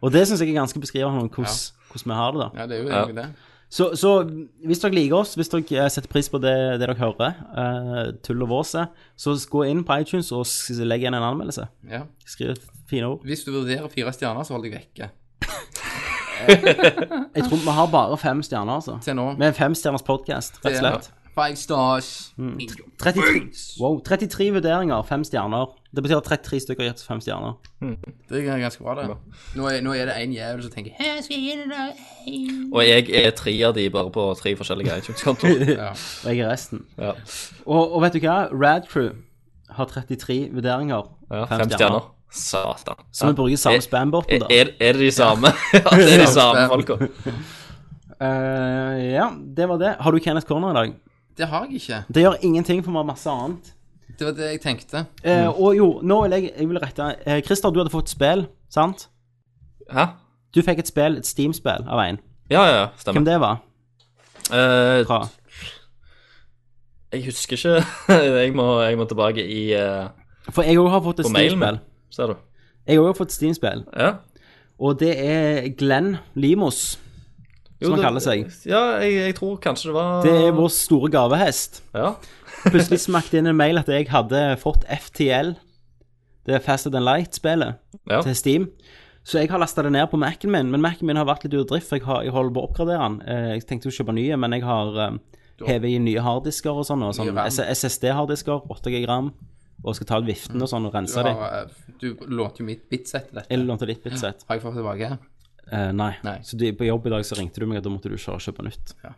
D: og det syns jeg er ganske beskrivende om hvordan, hvordan vi har det, da.
E: Ja, det er jo egentlig det.
D: Så, så hvis dere liker oss, hvis dere eh, setter pris på det, det dere hører, eh, tull og våset, så gå inn på iTunes og s- legg igjen en anmeldelse.
E: Ja.
D: Skriv fine ord.
E: Hvis du vurderer fire stjerner, så hold deg vekke.
D: Jeg tror vi har bare fem stjerner, altså.
E: Se nå.
D: Vi er en femstjerners podkast, rett og slett.
E: Five stars.
D: Mm. 33, wow, 33 vurderinger, fem stjerner. Det betyr at 33 stykker har gitt fem stjerner.
E: Det er ganske bra, det. Nå er, nå er det en jævel som tenker Hæ, skal jeg gi det der?
F: Og jeg er tre av de bare på tre forskjellige iTunes-kontoer. [LAUGHS]
D: Og jeg er resten.
F: Ja.
D: Og, og vet du hva? Radcrew har 33 vurderinger.
F: Ja, fem stjerner. Eh, Satan.
D: Så vi bruker samme spambotten,
F: Er,
D: da.
F: er, er det de samme? [LAUGHS] Ja, det er de samme folka.
D: Eh, ja, det var det. Har du Kenneth Corner i dag?
E: Det har jeg ikke.
D: Det gjør ingenting, for vi har masse annet.
E: Det var det jeg tenkte.
D: Eh,
F: Mm.
D: og jo, nå vil jeg, jeg vil rette eh, Christer, du hadde fått spill, sant?
F: Hæ?
D: Du fikk et spill, et Steam-spill av en.
F: Ja, ja, ja, stemmer.
D: Hvem det var?
F: Eh,
D: Fra?
F: jeg husker ikke. [LAUGHS] jeg, må, jeg må tilbake i eh,
D: For jeg òg har fått et
F: På mailen
D: Steam-spill.
F: Ser du?
D: Jeg også har fått et Steam-spill,
F: Ja.
D: og det er Glenn Limos, som han kaller seg.
F: Ja, jeg, jeg tror kanskje det var
D: Det er vår store gavehest.
F: Ja.
D: Plutselig smakte inn en mail at jeg hadde fått FTL, det er Faster Than Light-spillet,
F: Ja.
D: til Steam. Så jeg har lasta det ned på Mac-en min, men Mac-en min har vært litt ute av drift. for Jeg, har, jeg holder på å oppgradere den. Eh, Jeg tenkte jo å kjøpe nye, men jeg har eh, hevet i nye harddisker og sånn. og sånn
E: RAM.
D: SSD-harddisker, 8 G ram, og skal ta ut viften og sånn og
E: Du,
D: rense de.
E: har, eh, du lånte jo mitt bitsett til dette.
D: Jeg lånte ditt bitsett.
E: Har jeg fått tilbake?
D: Eh, nei.
E: Nei.
D: Så du, på jobb i dag så ringte du meg, og da måtte du kjøre og kjøpe nytt.
E: Så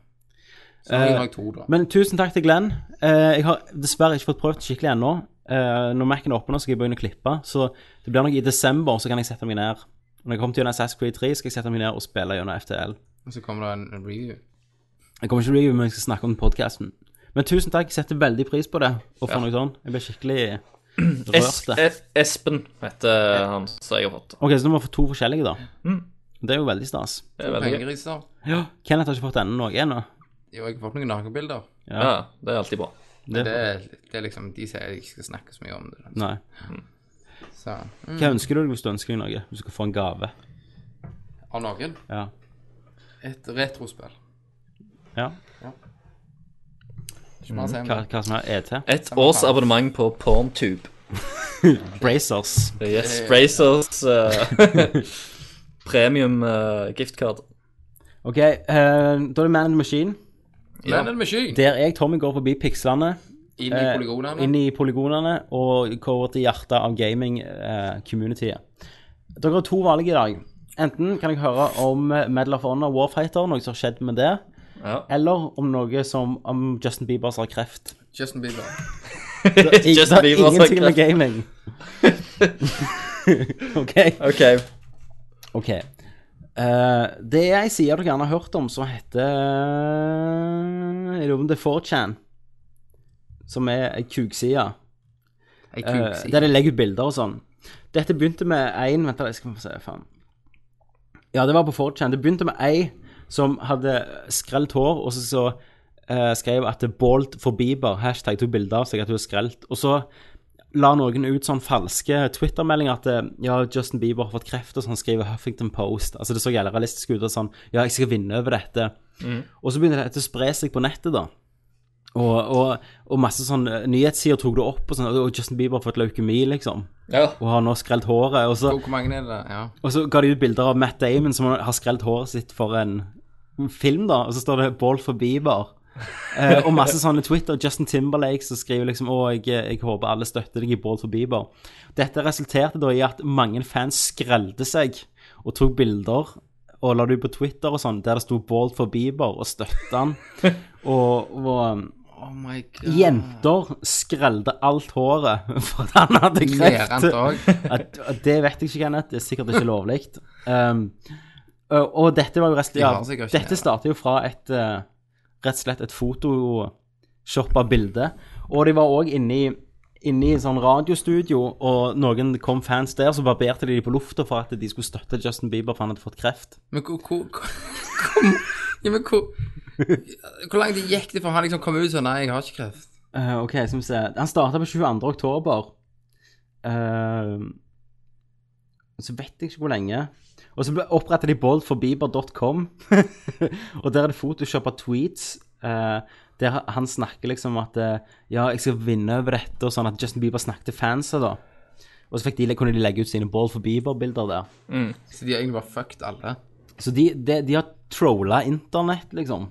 E: har jeg
D: Eh,
E: lagd to, da.
D: Men tusen takk til Glenn. Eh, jeg har dessverre ikke fått prøvd det skikkelig ennå. Eh, når Mac-en er åpen, nå, så skal jeg begynne å klippe. Så det blir nok i desember, så kan jeg sette meg ned. Når jeg kommer til gjennom Assassin's Creed 3, skal jeg sette meg ned og spille gjennom FTL.
E: Og så kommer det en en review.
D: Jeg kommer ikke til å review, men jeg skal snakke om podkasten. Men tusen takk, jeg setter veldig pris på det. Og for noe sånn. Jeg ble skikkelig
F: Es
D: rørt. det.
F: Es- Espen heter han som jeg har fått.
D: Ok, så nå må vi få to forskjellige, da. Det er jo veldig stas.
F: Det er veldig gøy.
E: Pengeriser.
D: Ja. Kenneth har ikke fått ennå noe ennå.
E: Jo, jeg har fått noen nakenbilder.
F: Ja, det er alltid bra.
E: Det, er- det er liksom De sier jeg ikke skal snakke så mye om det.
D: Nei.
E: Så, mm.
D: Hva ønsker du deg hvis du ønsker deg noe? Du skal få en gave.
E: Av noen.
D: Ja.
E: Et retrospill.
D: ja.
E: Ikke mer å si om
D: Hva,
E: det.
D: hva som er E ET?
F: Et års abonnement på Porntube.
D: Brazers.
F: Yes, Brazers eh, [LAUGHS] premium eh, giftcard.
D: Ok, eh, da er det Man in the Machine.
E: Men en med sky
D: Der jeg, Tommy, går forbi pikslene,
E: inn i
D: eh,
E: polygonene.
D: inn i polygonene, og går over til hjertet av gaming-communityet. Dere har to valg i dag. Enten kan jeg høre om Medal of Honor Warfighter, noe som har skjedd med det,
F: Ja.
D: eller om noe som om Justin Bieber som har
F: [LAUGHS]
D: kreft.
E: Justin Bieber.
D: I-
F: Justin
D: det
F: Bieber
D: har
F: som har
D: ingenting med
F: kreft.
D: gaming.
F: [LAUGHS]
D: OK.
F: OK.
D: ok. Eh, det er ei side dere gjerne har hørt om, som heter Jeg lurer på om det er 4chan, som er ei kukside.
E: Ei
D: Eh,
E: kukside.
D: der de legger ut bilder og sånn. Dette begynte med én Vent, da, jeg skal få se. Faen. Ja, det var på 4chan. Det begynte med ei som hadde skrelt hår, og så, så eh, skrev at det er 'bald for Bieber'. Hashtag tok bilder av seg at hun er skrelt. Og så la noen ut sånn falske Twitter-meldinger at eh, ja, Justin Bieber har fått kreft, og sånn skriver Huffington Post. Altså Det så jævlig realistisk ut. og sånn, Ja, jeg skal vinne over dette. Og så begynte dette å spre seg på nettet, da. Og, og, og masse sånn eh, nyhetssider tok det opp, og sånn, og Justin Bieber har fått leukemi, liksom.
F: Ja.
D: Og har nå skrelt håret. Og så,
E: Hvor hvor mange er det? Ja.
D: og så ga de ut bilder av Matt Damon som har skrelt håret sitt for en film, da. Og så står det 'Ball for Bieber'. Eh, og masse sånne Twitter. Justin Timberlake som skriver liksom 'Å, jeg, jeg håper alle støtter deg i Ball for Bieber'. Dette resulterte da i at mange fans skrelte seg og tok bilder og la det ut på Twitter og sånn, der det sto 'Ball for Bieber' og støtta han. og, og
E: Oh my god.
D: Jenter skrelde alt håret for at han hadde
E: Lærent
D: kreft. [LAUGHS]
E: òg.
D: At- at Det vet jeg ikke, Kenneth. Det er sikkert ikke lovlig. Um, Eh, og dette var jo rett, ja,
E: har sikkert ikke
D: Dette
E: det.
D: startet jo fra et eh, rett og slett et photoshop av bildet. Og de var òg inne i inne i en sånn radiostudio, og noen kom fans der, så barberte de de på lufta for at de skulle støtte Justin Bieber, for han hadde fått kreft.
E: Men hvor, hvor, hvor, hvor Ja, men hvor Hvor langt gikk det før han liksom kom ut sånn Nei, jeg har ikke kreft.
D: Eh, ok, skal vi se. Han starta på 22. oktober. Eh, så vet jeg ikke hvor lenge. Og så ble- opprettet de boldforbiber.com, [LAUGHS] og der er det photoshop av tweets. eh, der han snakker liksom at eh, ja, jeg skal vinne over dette, og sånn at Justin Bieber snakket til fansa, da. Og så fikk de, kunne de legge ut sine Ball for Bieber-bilder der.
E: Så de har egentlig bare fucked alle.
D: Så de, de, de har trolla internett, liksom.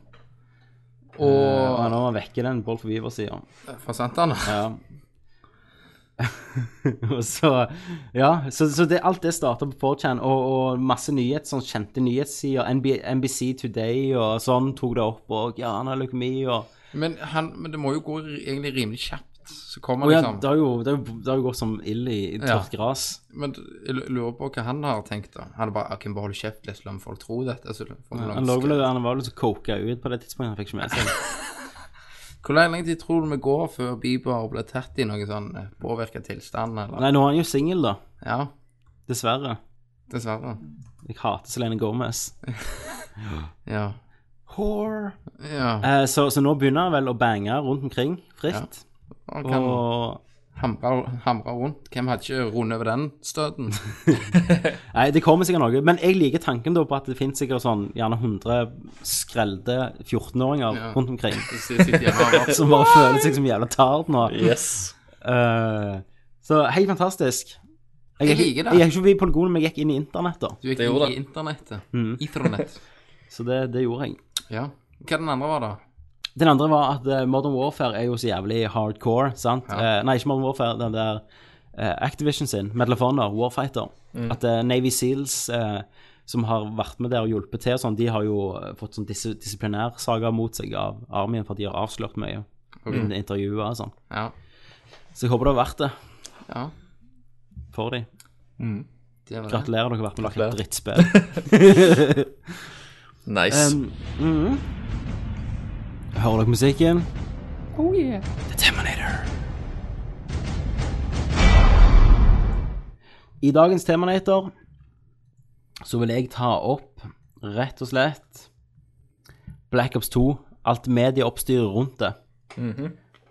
D: Eh, Og han har vekket den Ball for Bieber-sida.
E: Forsvant han?
D: Ja. [LAUGHS] og så Ja, så, så det, alt det starta på 4chan, og, og masse nyhet, sånn kjente nyhetssider. NB, NBC Today og sånn tok det opp, og ja, han har leukemi og
E: Men, han, men det må jo gå egentlig rimelig kjapt. Så kommer
D: Og ja,
E: liksom
D: det har jo, det har jo, det har jo gått som ild i, i tørt gras.
E: Men jeg lurer på hva han har tenkt, da. Han er bare jeg kan bare holde kjeft litt, la folk tro dette. Altså, folk må
D: Han, lå vel,
E: skrevet.
D: han var vel så koka ut på det tidspunktet, han fikk ikke med seg.
E: Hvor lenge tid tror du vi går før Bieber blir tatt i noen sånn påvirka tilstand, eller?
D: Nei, nå er han jo singel, da.
E: Ja,
D: Dessverre.
E: dessverre.
D: Jeg hater Selene Gomez.
E: Ja.
D: Whore.
E: ja.
D: Eh, så, så nå begynner han vel å bange rundt omkring fritt.
E: Han kan
D: Og
E: hamre, hamre rundt. Hvem hadde ikke rundet over den
D: [LAUGHS]
E: støten?
D: Nei, det kommer sikkert noe. Men jeg liker tanken da på at det finnes sikkert sånn gjerne 100 skrelde 14-åringer
E: Ja.
D: rundt omkring [LAUGHS]
E: Så sitter jeg og har-
D: som bare føler seg som jævla tard nå.
F: Yes.
D: Eh, så helt fantastisk.
E: Jeg liker det.
D: Jeg gikk ikke forbi polygonen, men jeg gikk inn i internett, da.
E: Du gikk
F: Det gjorde
E: inn i
F: det.
E: internettet.
D: Mm.
E: Internett.
D: Så det, det gjorde jeg.
E: Ja. Hva den andre var, da?
D: Den andre var at eh, Modern Warfare er jo så jævlig hardcore, sant? Eh, nei, ikke Modern Warfare, den der eh, Activision sin, Medal of Honor, Warfighter. At eh, Navy Seals, eh, som har vært med der og hjulpet til og sånn, de har jo eh, fått sånn dis disiplinærsaga mot seg av armyen, for de har avslørt mye. Mm. Intervjuer og sånn.
E: Ja.
D: Så jeg håper det har vært det
E: ja.
D: for dem.
E: Det var det.
D: Gratulerer, dere har vært med og lagt et drittspill.
F: Nice.
D: Um, mhm. Hører dere musikken? I dagens Temanator så vil jeg ta opp rett og slett Black Ops 2, alt medieoppstyret rundt det.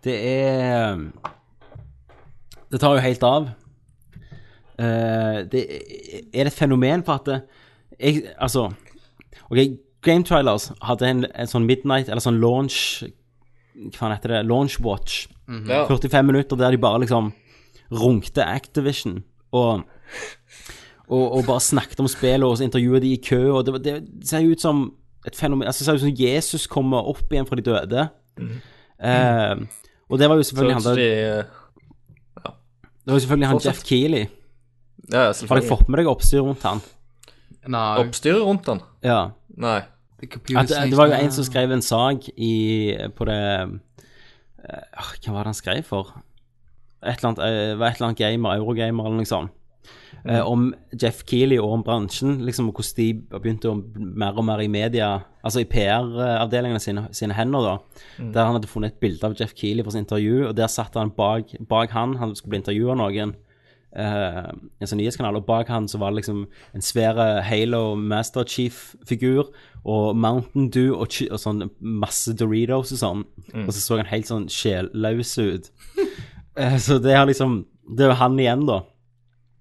D: Det er Det tar jo helt av. Eh, det er det et fenomen for at det, jeg, Altså OK, Game Trailers hadde en, en sånn midnight, eller sånn launch Hva faen heter det? Launch watch.
F: ja.
D: 45 minutter der de bare liksom runkte Activision og, og, og bare snakket om spillet, og så intervjuet de i kø, og det, var- det ser jo ut som et fenomen altså, Det ser ut som Jesus kommer opp igjen fra de døde. Eh, og det var
F: Mhm.
D: jo
F: Så
D: selvfølgelig han,
F: så eh, de,
D: der- det var jo selvfølgelig han
F: Fortsett.
D: Jeff Keeley.
F: ja, ja,
D: Har dere
F: selvfølgelig.
D: fått med deg oppstyret rundt han?
E: Nei,
F: Oppstyret rundt den?
D: Ja.
F: Nei.
E: det er computer
D: At, eh, det- det var jo en som skrev en sak i, på det eh, Hva var det han skrev for? Et eller annet, eh, var et eller annet gamer, eurogamer eller noe sånt. Eh, om Jeff Keeley og om bransjen, liksom og hvordan de begynte å mer og mer i media, altså i PR-avdelingene sine, sine hender, da. Der han hadde funnet et bilde av Jeff Keeley for sitt intervju, og der satt han bak, bak han, han skulle bli intervjua av noen. eh, en sånn nyhetskanal, og bak han så var det liksom en svære Halo Master Chief-figur, og Mountain Dew og, chi- og sånn masse Doritos og sånn. Og så så han helt sånn sjelløs ut. Eh, så det har liksom Det er jo han igjen, da.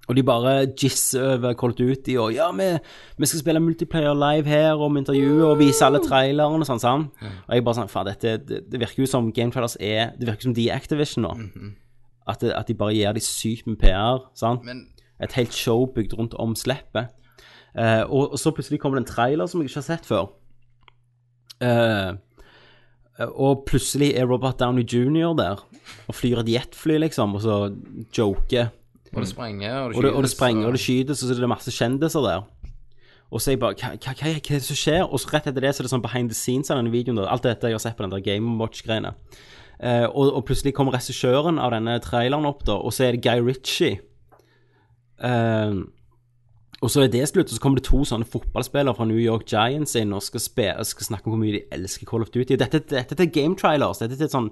D: Og de bare jizzer over Call of Duty og Ja, vi, vi skal spille multiplayer live her, og vi intervjuer og viser alle trailerne og sånn. sånn. Og jeg bare sånn Faen, dette det, det virker jo som Game Trailers er Det virker som de er Activision nå. At, det, at de bare gir de sykt med PR. sant?
E: Men
D: et helt show bygd rundt om slippet. Eh, og, og så plutselig kommer det en trailer som jeg ikke har sett før. Eh, og plutselig er Robert Downey jr. der og flyr et jetfly, liksom, og så joker.
E: Og det sprenger, og det
D: Mm. Og det, og det
E: skytes,
D: sprenger og det skytes, og så er det masse kjendiser der. Og så er jeg bare Hva, hva, hva, er- hva er det som skjer? Og så rett etter det så er det sånn behind the scenes av denne videoen. Da. Alt dette jeg har sett på den der Game Watch-greiene. Eh, og, og plutselig kommer regissøren av denne traileren opp, da, og så er det Guy Ritchie. Eh, Og så er det slutt, og så kommer det to sånne fotballspillere fra New York Giants inn og skal, spe, og skal snakke om hvor mye de elsker Call of Duty. Dette, dette er til game trailers. Dette er til sånn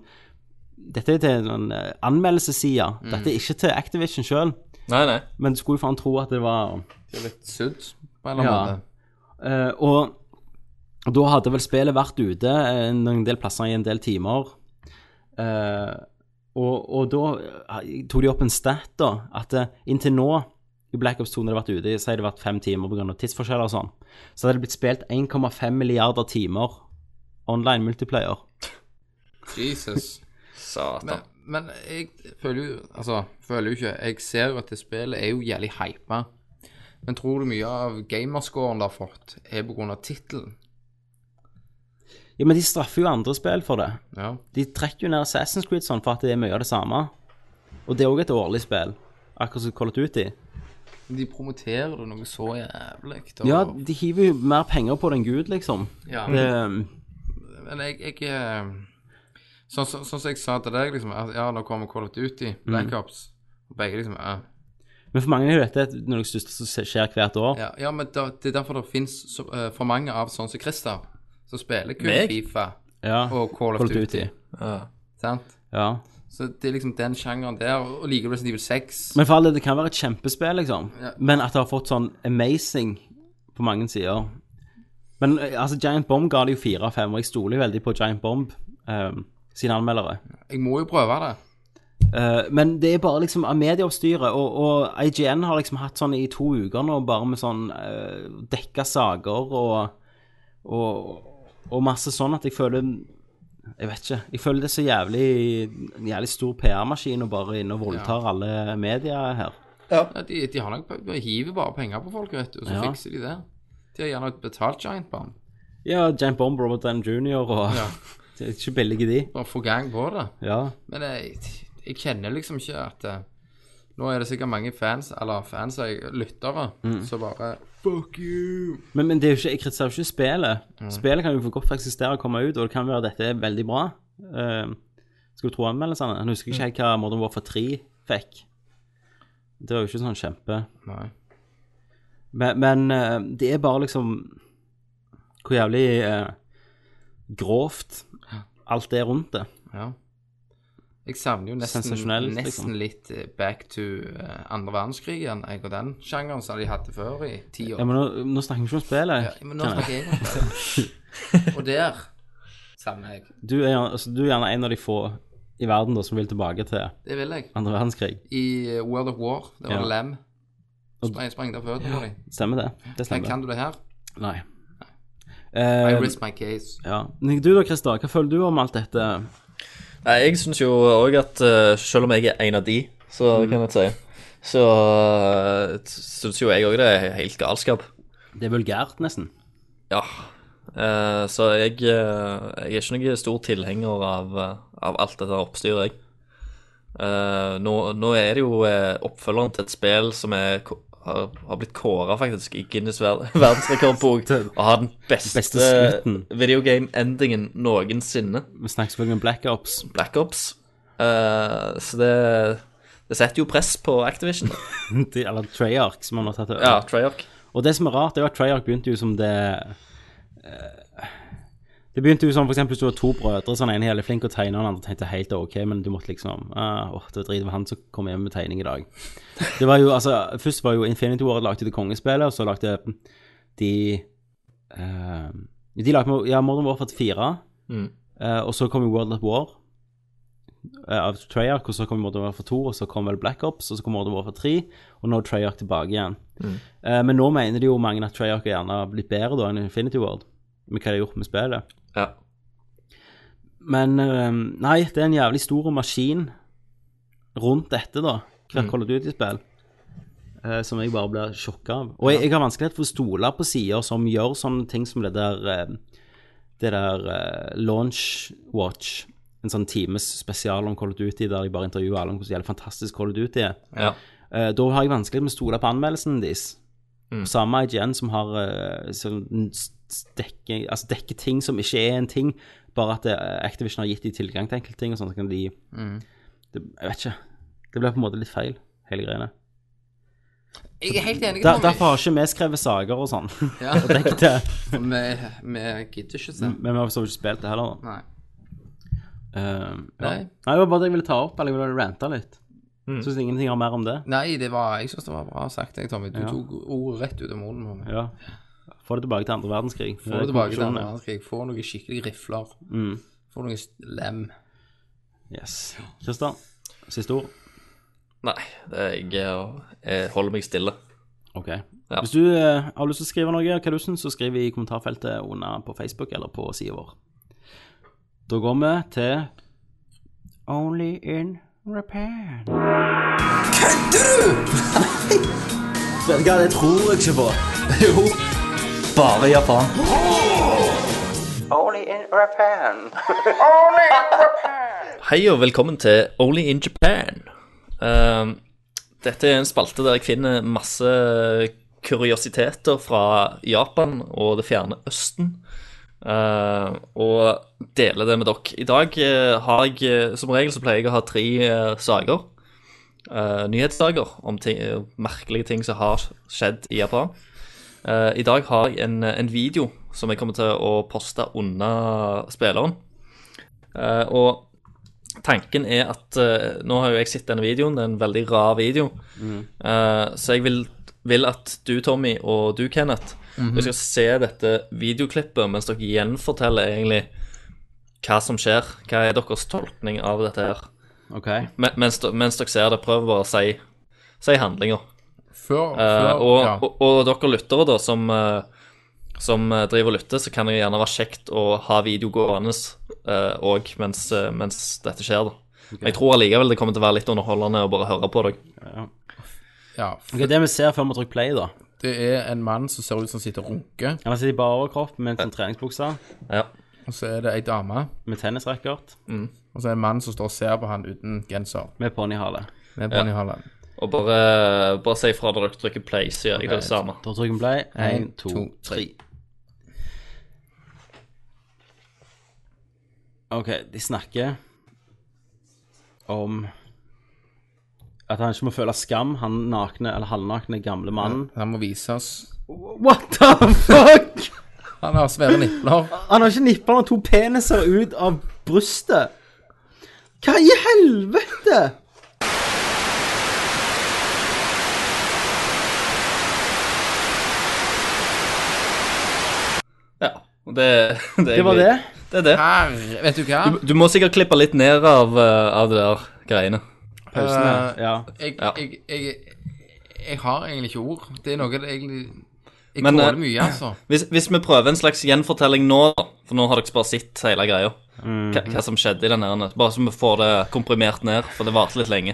D: dette er til sånn eh, anmeldelsessida.
E: Mm.
D: Dette er ikke til Activision sjøl.
F: Nei, nei.
D: Men du skulle jo faen tro at det var
E: Det er litt sudd på en eller
D: Ja.
E: annen måte.
D: Eh, og da hadde vel spillet vært ute eh, en del plasser i en del timer. Eh, og, og da eh, tok de opp en stat, da, at eh, inntil nå i Black Ops 2 når det har vært ute, så har det vært fem timer pga. tidsforskjeller og sånn, så hadde det blitt spilt 1,5 milliarder timer online multiplayer.
E: Jesus. Men,
F: Satan.
E: men jeg føler jo Altså, føler jo ikke Jeg ser jo at det spillet er jo jævlig hypa. Men tror du mye av gamerscoren det har fått, er pga. tittelen?
D: Ja, Men de straffer jo andre spill for det.
E: Ja.
D: De trekker jo ned Assassin's Creed sånn for at det er mye av det samme. Og det er òg et årlig spill, akkurat som Call of Duty.
E: De promoterer det noe så jævlig. og-
D: Ja, de hiver jo mer penger på det enn Gud, liksom.
E: Ja.
D: Det,
E: Men jeg, jeg eh, Sånn som sånn, som jeg sa til deg, liksom at, Ja, nå kommer Call of Duty, Black Ops. Og begge liksom eh,
D: men for mange er jo dette noe av det største som skjer hvert år.
E: Ja, ja men da, det er derfor det fins for mange av sånne som Christer, som spiller kun
F: Meg?
E: Fifa
D: Ja.
E: og Call of
D: Call of
E: Duty.
D: Duty.
E: Sant?
D: Ja.
E: Så det er liksom den sjangeren der, og likevel Resident Evil 6.
D: Men for alle, det kan være et kjempespill, liksom.
E: Ja.
D: Men at det har fått sånn amazing på mange sider. Men eh, altså, Giant Bomb ga det jo fire av fem, og jeg stoler jo veldig på Giant Bomb eh, sine anmeldere.
E: Jeg må jo prøve det.
D: Eh, men det er bare liksom av medieoppstyret, og, og IGN har liksom hatt sånn i to uker nå, bare med sånn uh, dekka saker og, og, og masse sånn at jeg føler Jeg vet ikke. Jeg føler det er så jævlig en jævlig stor PR-maskin og bare inne og voldtar alle medier her.
E: Ja, De, de, har nok, de hiver bare penger på folk, vet du, og så
D: Ja.
E: fikser de det. De har gjerne et betalt giant bomb.
D: Ja, Jane Bomb, Robert Downey jr. og
E: Ja.
D: [LAUGHS] Det er ikke billige, de.
E: Bare få gang på det.
D: Ja.
E: Men jeg, jeg kjenner liksom ikke at eh, Nå er det sikkert mange fans, eller fans jeg lyttere,
D: Mm.
E: som bare Fuck you!
D: Men, men det er jo ikke, jeg kritiserer jo ikke spillet.
E: Mm.
D: Spillet kan jo få godt eksistere og komme ut, og det kan være at dette er veldig bra. Eh, skal du tro anmeldelsene? Jeg husker ikke helt hva Modern Warfare 3 fikk. Det var jo ikke sånn kjempe.
E: Nei.
D: Men, men eh, det er bare liksom Hvor jævlig eh, grovt alt er rundt det.
E: Ja. Jeg savner jo nesten,
D: Sensasjonelt, liksom.
E: nesten litt eh, back to eh, andre verdenskrig igjen, jeg og den sjangeren som de hadde før i ti år.
D: Ja, men nå, nå snakker vi ikke om spillet.
E: Ja, men nå
D: Kenneth.
E: snakker jeg om det.
D: [LAUGHS]
E: Og der savner jeg.
D: Du, er, altså, du er gjerne en av de få i verden da, som vil tilbake til
E: Det vil jeg.
D: andre verdenskrig.
E: I eh, World of War, det var
D: Ja.
E: lem. Spreng, sprengte av føttene på dem.
D: Stemmer det? Det
E: Men
D: stemmer.
E: kan du det her?
D: Nei.
E: I
D: Eh,
E: risk my case.
D: Ja. Men Du da, Christer, hva føler du om alt dette?
F: Nei, jeg syns jo òg at eh, selv om jeg er en av de, så
D: Mm.
F: kan jeg si, så uh, syns jo jeg òg det er helt galskap.
D: Det er vulgært, nesten.
F: Ja. Eh, så jeg, eh, jeg er ikke noen stor tilhenger av, eh, av alt dette oppstyret, jeg. Eh, nå, nå er det jo eh, oppfølgeren til et spill som er, ko- har, har blitt kåra faktisk i Guinness ver [LAUGHS]
D: [LAUGHS]
F: verdensrekordbok og har den beste,
D: Beste slutten.
F: videogame-endingen noensinne.
D: Vi snakker selvfølgelig om Black Ops. [LAUGHS]
F: Black Ops. Eh, så det, det setter jo press på Activision.
D: De- Eller Treyarch, som han har tatt over.
F: Ja, Treyarch.
D: Og det som er rart, er jo at Treyarch begynte jo som det eh, Det begynte jo som for eksempel hvis du var to brødre, så den ene jævlig flink å tegne, og den andre tenkte helt OK, men du måtte liksom ah, Åh, det var drit, det var han som kom hjem med tegning i dag. Det var jo, altså, Først var jo Infinity War lagde det kongespillet, og så lagde de eh, De lagde ja, Modern Warfare 4,
F: Mm.
D: eh, og så kom jo World at War eh, av Treyarch, og så kom Modern Warfare 2, og så kom vel Black Ops, og så kom Modern Warfare 3, og nå er Treyarch tilbake igjen. Eh, Men nå mener de jo mange at Treyarch er gjerne blitt bedre da enn Infinity Ward, med hva de har gjort med spillet.
F: Ja.
D: Men eh, nei, det er en jævlig stor maskin rundt dette, da, hvert Call of Duty-spill, eh, som jeg bare blir sjokka av. Og jeg, jeg har vanskelighet for å stole på sider som gjør sånne ting som det der eh, det der eh, Launch Watch, en sånn times spesial om Call of Duty, der de bare intervjuer alle om hvordan jævlig fantastisk Call of Duty er.
F: Ja.
D: Eh, da har jeg vanskelig med å stole på anmeldelsen deres.
E: Mm.
D: Samme IGN som har eh, som s- s- dekker, altså dekker ting som ikke er en ting, bare at eh, Activision har gitt de tilgang til enkelte ting, og sånn, så kan de
E: Mm.
D: det, Jeg vet ikke. Det blir på en måte litt feil, hele greiene.
E: Jeg er helt enig,
D: Der,
E: Tommy.
D: derfor har ikke vi skrevet saker og sånn.
E: [LAUGHS] Ja.
D: Det-
E: [LAUGHS] Vi, vi gidder ikke se.
D: Men vi har for så vidt ikke spilt det heller. da.
E: Nei.
D: Eh, ja.
E: Nei. Mm.
D: Nei, det var bare det jeg ville ta opp, eller jeg ville rante litt. Syns ingenting har mer om det.
E: Nei, det var, jeg syns det var bra sagt, jeg, Tommy. Du
D: Ja.
E: tok ordet rett ut av munnen på meg.
D: Ja. Få det tilbake til andre verdenskrig.
E: Få det tilbake til andre verdenskrig. Få noen skikkelige rifler. Få noen s- lem.
D: Yes. Kristian, siste ord.
F: Nei, det er jeg, jeg, jeg holder meg stille.
D: Ok. Hvis du eh, har lyst til å skrive noe, hva du syns, så skriv i kommentarfeltet under på Facebook eller på sida vår. Da går vi til Only in repair.
I: Vet du hva, det tror jeg ikke på. [LAUGHS]
H: Bare Japan.
F: Hei og velkommen til Only in Japan. Ehm, dette er en spalte der jeg finner masse kuriositeter fra Japan og det fjerne Østen. ehm, og deler det med dere. I dag eh, har jeg eh, som regel så pleier jeg å ha tre eh, saker. eh, nyhetssaker om ting, eh, merkelige ting som har skjedd i Japan. Eh, I dag har jeg en, en video som jeg kommer til å poste under spilleren. Eh, og tanken er at eh, Nå har jo jeg sett denne videoen, det er en veldig rar video. Eh, så jeg vil, vil at du, Tommy, og du, Kenneth, vi skal se dette videoklippet mens dere gjenforteller egentlig hva som skjer. Hva er deres tolkning av dette her?
D: Ok.
F: Men, mens, de- mens dere ser det, prøv bare å si, si handlinger.
E: Før,
F: Eh,
E: før
F: og,
E: ja.
F: og, og dere lyttere da, som, eh, som eh, driver og lytter, så kan det gjerne være kjekt å ha video gående òg mens, eh, mens dette skjer. da. Men jeg tror allikevel det kommer til å være litt underholdende å bare høre på deg.
E: ja.
D: Ok, Det vi ser før vi trykker play, da
E: Det er en mann som ser ut som sitter og runker,
D: Han sitter i bare overkropp med en sånn treningsbukse,
F: Ja.
E: og så er det ei dame.
D: med tennisracket,
E: Og så er det en mann som står og ser på han uten genser.
D: med ponnihale.
E: Med ponnihalen.
F: Og bare, bare si ifra når dere trykker play, så gjør jeg det samme.
D: Da trykker vi play. Én,
E: En,
D: to,
E: to,
D: tre. OK, de snakker om at han ikke må føle skam, han nakne eller halvnakne gamle mannen.
E: Han må vise oss.
D: What the fuck?!
E: Han har svære nipler.
D: Han har ikke nippa, han har to peniser ut av brystet. Hva i helvete?!
F: Ja, og det, [LAUGHS] det, er
D: Det var
F: egentlig-
D: det.
F: Det er det.
E: Herre, vet du hva?
F: Du, du må sikkert klippe litt ned av, eh, av det der greiene.
D: Pausene.
E: Eh,
D: Ja.
E: Jeg,
F: Ja.
E: jeg, jeg, jeg har egentlig ikke ord. Det er noe det egentlig Jeg
F: Men,
E: tåler
F: eh,
E: mye, altså.
F: Hvis, hvis vi prøver en slags gjenfortelling nå, da, for nå har dere bare sett hele greia, hva, hva som skjedde i den her, bare så vi får det komprimert ned, for det varte litt lenge.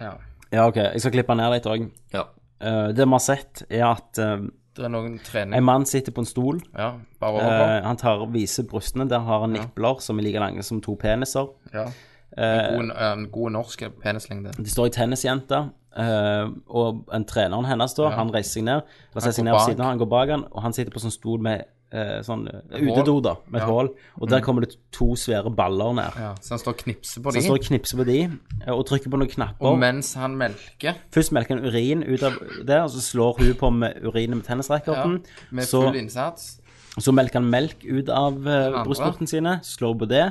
E: Ja.
D: ja, OK. Jeg skal klippe ned litt òg.
F: Ja.
D: Det vi har sett, er at eh,
E: Det er noen
D: En
E: trening.
D: mann sitter på en stol.
E: Ja, bare overfor.
D: eh, han tar, viser brystene. Der har han nipler som er like lange som to peniser.
E: Ja.
D: eh,
E: En god, en god norsk penislengde.
D: De står i tennisjenta. eh, og en treneren hennes da, han reiser seg ned. Han seg
E: går
D: ned ved
E: bak.
D: siden av, han går bak han, og han sitter på sånn stol med eh, sånn eh, utedo, da, med et
E: Ja. Mm.
D: hull. Og der kommer det to svære baller ned.
E: Ja, så han står og knipser på
D: Så han står
E: dem.
D: og knipser på de, eh, og trykker på noen
E: Og
D: knapper.
E: mens han melker
D: Først melker han urin ut av det, og så slår hun på med urinen med tennisracketen.
E: med
D: Mm. så
E: full innsats
D: Så melker han melk ut av uh,
E: andre.
D: brystvortene sine, slår på det,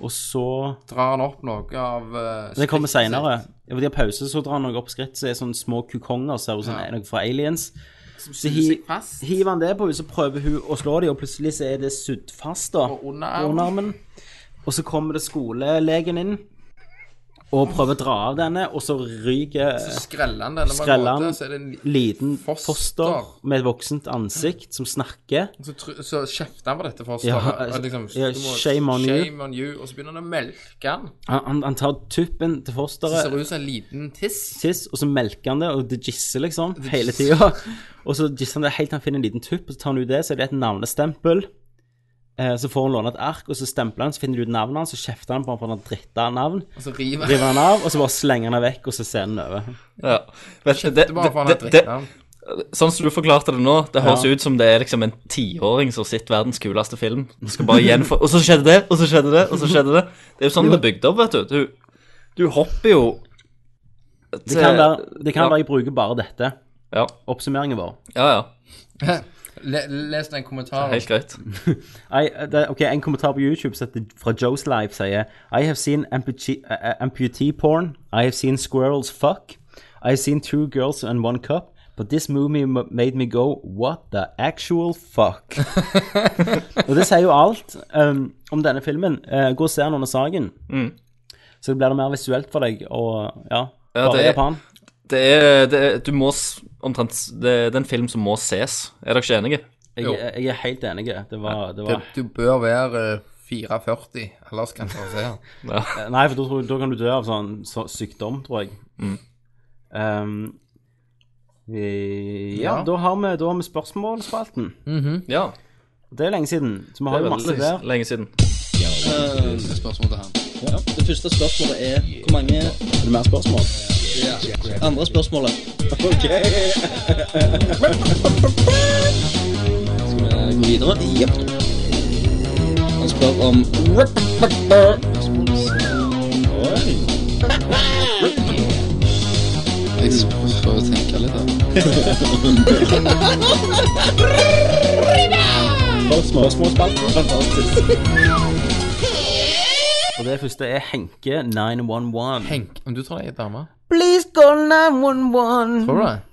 D: og så
E: drar han opp noe av eh,
D: Det kommer
E: skrittet
D: seinere. Fordi har pause, så drar han noe opp skritt, så er sånne små kukonger, ser ut som noe fra Aliens. Så
E: sitt, som
D: hi-
E: suger fast.
D: hiver han det på henne, så prøver hun å slå dem, og plutselig så er det sydd fast, da.
E: Og underarmen.
D: på underarmen. Og så kommer det skolelegen inn og prøver å dra av denne, og så ryker
E: Så skreller han den.
D: Skreller han.
E: han. Så, er det en,
D: liten
E: Foster.
D: foster med et voksent ansikt som snakker.
E: så, tr- så kjefter han på dette fosteret.
D: Ja,
E: og
D: altså,
E: liksom,
D: ja,
E: du må-
D: shame on you.
E: shame on you. Og så begynner han å melke han.
D: Han, han, han tar tuppen til
E: Det
D: fosteret.
E: ser ut som en liten tiss.
D: tiss, og så melker han det, og det gisser liksom hele tida. [LAUGHS] Og så gisser han det helt til han finner en liten tupp, og så tar han ut det, så er det et navnestempel. Eh, Så får han låne et ark, og så stempler han, så finner du ut navnet hans, så kjefter han på han for han dritta navn.
E: Og så river han.
D: River han av, og så bare slenger han det vekk, og så ser han det over.
F: ja. Vet, du, det,
E: Det er bare for han
F: det, det,
E: har drukket han.
F: sånn som du forklarte det nå, det høres ut som det er liksom en tiåring som har sett verdens kuleste film. Du Skal bare gjenfor... Og så skjedde det, og så skjedde det, og så skjedde det. Det er jo sånn det er bygd opp, vet du. Du, du hopper jo
D: Det kan være, det kan være jeg bruker bare dette.
F: Ja,
D: Oppsummeringen vår.
F: ja. ja.
E: Le, les den kommentaren.
F: Helt greit.
D: I, det, ok, En kommentar på YouTube setter, fra Joe's Live sier I have seen amputee, eh, amputee porn. I have seen squirrels fuck. I have seen two girls and one cup. But this movie m- made me go what the actual fuck. og det sier jo alt um, om denne filmen. Eh, gå og se den under saken. Så blir det mer visuelt for deg. Og ja,
F: Ja,
D: bare
F: det er-
D: Japan.
F: Det er, det er Du må s- omtrent s- Det er en film som må ses. Er dere ikke enige?
D: Jeg,
E: Jo.
D: jeg er helt enig. Det var, det var
E: Du bør være eh, 44, ellers kan du ikke se den.
D: Nei, for da, tror, da kan du dø av sånn så, sykdom, tror jeg.
I: Mm.
D: Ehm, vi, ja,
E: Ja.
D: Da, har vi, da har vi spørsmålspalten.
F: Ja.
D: Det er lenge siden, så vi har
F: Det
D: jo
F: er
D: masse
F: veldig
D: der.
F: lenge siden.
I: Det første spørsmålet er hvor mange Er det mer spørsmål? Ja. Andre spørsmålet. OK. Skal vi gå videre? Jepp. Han spør om Oi. Jeg får jo tenke litt, da. Fantastisk.
D: Og det første er Henke911.
E: [LAUGHS] Henk, om du tar ei dame
D: Please call 911.
E: Tror du det?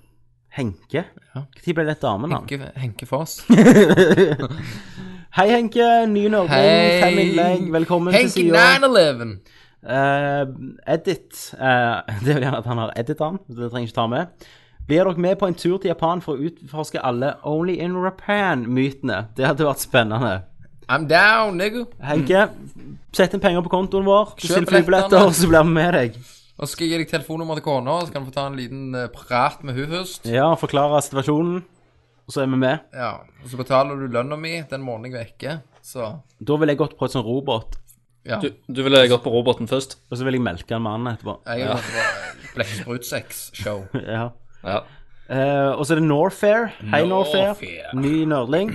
D: Henke? Når ble det damen, han?
E: Henke, Henke [LAUGHS] Foss.
D: Hei, Henke. Ny Norge. Fem innlegg. Velkommen
E: Henke
D: til Sion.
E: 911.
D: Eh, edit eh, [LAUGHS] Det er jo gjerne at han har edit han, så det trenger jeg ikke ta med. Blir dere med på en tur til Japan for å utforske alle Only in Japan-mytene? Det hadde vært spennende.
E: I'm down, nigga.
D: Henke, sett inn penger på kontoen vår, bestill
E: billettene.
D: flybilletter, så blir vi med deg.
E: Og så skal jeg gi deg telefonnummer til kona, og så kan du få ta en liten eh, prat med hun først.
D: Ja, forklare situasjonen, og så er vi med.
E: Ja. Og så betaler du lønna mi den morgenen jeg er vekke, så
D: Da ville jeg gått på et sånn robot,
E: ja.
F: Du, du ville gått på roboten først?
D: og så ville jeg melke en mann etterpå.
E: Jeg er jo på Blekksprutsex-show.
D: Ja.
F: Ja.
D: Eh, og så er det Norfair. Hei, Norfair.
E: Norfair.
D: Ny nerdling.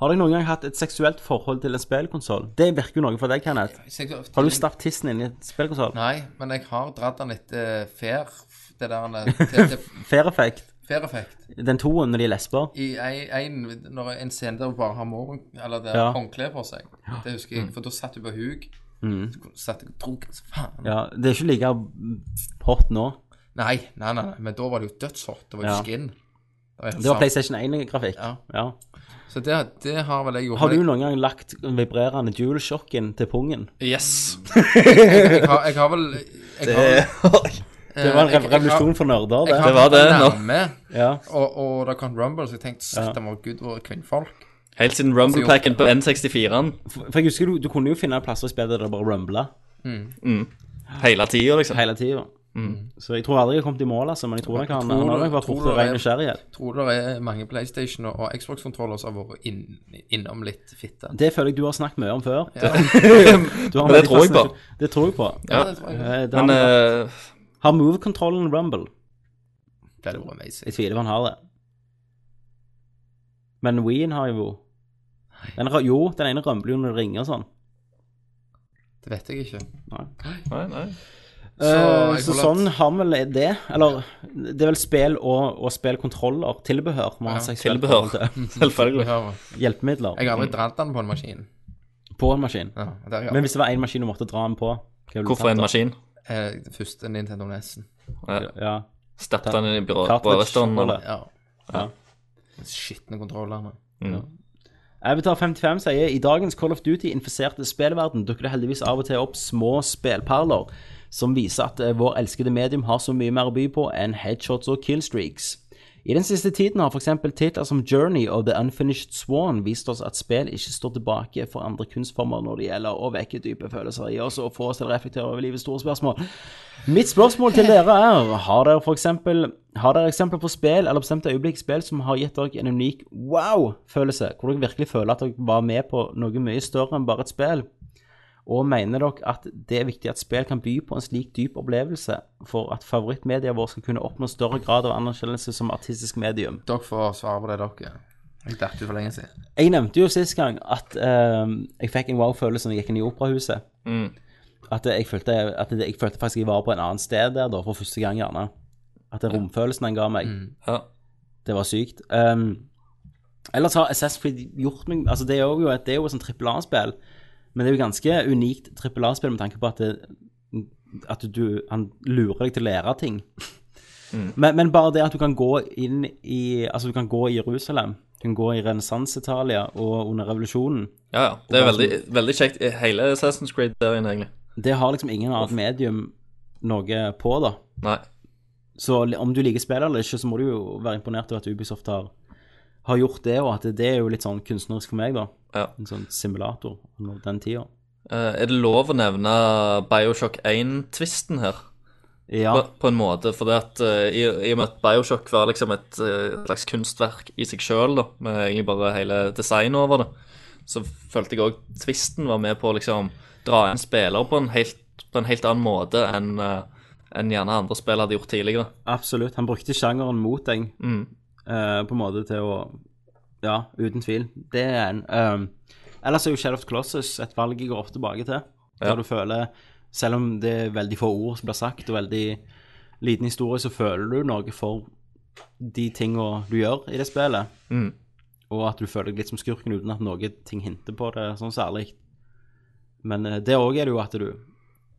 D: Har dere noen gang hatt et seksuelt forhold til en spillkonsoll? Det virker jo noe for deg, Kenneth. Har du stappet tissen inn i et spillkonsoll?
E: Nei, men jeg har dratt den etter fair, det der han er- til,
D: [LAUGHS]
E: til
D: Fair effect.
E: fair effekt.
D: Den toen når de er lesber.
E: I ei- en, når en scene der hun bare har morgen, eller der
D: Ja. Mm.
E: håndkle på seg. Det husker jeg, for da satt hun på huk. Så Satt jeg drunken som faen.
D: Ja, det er ikke like hot nå.
E: Nei, nei, nei, nei, men da var det jo dødshot. Det var jo
D: Ja.
E: skin. Det var helt
D: Det var
E: sant.
D: PlayStation 1-grafikk.
E: Ja.
D: Ja.
E: Så det, det har vel jeg gjort.
D: Har du
E: Men
D: noen gang lagt den vibrerende dualshocken til pungen?
F: Yes.
E: Jeg, jeg, har, jeg har vel
D: [LAUGHS]
E: eh, jeg har, Eh,
D: Det var en rev- revolusjon for nerder, det.
F: Det var det, nå.
E: Nærme,
D: Ja.
E: og, og da kom Rumble, så jeg tenkte satan var gud våre kvinnfolk.
F: Helt siden Rumblepacken på N64-en.
D: For for jeg husker du, du kunne jo finne plasser i spillet der det bare rumbla
E: Mm.
D: Mm.
F: Mm. Hele tida, liksom. Mm.
D: hele tida.
F: [LAUGHS]
D: Så jeg tror aldri jeg har kommet i mål, altså, men jeg tror jeg kan, han har nok vært
E: tror
D: borte
E: du
D: av ren
E: det-
D: nysgjerrighet.
E: Tror det er mange PlayStation og- og Xbox-kontroller som har vært inn, innom litt fitte.
D: Det føler jeg du har snakket mye om før. Du har
F: Men det
D: veldig
F: tror jeg på.
D: fascinasjon- Det tror jeg på.
F: Ja.
E: det tror jeg.
D: Eh, det har
F: Men
D: han-
F: eh,
D: Har move-kontrollen rumble?
E: Det hadde vært amazing.
D: Jeg tviler på han har det. Men Ween har jo den, ra- Jo, den ene rømler jo når det ringer og sånn.
E: Det vet jeg ikke.
F: Nei, nei.
D: Så,
E: jeg
D: så
E: får lov-
D: sånn har vel det. Eller det er vel spill og, og spillkontroller. Tilbehør. må ha seksuelt
F: Tilbehør. [LAUGHS]
D: forhold til.
F: Selvfølgelig.
D: Hjelpemidler
E: Jeg har aldri dratt den på en maskin.
D: på en maskin.
E: Ja, det har jeg
D: Men hvis det var én maskin du måtte dra den på hva ville du
F: Hvorfor
D: tatt
F: en
D: da?
F: maskin?
E: Eh, det første Nintendo Nesen.
D: Ja.
F: Stappet den inn i byrået på
D: Cartridge
F: restauranten?
D: holder.
E: Ja.
D: Ja.
E: Skitne kontrollene.
D: Avatar55 sier i dagens Call of Duty infiserte spillverden dukker det heldigvis av og til opp små spelperler som viser at eh, vår elskede medium har så mye mer å by på enn headshots og killstreaks. I den siste tiden har f.eks. titler som Journey og The Unfinished Swan vist oss at spill ikke står tilbake for andre kunstformer når det gjelder å vekke dype følelser i oss og få oss til å reflektere over livets store spørsmål. Mitt spørsmål til dere er Har dere for eksempel Har dere eksempler på spill eller bestemte øyeblikk i spill som har gitt dere en unik wow-følelse? Hvor dere virkelig føler at dere var med på noe mye større enn bare et spill? Og mener dere at det er viktig at spill kan by på en slik dyp opplevelse for at favorittmedia vår skal kunne oppnå større grad av anerkjennelse som artistisk medium?
E: Dere får svare på det, dere. Jeg datt ut for lenge siden.
D: Jeg nevnte jo sist gang at eh, jeg fikk en wow-følelse når jeg gikk inn i operahuset. At, jeg følte, at jeg følte faktisk jeg var på en annen sted der da, for første gang, gjerne. At det romfølelsen den ga meg.
F: Ja.
D: Det var sykt. Ehm, ellers har Assassin's Creed gjort meg Altså, det er jo, et- det er jo et sånt trippel A-spill, men det er jo ganske unikt trippel A-spill med tanke på at, det, at du, han lurer deg til å lære ting. Men, men bare det at du kan gå inn i Altså, du kan gå i Jerusalem, du kan gå i renessanse-Italia og under revolusjonen.
F: Ja, ja. Det er veldig, veldig kjekt. Hele Assassin's Creed-serien, egentlig.
D: Det har liksom ingen annet medium noe på, da.
F: Nei.
D: Så li- om du liker spillet eller ikke, så må du jo være imponert over at Ubisoft har, har gjort det, og at det, det er jo litt sånn kunstnerisk for meg, da.
F: Ja.
D: En sånn simulator av den tida.
F: Eh, er det lov å nevne Bioshock 1-tvisten her?
D: Ja,
F: På, på en måte, for det at eh, i, i og med at Bioshock var liksom et eh, slags kunstverk i seg sjøl, da, med egentlig bare hele designet over det, så følte jeg òg tvisten var med på å liksom dra en spiller på en helt, på en helt annen måte enn eh, enn gjerne andre spill hadde gjort tidligere.
D: absolutt. Han brukte sjangeren mot deg,
F: Mm.
D: eh, på en måte til å Ja, uten tvil. Det er en eh, Ellers er jo Shadow of the Colossus et valg jeg går ofte tilbake til. Der
F: Ja.
D: du føler Selv om det er veldig få ord som blir sagt, og veldig liten historie, så føler du noe for de tinga du gjør i det spillet.
F: Mm.
D: Og at du føler deg litt som skurken uten at noe ting hinter på det sånn særlig. Men eh, det òg er det jo at du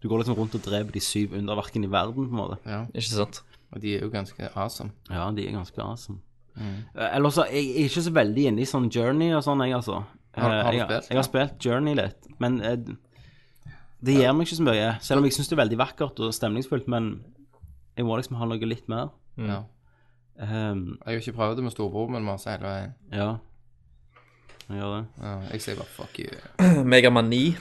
D: Du går liksom rundt og dreper de syv underverkene i verden, på en måte.
E: Ja.
F: Ikke sant?
E: Og de er jo ganske awesome.
D: Ja, de er ganske awesome.
E: Mm.
D: Eh, Eller så, jeg, jeg er ikke så veldig inne i sånn Journey og sånn, jeg, altså.
E: Har- har
D: Eh,
E: du
D: jeg,
E: spilt?
D: Jeg har spilt Journey litt, men eh, det gir meg ikke så mye. Selv om jeg syns det er veldig vakkert og stemningsfullt, men jeg må liksom ha noe litt mer.
E: Ja.
D: Ehm,
E: Jeg har jo ikke prøvd det med storebror, men vi har seilt veien.
D: ja. Jeg gjør det.
E: Ja, jeg sier bare fuck you.
F: Megaman 9,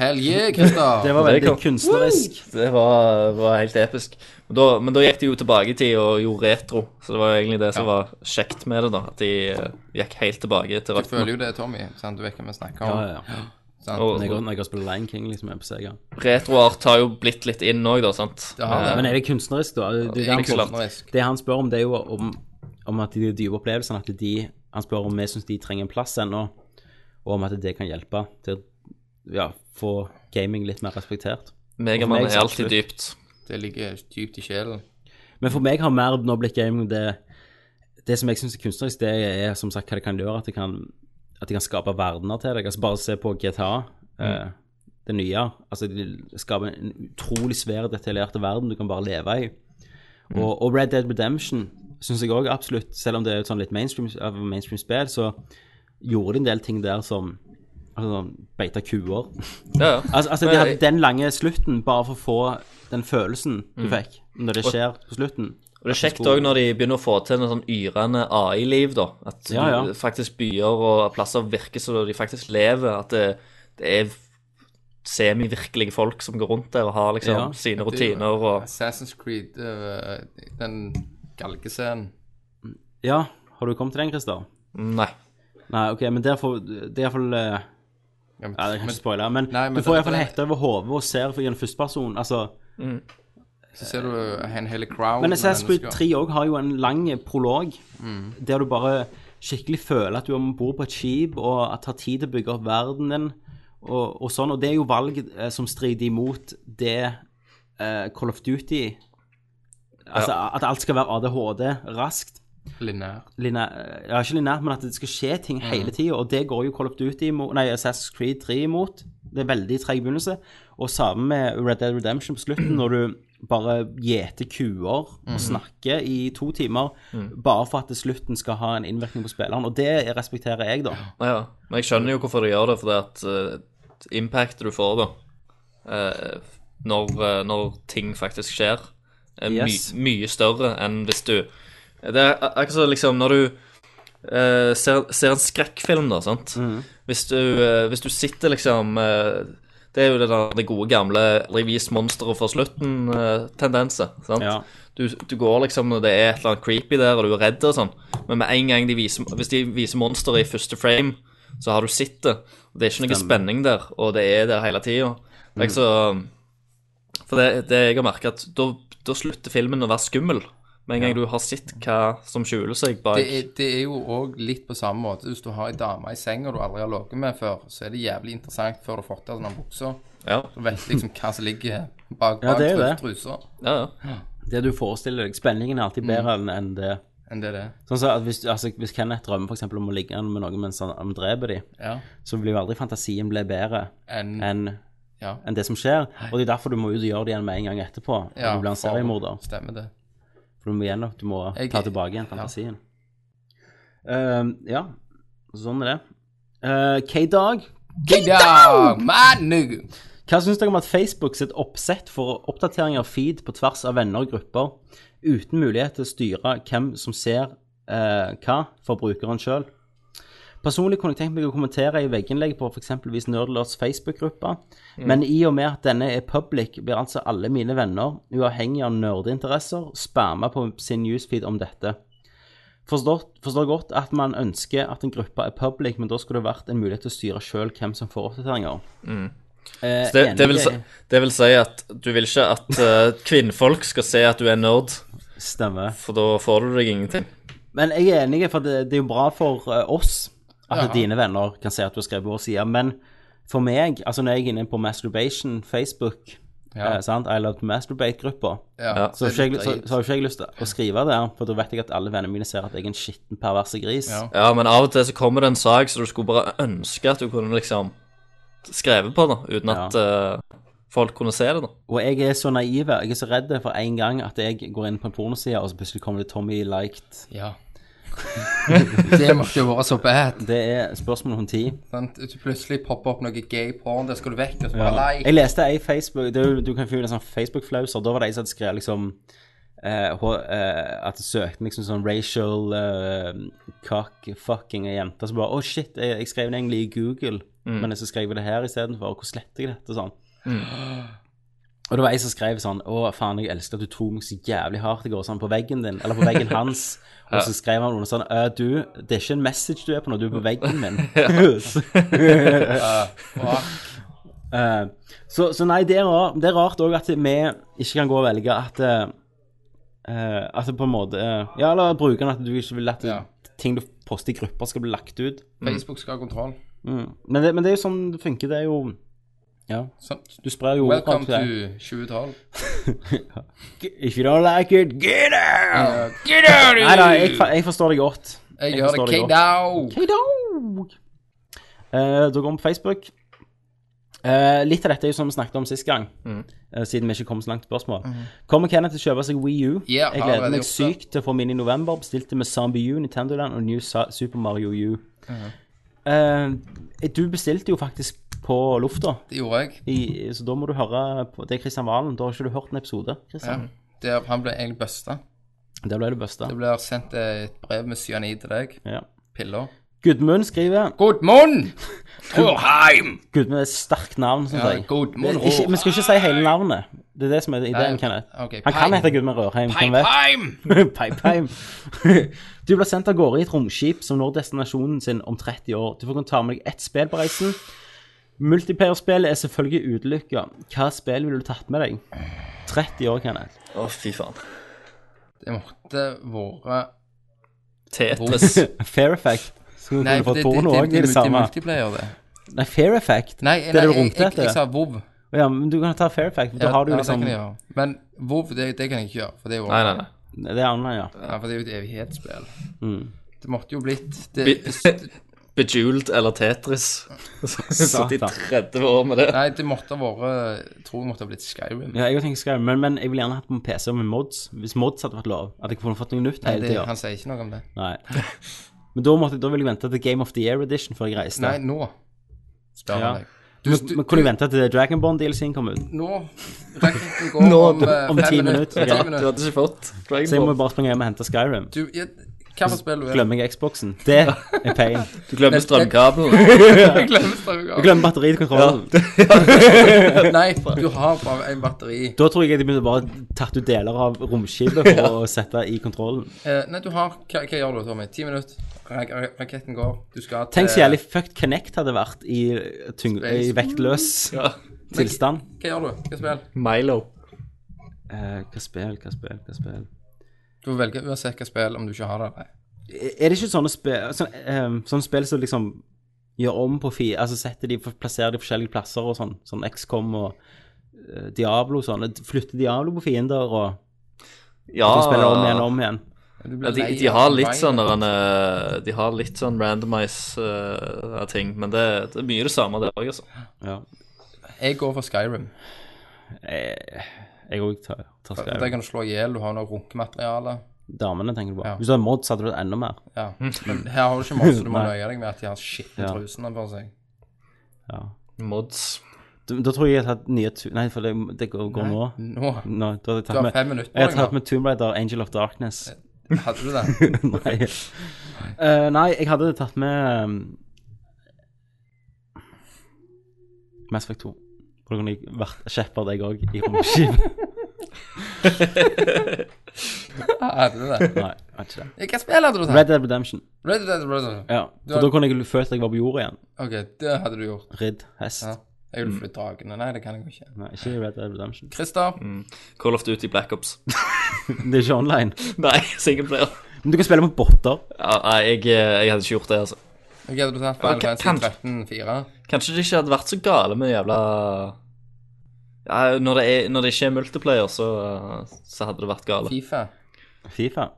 E: Hell yeah, Christer!
D: Det var
F: Det
D: veldig
F: kom-
D: kunstnerisk.
F: det var, var helt episk. Men da, men da gikk de jo tilbake i tid og gjorde retro, så det var jo egentlig det som var kjekt med det, da. At de eh, gikk helt tilbake til
E: Du føler jo det, Tommy. Sant? Du vet hva vi snakker om.
D: Ja, ja, ja.
E: Sant?
F: Og-
D: Når jeg, går- når jeg har spilt Lion King, liksom, er jeg på Sega.
F: Retroart har jo blitt litt inn òg, da, sant? Eh,
E: Det har det.
D: Men er det kunstnerisk, da? Det, det,
E: er
D: han,
F: ikke klart.
E: kunstnerisk.
D: det han spør om, det er jo om, om at de dype opplevelsene, at de Han spør om vi syns de trenger en plass ennå, og om at det kan hjelpe til å ja, få gaming litt mer respektert.
F: Megaman
D: Og for meg
F: er
D: så
F: alltid
D: absolutt.
F: dypt.
E: Det ligger dypt i sjelen.
D: Men for meg har mer nå blitt gaming det Det som jeg syns er kunstnerisk, det er som sagt hva det kan gjøre, at det kan, at det kan skape verdener til deg. Altså bare se på GTA, eh, det nye. Altså det skaper en utrolig svær, detaljert verden du kan bare leve i. Og, og Red Dead Redemption syns jeg òg absolutt, selv om det er et sånn litt mainstream, av mainstream spill, så gjorde de en del ting der som altså, beita kuer.
F: Ja, ja.
D: Altså, altså
F: Men
D: de hadde
F: jeg-
D: den lange slutten bare for å få den følelsen du fikk når det skjer på slutten.
F: Og det er kjekt òg når de begynner å få til en sånn yrende AI-liv, da. At du-
D: Ja, ja.
F: faktisk byer og plasser virker som de faktisk lever. At det, det er semivirkelige folk som går rundt der og har liksom
D: Ja.
F: sine
E: Det er jo-
F: rutiner og
E: Assassin's Creed, øh, den galgescenen
D: Ja, har du kommet til den, Christer?
F: Nei.
D: Nei, ok, men der får Det er iallfall eh, Ja,
E: ja, men,
D: det kan
E: men
D: ikke spoile, men,
E: Nei, men
D: du får
E: det-
D: iallfall
E: det-
D: hette over hodet og ser for en førsteperson. Altså,
E: så ser du øh, en hel crowd
D: men
E: med
D: Assassin's Creed
E: mennesker.
D: 3 òg har jo en lang prolog der du bare skikkelig føler at du er om bord på et skip, og at det tar tid til å bygge opp verden din, og, og sånn. Og det er jo valg eh, som strider imot det eh, Call of Duty Altså at alt skal være ADHD raskt.
E: Linær.
D: linær, eh, ja, ikke linært, men at det skal skje ting hele tida. Og det går jo Call of Duty imot, nei, Assassin's Creed 3 imot. Det er veldig treg begynnelse. Og sammen med Red Dead Redemption på slutten, når du bare gjeter kuer og snakker i to timer bare for at slutten skal ha en innvirkning på spilleren. Og det respekterer jeg, da.
F: Nei, Ja, men jeg skjønner jo hvorfor de gjør det, for det at eh, impactet du får da, eh, når, eh, når ting faktisk skjer, er
D: Yes.
F: my, mye større enn hvis du Det er ak- akkurat som liksom når du eh, ser, ser en skrekkfilm, da, sant. Hvis, du, eh, hvis du sitter liksom eh, Det er jo det, der, det gode gamle 'aldri vis monsteret for slutten'-tendense. eh, sant?
D: Ja.
F: du, du går liksom og det er et eller annet creepy der, og du er redd og sånn, men med en gang de viser, hvis de viser monster i første frame, så har du sett det. Det er ikke noe spenning der, og det er der hele tida. Det er ikke så For det, det jeg har merka, at da, da slutter filmen å være skummel. Med en gang du har sett hva som skjuler seg bak
E: Det er, det er jo òg litt på samme måte. Hvis du har ei dame i senga du aldri har ligget med før, så er det jævlig interessant før du har fått av denne buksa.
F: Ja,
E: Du vet liksom hva som ligger bak, bak
D: Ja, det er jo
E: tru-
D: det.
E: trusa.
F: ja, ja.
D: Det du forestiller deg. Spenningen er alltid bedre enn- enn det
J: enn det det er.
D: Sånn så at hvis, altså, hvis Kenneth drømmer for eksempel om å ligge med noen mens han, han dreper dem,
J: Ja.
D: så vil jo aldri fantasien bli bedre
J: Enn
D: enn
J: Mm. Ja.
D: enn det som skjer. Og det er derfor du må ut og gjøre det igjen med en gang etterpå. Ja,
J: ja,
D: du blir en
J: for-
D: seriemorder.
J: Stemmer det.
D: For du må, igjen, du må
J: Jeg-
D: ta tilbake igjen fantasien. Ehm, ja, sånn er det. Eh, K-Dag,
E: Kiddag, my nigga.
D: hva syns dere om at Facebook sitt oppsett for oppdatering av feed på tvers av venner og grupper, uten mulighet til å styre hvem som ser eh, hva for brukeren sjøl? Personlig kunne jeg tenkt meg å kommentere i vegginnlegg på f.eks. Nerdlords Facebook-gruppe,
F: Mm.
D: men i og med at denne er public, blir altså alle mine venner, uavhengig av nerdeinteresser, spamma på sin newsfeed om dette. Forstått, forstår godt at man ønsker at en gruppe er public, men da skulle det vært en mulighet til å styre sjøl hvem som får oppdateringer. Eh,
F: Mm. Så det, det, vil,
D: enig.
F: si- det vil si at du vil ikke at eh, kvinnfolk skal se at du er nerd,
D: Stemmer.
F: for da får du deg ingenting.
D: Men jeg er enig, for det, det er jo bra for eh, oss at dine venner kan se at du har skrevet på vår side. Men for meg, altså når jeg er inne på masturbation, Facebook,
J: Ja.
D: eh, sant, I love to masturbate-gruppa,
J: Ja.
D: så, har ikke jeg- så, så har ikke jeg lyst til å skrive det, for da vet jeg at alle vennene mine ser at jeg er en skitten, perverse gris.
J: Ja.
F: Ja, men av og til så kommer det en sak så du skulle bare ønske at du kunne liksom skrevet på, da, uten at eh, folk kunne se det, da.
D: Og jeg er så naiv, jeg er så redd for en gang at jeg går inn på en pornoside, og så plutselig kommer det Tommy liked.
J: Ja.
E: [LAUGHS] Det må ikke være så bad.
D: Det er spørsmål om tid.
E: Sant? Hvis du plutselig popper opp noe gay porn, der skal du vekk, og så bare
D: Ja.
E: like.
D: Jeg leste ei Facebook det, er jo- Du kan få en sånn Facebook-flauser. Da var det ei som hadde skrevet liksom eh, hå- eh, At det søkte liksom sånn racial eh, cock-fucking ei jente. Så bare Å, shit, jeg, jeg skrev det egentlig i Google, men så skrev jeg det her istedenfor. Hvor sletter jeg dette? Sånn. Og det var ei som skrev sånn Å, faen, jeg elsker at du tok meg så jævlig hardt i går, sånn på veggen din, eller på veggen hans. Og så skrev han under sånn «Ø, Du, det er ikke en message du er på nå, du er på veggen min. [LAUGHS] Eh, så, så nei, det er, rar, det er rart òg at vi ikke kan gå og velge at eh, eh, At det på en måte eh, Ja, eller brukeren at du ikke vil at
J: Ja.
D: ting du poster i grupper, skal bli lagt ut.
J: Facebook skal ha kontroll.
D: Mm. Men, det, men det er jo sånn det funker. Det er jo Ja.
J: Sånn.
D: Du sprer jo ord
J: Welcome
D: fram til
J: to 2012.
D: If you don't like it, get out!
J: Ja. Get out
D: Nei da, jeg, fa- jeg forstår det godt.
J: Jeg
D: Jeg
J: gjør
D: forstår
J: det.
D: det
J: Kick down!
D: godt. Hei dog! Eh, da går vi på Facebook. Eh, litt av dette er jo som vi snakket om sist gang,
J: Mm.
D: eh, siden vi ikke kom så langt i spørsmål. Kommer Kenneth til å kjøpe seg Wii U?
J: Ja,
D: jeg
J: har
D: gleder
J: allerede
D: meg
J: gjort
D: sykt til å få min i november. Bestilte med Zombie U, Nintendo Land og New Sa- Super Mario U.
J: Mm.
D: Eh, du bestilte jo faktisk på lufta,
J: Det gjorde jeg.
D: i, så da må du høre på Det er Kristian Valen. Da har ikke du hørt en episode, Kristian.
J: Der han ble egentlig busta.
D: Der ble det bøsta.
J: Mm. Det blir sendt et brev med cyanid til deg.
D: Ja.
J: Piller.
D: Gudmund skriver
J: Good morning! Roheim!
D: Gudmund er et sterkt navn, syns
J: Ja,
D: jeg.
J: good
D: Det er
J: morning,
D: Ikke, vi skal ikke si hele navnet. Det er det som er ideen,
J: Nei,
D: Kenneth.
J: ok,
D: Han kan
J: Peim.
D: hete Gudmund Rørheim. hvem vet?
J: Heim!
D: [LAUGHS] Pipeheim. du blir sendt av gårde i et romskip som når destinasjonen sin om 30 år. Du får kunne ta med deg ett spill på reisen. Multiplayerspillet er selvfølgelig utelukka. Hva spill ville du tatt med deg? 30 år, Kenneth. [LAUGHS]
F: Å, fy faen.
J: Det måtte vært
F: Tetris.
D: Fair Effect. Skulle
J: Nei, for
D: kunne fått
J: det, det,
D: porno
J: det,
D: òg i
J: det,
D: det
J: det er
D: samme.
J: multiplayer, det.
D: Nei, Fair Effect.
J: Nei, nei
D: det er det du
J: jeg,
D: ropte
J: jeg, jeg
D: etter.
J: sa vov.
D: Ja, men du kan ta Fair Effect. for Da har du liksom
J: det kan jeg
D: Det
J: gjøre. Men vov, det, det kan jeg ikke gjøre. For det er jo
F: Nei, nei, nei.
D: er annet, ja. Mm.
J: Ja, for det er jo et evighetsspill. Det måtte jo blitt det,
F: Be [LAUGHS] Bejeweled eller Tetris. [LAUGHS] Satt i 30 år med det.
J: [LAUGHS] Nei, det måtte ha vært Jeg tror det måtte ha blitt Skyrim.
D: Ja, jeg har tenkt å skrive, men, men jeg vil gjerne hatt på en PC med mods, hvis mods hadde vært lov. At jeg kunne fått noe nytt hele
J: det,
D: tida.
J: han sier ikke noe om det.
D: Nei. Men da, måtte, da ville jeg vente til Game of the Year Edition før jeg reiste.
J: Nei, nå spør
D: Ja.
J: han deg. Du,
D: men, men kunne jeg vente til Dragon Bond DLC-en kom ut?
J: Nå Takk for
D: [LAUGHS]
J: at du går
F: Nå,
J: om, eh,
D: om
J: fem
D: ti
J: minutter.
D: minutter,
J: Ti
F: Du
D: ok.
J: minutter.
F: hadde ikke fått
D: Så jeg må
F: Dragon Ball.
D: bare springe hjem og hente Skyrim.
J: Du, ja, hva for spill du er?
D: Glemmer jeg Xboxen? Det er pain.
F: Du glemmer
D: [LAUGHS]
F: strømkabelen.
J: [LAUGHS] Jeg glemmer Starugard.
D: Jeg glemmer batterikontrollen.
J: Nei, du har bare en batteri.
D: Da tror jeg jeg begynte bare tatt ut deler av
J: [LAUGHS]
D: romskipet for å sette i kontrollen.
J: Eh, nei, du har Hva, hva gjør du, Tommy? Ti minutter. Rak rak raketten går. Du skal til
D: Tenk så jævlig fucked Connect hadde vært i, tyng i vektløs
F: Ja.
D: tilstand.
J: Hva gjør du? Hva spill?
F: Milo.
D: Eh, hva spill, hva spill, hva spill?
J: Du velger uansett hva spill, om du ikke har det. Nei.
D: Er det ikke sånne spill sånne, ehm, sånne spill som liksom gjør om på fi... Altså setter de, plasserer de forskjellige plasser og sånn? Sånn XCOM og eh, Diablo og sånn. Flytter Diablo på fiender og
F: Ja.
E: Ah.
D: Du spiller om igjen og om igjen.
E: Du
F: Ja,
E: blir
F: de,
E: lei
F: de
E: av
F: har litt sånn
E: survival.
F: der en, eh, De har litt sånn randomize eh, av ting, men det, det er mye det samme der òg, altså.
D: Ja.
E: Jeg går for Skyrim.
D: Eh, Jeg òg tar, tar
E: Der
D: Skyrim.
E: kan du slå i hjel. Du har noe runkemateriale.
D: Damene tenker du på.
E: Ja.
D: Hvis du hadde mod, så hadde du enda mer.
E: Ja. Men her har du ikke masse. Du må
D: Mm. Nei.
E: nøye deg med at de har skitne
D: Ja.
E: trusene på seg.
D: Ja.
F: Mods.
D: Da, da tror jeg jeg hadde tatt nye tu- Nei, for det, det går, går nå.
E: Nå
D: Nå, da hadde jeg
E: Du
D: tatt
E: har
D: med
E: fem minutter på
D: Jeg har
E: deg nå.
D: tatt med Tomb Raider, Angel of Darkness.
E: Hadde
D: [LAUGHS]
E: du [LAUGHS] det?
D: nei. Eh, nei, jeg hadde tatt med um, Mass Effect 2. For da kunne jeg vært kjepper deg òg i romskip.
E: Hadde du
D: nei,
E: det?
D: jeg vet ikke det.
E: Ja, Hva spill hadde du tatt?
D: Red Dead Redemption.
E: Red Dead Redemption.
D: Ja, for
E: Du har-
D: da kunne jeg følt at jeg var på jorda igjen.
E: OK, det hadde du gjort.
D: Ridd hest.
E: Ja. Jeg ville flydd dragene. Nei, det kan jeg jo ikke.
D: Nei, ikke Red Dead Redemption.
E: Christer,
D: Mm.
F: Call of Duty Black Ops. [LAUGHS]
D: Det er ikke online.
F: Nei, singleplayer.
D: Men du kan spille med botter.
F: Ja, nei, jeg, eh, jeg hadde ikke gjort det, altså.
E: hva hadde du tatt? Final
F: Ja,
E: Fantasy
F: kan-
E: 13-4?
F: Kanskje de ikke hadde vært så gale med jævla ja, når, det er, når det ikke er multiplayer, så, eh, så hadde det vært gale.
E: Fifa?
D: Fifa.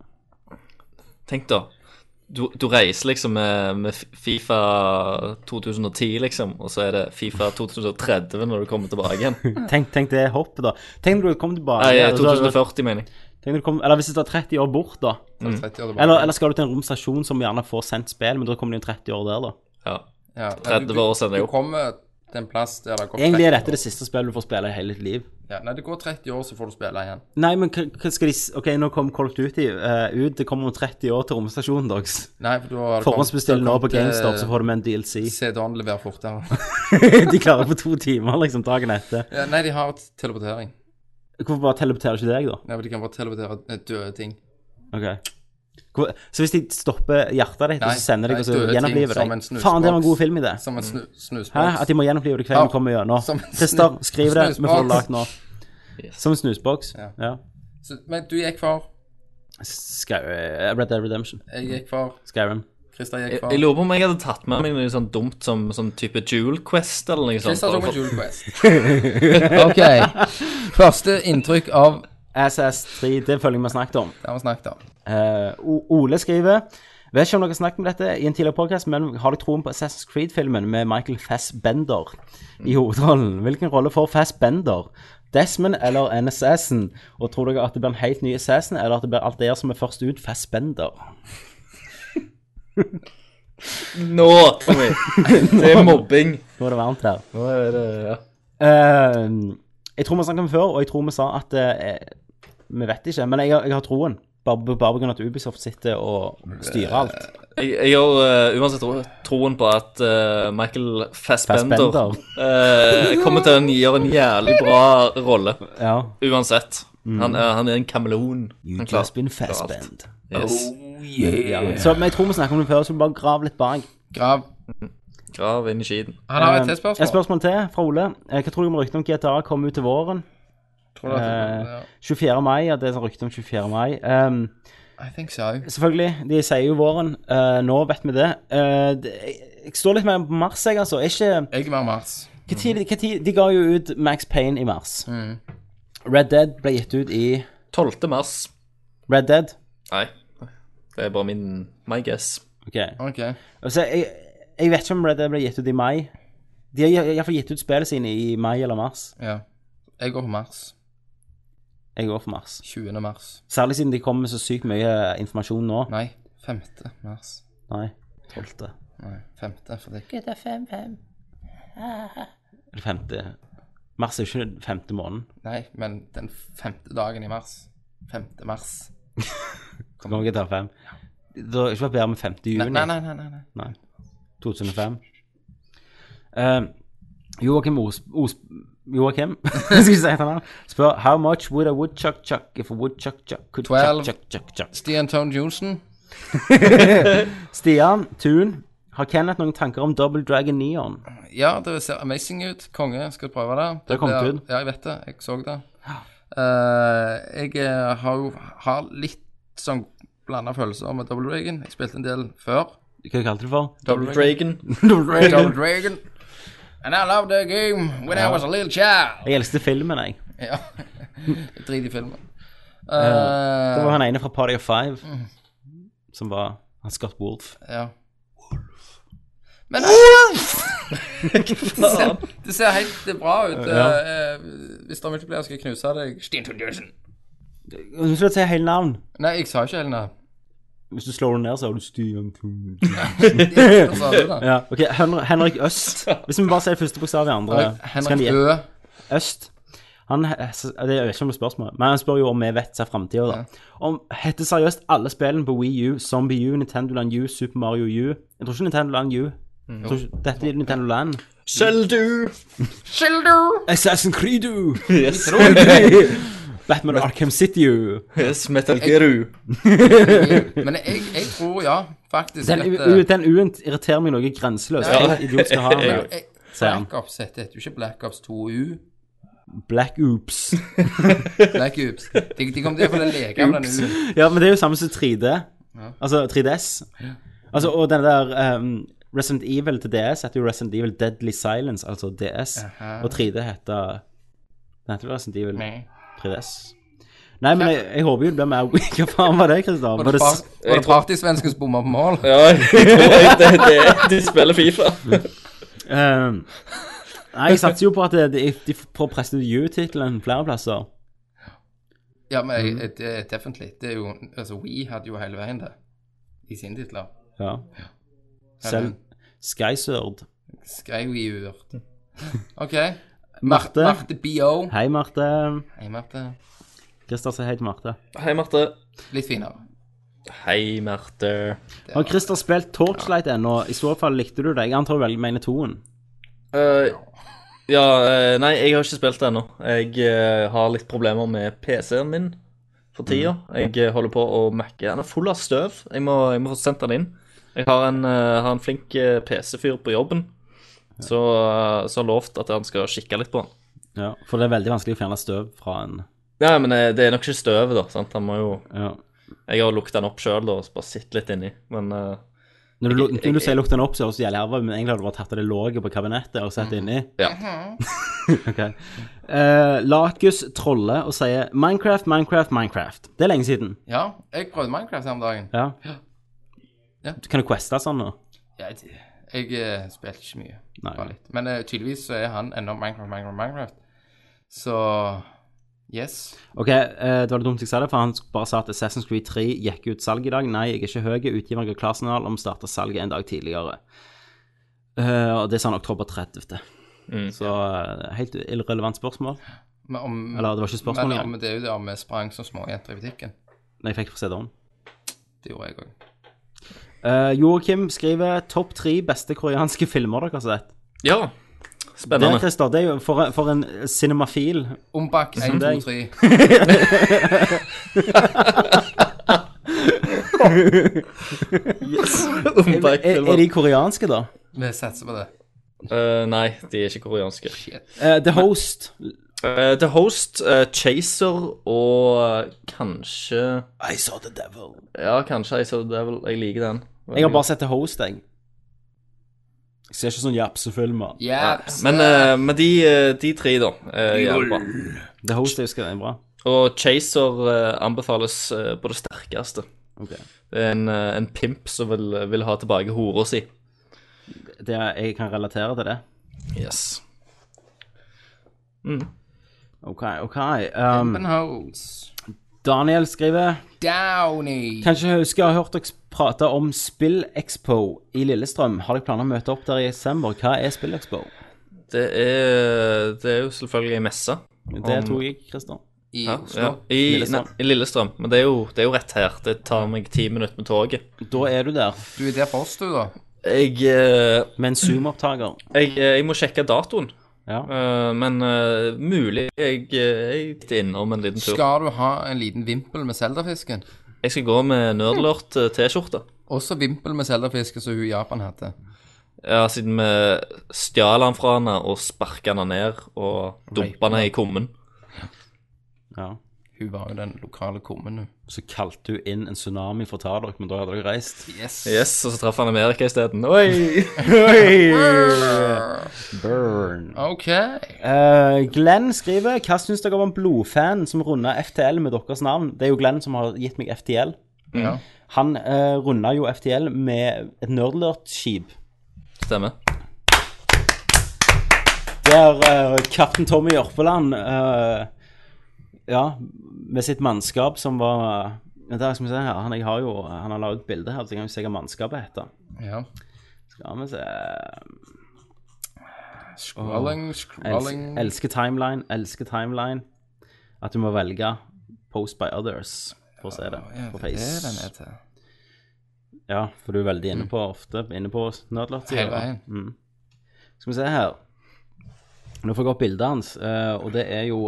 F: Tenk da. Du, du reiser liksom med, med Fifa 2010, liksom, og så er det Fifa 2030 når du kommer tilbake igjen. eh,
D: Tenk, tenk det hoppet, da. Tenk når du kom tilbake.
F: Nei,
D: og så hadde du-
F: 2040, mener jeg.
D: tenk når du kom, eller hvis du tar 30 år bort, da.
E: Så er det 30 år tilbake.
D: Mm. Eller, eller skal du til en romstasjon som gjerne får sendt spill, men da kommer det jo 30 år der, da.
F: Ja.
E: Ja, men
F: 30
E: du-
F: år siden, jo.
E: Du kommer til en plass der det går
D: Egentlig er
E: 30
D: dette det siste spillet du får spille i hele ditt liv.
E: Ja, nei, det går 30 år, så får du spille igjen.
D: Nei, men hva hva skal de s- OK, nå kom Call of Duty eh, ut. Det kommer om 30 år til romstasjonen deres.
E: Nei, for da har det
D: Forhåndsbestill
E: kommet-
D: nå
E: da
D: på
E: kom til-
D: GameStop, så får du med en
E: [LAUGHS]
D: DLC.
E: CD-en leverer fortere.
D: [LAUGHS] De klarer på to timer, liksom, dagen etter.
E: Ja, nei, de har t- teleportering.
D: Hvorfor bare teleporterer ikke deg, da?
E: Nei, men De kan bare teleportere eh, døde ting.
D: OK. Hvor- Så hvis de stopper hjertet ditt, og
E: Nei,
D: så sender de
E: nei,
D: og så
E: døde ting
D: gjenoppliver
E: som en
D: deg
E: snusboks.
D: Faen, det var en god filmidé.
E: Som en snu, snusboks.
D: Mm. Hæ? At de må gjenopplive det hver gang
E: Ja.
D: vi kommer gjennom.
E: Som en snu-
D: Christer, skriv det. Vi får det
E: snusboks.
D: lagd nå.
F: Yes.
D: Som en snusboks.
E: Ja.
D: Ja.
E: Så, men du gikk for.
D: Sky- eh, Red Dead Redemption.
E: Jeg gikk for.
D: Skyrim.
E: Christer gikk
F: Jeg,
E: for.
F: jeg lurer på om jeg hadde tatt med meg noe sånn dumt som sånn type Jewel Quest eller noe sånt.
E: Christer tok
F: bare
D: [LAUGHS]
E: en
F: for-
E: Jewel Quest. [LAUGHS] ok. Første inntrykk av
D: SS3, det føler jeg vi har snakket om.
E: det har vi snakket om.
D: Eh, O- Ole skriver Vet ikke om dere har snakket om dette i en tidligere podcast, men har dere troen på Assassin's Creed-filmen med Michael Fassbender i hovedrollen? Hvilken rolle får Fassbender? Desmond eller en assassin? Og tror dere at det blir en helt ny assassin, eller at det blir alt dere som er først ut, Fassbender?
F: Nå, [LAUGHS] Tommy! Det er mobbing.
D: Nå er det varmt her.
F: Nå er det, ja.
D: Eh, jeg tror vi snakket om det før, og jeg tror vi sa at eh, Vi vet ikke, men jeg, har- jeg har troen. Bare bare på grunn av at Ubisoft sitter og styrer alt.
F: Jeg, jeg har eh, uansett tro- troen på at eh, Michael Fassbender,
D: Fassbender.
F: eh, kommer til å gjøre en jævlig bra rolle.
D: Ja.
F: Uansett. Han, er, han er en kameleon. Han klarer
D: Just been
F: alt.
D: Fassbender.
F: Yes.
D: Ja. Så, men jeg tror vi snakket om det før, så vi bare grav litt bak.
E: Grav.
F: Grav inn i skiten.
E: Han har et til
D: Um, Et
E: spørsmål.
D: spørsmål til fra Ole. Eh, Hva tror du om ryktene om GTA kommer ut til våren?
E: Tror du at det-
D: Eh,
E: ja.
D: 24. mai, ja, det er sånn rykte om 24. mai. Ehm,
E: I think so.
D: selvfølgelig, de sier jo våren. Eh, nå vet vi det. Eh, det jeg- jeg står litt mer på mars, jeg, altså. Er Ikke,
E: Jeg er mer Mars.
D: hva tid, hva tid, de ga jo ut Max Payne i mars. Red Dead ble gitt ut i
F: 12. mars.
D: Red Dead.
F: Nei, det er bare min my guess.
D: Ok.
E: Ok.
D: Altså, jeg, jeg vet ikke om Red Dead ble gitt ut i mai. De har i- i hvert fall gitt ut spillet sine i mai eller mars.
E: Ja. Jeg går for Mars.
D: Jeg går for mars.
E: 20. mars.
D: Særlig siden de kommer med så sykt mye informasjon nå.
E: Nei, 5. mars.
D: Nei. 12.
E: Nei, 5. for det er ikke
D: Eller 5. Mars er jo ikke den femte måneden.
E: Nei, men den femte dagen i mars. 5. mars.
D: Så kommer GTA 5. Det har ikke vært bedre med 5.
E: Nei,
D: juni
E: nei, nei. nei, nei, nei.
D: Nei. 2005. Uh, Joakim Os... Os Joakim, [LAUGHS] skal vi si at han er, spør How much would a woodchuck chuck if a woodchuck chuck could
E: Twelve.
D: chuck chuck chuck chuck?
E: Stian Tone Johnsen.
D: Stian Thun, har Kenneth noen tanker om Double Dragon Neon?
E: Ja, det ser amazing ut. Konge, skal du prøve det? Det,
D: har kommet ut.
E: blir- Ja, jeg vet det. Jeg så det. Eh, jeg eh, har jo har litt sånn blanda følelser med Double Dragon. Jeg spilte en del
D: [LAUGHS]
E: før.
D: Hva kalte du det for?
F: Double Dragon.
D: Double
E: Double Dragon. And I loved that game when I was a little child. [LAUGHS]
D: Jeg elsket filmen, jeg.
E: Ja. Drit i filmen. Eh,
D: Det var han ene fra Party of Five som var han Scott Wolf.
E: Ja. Men eh, det, ser, det ser helt det er bra ut.
D: Ja.
E: Eh, eh, hvis det er multiplayer, skal jeg knuse deg. Steinton Jørgensen.
D: Du skal si hele navn.
E: Nei, jeg sa ikke hele navnet.
D: Hvis du slår den ned, så har du Stian Thun.
E: Hva sa Altså, du da?
D: Ja, ok, Henrik, Henrik Øst. Hvis vi bare ser første bokstav i andre så kan
E: Henrik
D: de-
E: Ø.
D: Øst. Han, he- s- eh, det er jo ikke noe spørsmål, men han spør jo om vi vet seg framtida, da. Om heter seriøst alle spillene på Wii U, Zombie U, Nintendo Land U, Super Mario U Jeg tror ikke Nintendo Land U. Jeg tror ikke, dette er Nintendo Land.
F: Seldu!
D: Assassin Creed U! [LAUGHS]
F: Yes.
D: Batman Arkham City U.
F: yes, Metal Geru.
E: Men jeg, jeg tror, ja, faktisk
D: Den,
E: at eh,
D: U- U- den U-en irriterer meg noe grenseløst.
F: Ja.
D: Helt idiot skal ha den.
E: eh,
D: sier han.
E: Black Ops heter jo ikke Black Ops 2U.
D: Black Oops.
E: Black Ops. De, de kommer til å få leke med den U-en.
D: Ja, men det er jo samme som 3D. Altså 3DS. Altså, og den der um, Resident Evil til DS heter jo Resident Evil Deadly Silence, altså DS. Og 3D heter Den heter vel Resident Evil 3DS. Nei, men jeg, jeg håper jo det blir mer [LAUGHS] Hva faen var det, Kristian?
E: Var det, par, var det
F: tror-
E: partysvensken som bomma på mål?
F: Ja, jeg tror jeg [LAUGHS] det, det, de spiller Fifa.
D: Ehm, Nei, jeg satser jo på at det- de, de får presset ut U-tittelen flere plasser.
E: Ja, men
D: Mm.
E: jeg, jeg, det er definitely. Det er jo, altså, We hadde jo hele veien det i sine titler.
D: Ja. Selv Skysword.
E: Skreiviurt. [LAUGHS] OK.
D: Mm. Marte.
E: Marte B.O.
D: Hei, Marte.
E: Hei, Marte.
D: Christer sier hei til Marte.
F: Hei, Marte.
E: Litt finere.
F: Hei, Marte.
D: Har Christer spilt Torchlight ennå? I så fall likte du det. Jeg antar du velger mener toen.
F: Eh, ja, eh, nei, jeg har ikke spilt det ennå. Jeg eh, har litt problemer med PC-en min for tida. Jeg eh, holder på å mekke. Den er full av støv. Jeg må, jeg må få sendt den inn. Jeg har en, eh, har en flink eh, PC-fyr på jobben så, eh, så har lovt at han skal kikke litt på den.
D: Ja, for det er veldig vanskelig å fjerne støv fra en
F: Ja, men eh, det er nok ikke støvet, da. sant? Han må jo...
D: ja.
F: Jeg har lukta den opp sjøl og bare sittet litt inni, men eh,
D: Når du, lu-
F: Jeg- jeg-
D: når du sier lukten opp, så høres det jævlig herva ut, men egentlig hadde du bare tatt av det låget på kabinettet og satt det inni.
F: Mhm. Ja.
D: [LAUGHS] ok. Eh, Lakus troller og sier Minecraft, Minecraft, Minecraft. Det er lenge siden.
E: Ja, jeg prøvde Minecraft her om dagen.
D: Ja.
E: Ja.
D: Kan du queste sånn nå?
E: Jeg, jeg eh, spilte ikke mye.
D: Nei.
E: Bare litt. Men eh, tydeligvis så er han ennå Minecraft, Minecraft, Minecraft. Så yes.
D: Ok, eh, det var litt dumt jeg sa det, for han bare sa at Assassin's Creed 3 gikk ut salg i dag. Nei, jeg er ikke høy. Utgiveren ga klarsignal om å starte salget en dag tidligere. Eh, og det sa han oktober 30. Så eh, helt irrelevant spørsmål.
E: Men om,
D: Eller det var ikke spørsmål
E: men
D: engang.
E: om det er jo det om vi sprang som småjenter i butikken.
D: Når jeg fikk på CD-en.
E: Det gjorde jeg òg.
D: Eh, Joakim skriver topp tre beste koreanske filmer dere har sett.
F: Ja.
D: Det,
F: Spennende.
D: Christer, det er jo for, for en cinemafil.
E: Ombak 1,
D: deg. [LAUGHS]
E: 2, 3.
F: [LAUGHS]
D: Er, er de koreanske, da?
E: Vi satser på det.
F: Eh, nei, de er ikke koreanske.
D: Eh, The Host.
F: Eh, The Host, eh, Chaser og eh, kanskje
D: I saw the devil.
F: Ja, kanskje I Saw the Devil. Jeg liker den.
D: Jeg har bare sett The Host, jeg. Jeg ser ikke sånn japsefilmer.
E: Japs.
F: Men, eh, men de, eh, de tre, da, er jævlig bra.
D: The Host jeg husker jeg er bra.
F: Og Chaser eh, anbefales eh, på det sterkeste.
D: Ok.
F: Det er en, eh, en pimp som vil, vil ha tilbake hora si.
D: Det, er- jeg kan relatere til det.
F: Yes.
D: OK, OK. Um,
E: Hose.
D: Daniel skriver
E: Downy.
D: Kanskje jeg husker jeg har hørt dere prate om SpillExpo i Lillestrøm. Har dere planer om å møte opp der i desember? Hva er SpillExpo?
F: Det er, det er jo selvfølgelig ei messe.
D: Det tok jeg, Christer.
E: I
F: Ja,
E: Oslo.
F: ja. I,
D: Lillestrøm.
F: nei, I Lillestrøm. Men det er, jo, det er jo rett her. Det tar meg ti minutter med toget.
D: Da er du der
E: Du er der for oss, du, da.
F: Jeg, eh,
D: med en Zoom-opptaker.
F: jeg, eh, jeg må sjekke datoen.
D: Ja.
F: Eh, men eh, mulig jeg, eh, jeg gikk innom en liten tur.
E: Skal du ha en liten vimpel med Zelda-fisken?
F: Jeg skal gå med nerdlort eh, T-skjorte.
E: Også vimpel med Zelda-fisken som hun i Japan hadde.
F: Ja, siden vi stjal han fra henne og sparka han ned og dumpa han i kummen.
D: ja.
E: Hun
J: Hun var jo den lokale kommen, hun.
D: Så kalte hun inn en tsunami for å ta dere, men da hadde dere
E: [LAUGHS]
D: reist.
J: Yes.
F: Yes, og så traff han Amerika isteden. Oi!
D: Burn.
J: OK.
D: Eh, Glenn skriver Hva syns dere om en blodfan som runda FTL med deres navn? Det er jo Glenn som har gitt meg FTL.
J: Ja.
D: Han uh, runda jo FTL med et nerdlert-skip.
F: Stemmer.
D: Der eh, kaptein Tommy Jørpeland eh, Ja, med sitt mannskap som var Vent, da skal vi se her. Han, jeg har jo, han har la ut bilde her, så jeg kan jo se hva mannskapet heter.
J: ja.
D: Skal vi se
J: Scrolling,
D: Elsker,
J: scrolling
D: elsker timeline, elsker timeline. At du må velge Post by Others for å se det
J: Ja,
D: på
J: det er den
D: Face.
J: heter.
D: Ja, for du er veldig inne på ofte inne på nerdlert.
J: Hele veien.
D: Mm. Skal vi se her. Nå får jeg opp bildet hans, eh, og det er jo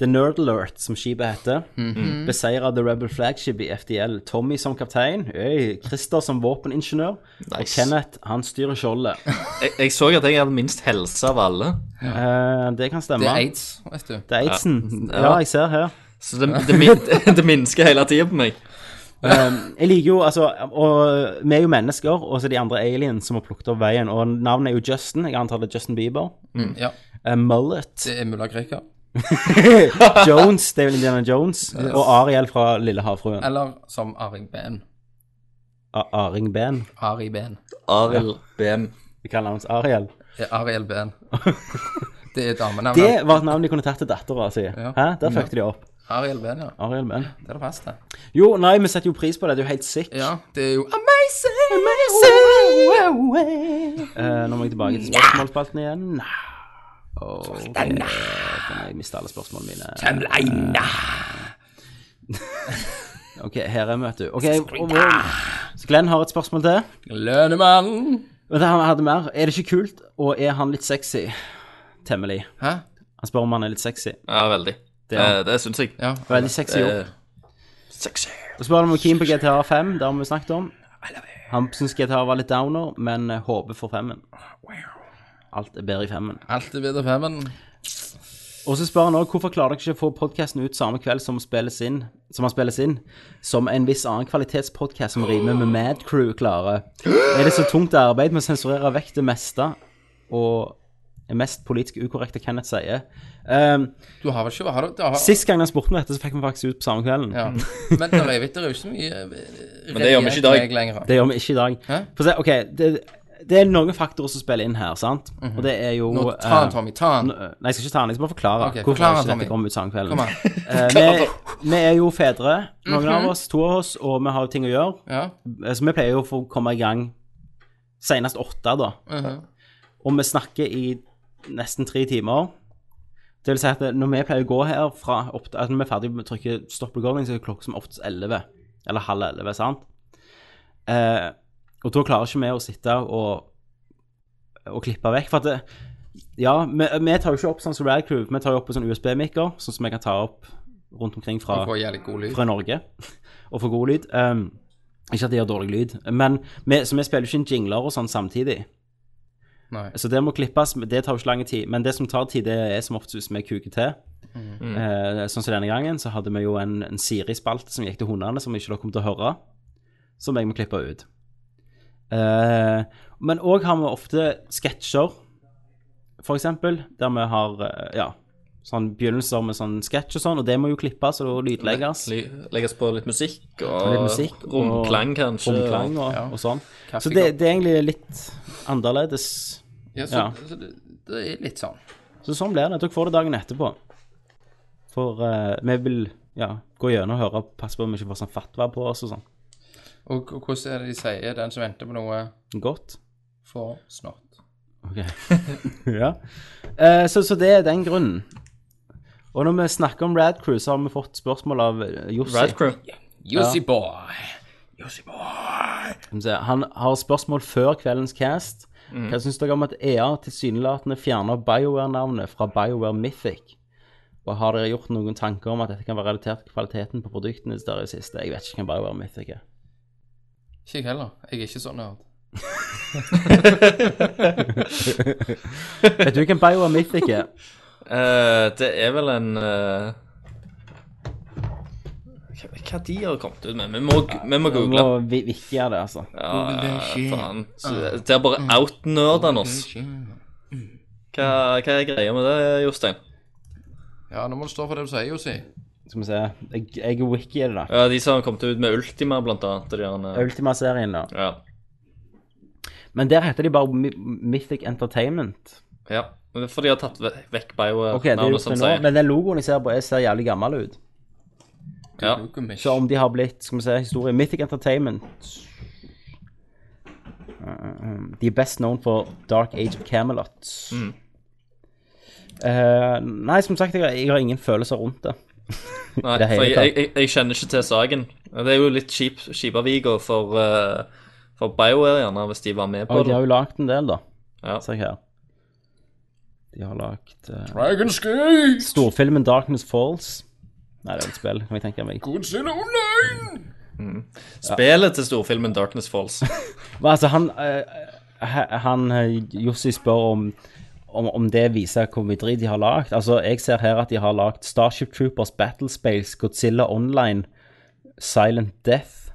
D: The Nerd Alert, som skipet heter. Mm Beseira The Rebel Flagship i FDL. Tommy som kaptein, øy, Christer som våpeningeniør, og
F: Nice.
D: Kenneth, han styrer [LAUGHS] skjoldet.
F: Jeg, jeg så at jeg hadde minst helse av alle.
D: Eh, det kan stemme.
J: Det er aids, vet du.
D: Det er Aidsen. Ja.
F: Ja.
D: jeg ser her.
F: Så det, det, min- [LAUGHS] det minsker hele tida på meg.
D: Um, jeg liker jo, altså Og vi er jo mennesker, og så er de andre aliens som har plukket opp veien. Og navnet er jo Justin. Jeg antar det er Justin Bieber.
J: Ja.
D: Eh, mullet. [LAUGHS]
J: Det er mulla Krekar.
D: Jones, det er vel Indiana Jones. Og Ariel fra Lille havfruen.
J: Eller som Ari Ben.
D: A- Aring Ben.
J: Ari Ben.
F: Arild BM.
D: Vi kaller hans Ariel.
J: Det er Ariel Ben. Det er damenavnet.
D: Det var et navn de kunne tatt til dattera si.
J: Ja.
D: Hæ? Der fucket de opp.
J: Ariel Ben, ja.
D: Ariel Ben. Eh,
J: Det er det fast, det.
D: Jo, nei, vi setter jo pris på det. Det er jo helt sick.
J: Ja, det er jo amazing!
D: Eh, nå må jeg tilbake til spørsmålsspalten igjen. Oh, jeg mista alle spørsmålene mine. Eh, [LAUGHS] Ok, her er vi, vet du. Ok, og hvor- Så Glenn har et spørsmål til.
J: Lønnemannen!
D: Men det han hadde mer. Er det ikke kult, og er han litt sexy? Temmelig.
J: Hæ?
D: Han spør om han er litt sexy.
F: Ja, veldig.
D: Det
F: Det,
D: er
F: Eh, det,
D: han.
F: syns jeg.
J: Ja.
D: Veldig sexy jobb.
F: Eh, Sexy.
D: Så spør han om Keane på GTA 5, det har vi snakket om. Han syns GTA var litt downer, men eh, håper for femmen. Alt er bedre i femmen.
J: Alt er videre femmen.
D: Og så spør han også, hvorfor klarer dere ikke å få podkasten ut samme kveld som, spilles inn, som han spilles inn, som en viss annen kvalitetspodkast som rimer med Mad Crew klarer? Er det så tungt arbeid med å sensurere vekk det meste og det mest politisk ukorrekte Kenneth sier? Ehm,
J: Du har vel ikke har du, du har,
D: sist gang han spurte om dette, så fikk vi faktisk ut på samme kvelden.
J: Ja. Men det er jo ikke det er jo ikke så mye Men
F: det gjør vi ikke i dag.
J: Lenger.
D: Det gjør vi ikke i dag. For se, OK, det, det er noen faktorer som spiller inn her, sant? Og det er jo
J: Mhm. Nå, ta
D: eh,
J: den, Tommy. Ta den.
D: N- Nei, jeg skal ikke ta den, jeg skal bare forklare
J: Ok,
D: hvorfor
J: forklar den,
D: ikke dette
J: Tommy.
D: kom ut samme kvelden.
J: Kom an. Mhm.
D: Eh, vi, vi er jo fedre, noen av oss, to av oss, og vi har jo ting å gjøre.
J: Ja.
D: Eh, Så vi pleier jo å få komme i gang senest åtte, da.
J: Uh-huh.
D: Og vi snakker i nesten tre timer. Det vil si at når vi pleier å gå her fra opp, altså Når vi er ferdig med å trykke stopp recording, så er det klokka som oftest elleve. Eller halv elleve, sant? Eh, og da klarer ikke vi å sitte og, og klippe vekk. For at det, ja, vi, vi tar jo ikke opp sånn som Rad Crew, vi tar jo opp på sånn USB-mikker, sånn som vi kan ta opp rundt omkring fra
J: Du får jævlig god lyd.
D: fra Norge [LAUGHS] og for god lyd. Um, ikke at de har dårlig lyd, men vi, så vi spiller jo ikke inn jingler og sånn samtidig.
J: Nei.
D: Så det må klippes, men det tar jo ikke lang tid. Men det som tar tid, det er som oftest vi kuker til.
J: Mm.
D: Eh, sånn som denne gangen, så hadde vi jo en, en Siri-spalte som gikk til hundene, som ikke dere kom til å høre, som jeg må klippe ut. Eh, men òg har vi ofte sketsjer, for eksempel, der vi har eh, ja, sånn begynnelser med sånn sketsj og sånn, og det må jo klippes og lydlegges.
F: Ly- Legges på litt musikk og
D: Litt musikk og-
F: romklang, kanskje.
D: Romklang og,
J: Ja.
D: og sånn. Så
J: Kaffekopp.
D: det, det er egentlig litt annerledes.
J: Ja, så,
D: Ja.
J: så det, det er litt sånn.
D: Så sånn blir det. Dere får det dagen etterpå. For eh, vi vil ja, gå gjennom og høre, passe på om vi ikke får sånn fatwa på oss og sånn.
J: Og, og hvordan er det de sier? Den som venter på noe,
D: Godt. [LAUGHS]
J: får snart.
D: Ok. ja. Eh, så, så det er den grunnen. Og når vi snakker om Rad Crew, så har vi fått spørsmål av eh, Jussi.
F: Rad Crew.
J: Jussi boy! Jussi boy!
D: Skal vi se, Han har spørsmål før kveldens cast.
F: Mm.
D: Hva syns dere om at EA tilsynelatende fjerner BioWare-navnet fra BioWare Mythic? Og har dere gjort noen tanker om at dette kan være relatert til kvaliteten på produktene deres der i det siste? Jeg vet ikke hvem BioWare Mythic
F: [LAUGHS]
D: er.
J: Ikke jeg heller. Jeg er ikke sånn nerd.
D: Vet du hvem BioWare Mythic er?
F: Eh, det er vel en eh, Hva hva de har kommet ut med? Vi må, vi må
D: Vi
F: google.
D: må vi- vikke av det, Mm. altså.
F: Ja, faen. Så det- Det er bare outnerdene
D: Mm.
F: oss. Hva, hva er greia med det, Jostein?
E: Ja, nå må du stå for det du sier, Josi.
D: Skal vi se. Jeg, jeg er wiki i det, da.
F: Ja, De som har kommet ut med Ultima, blant annet. De gjerne,
D: Ultima-serien, da.
F: ja.
D: Men der heter de bare My- Mythic Entertainment.
F: ja. Men det er For de har tatt ve- vekk BioWare-navnet,
D: Ok, det er gjort
F: som
D: det nå,
F: sier.
D: men den logoen jeg ser på, jeg ser jævlig gammel ut.
F: Ja.
D: Så om de har blitt, skal vi se, historie Mythic Entertainment Uh, De er best known for Dark Age of Camelot. Eh, nei, som sagt, jeg, har- jeg har ingen følelser rundt det.
F: Nei,
D: det hele
F: for jeg,
D: tatt.
F: jeg, jeg, jeg kjenner ikke til saken. Det er jo litt kjip, kjipaviga for, eh, for BioWare, gjerne, hvis de var med på
D: Og de
F: det.
D: har jo lagd en del, da.
F: Ja.
D: Ser jeg her. De har lagd eh,
E: Dragon's Gate!
D: storfilmen Darkness Falls. Nei, det er et spill, kan jeg tenke meg.
E: Godzilla Online!
F: Spillet til storfilmen Darkness Falls.
D: Men altså, han, eh, he- han eh, Jussi spør om, om, om det viser hvor mye dritt de har lagd. Altså, jeg ser her at de har lagd Starship Troopers, Battlespace, Godzilla Online, Silent Death.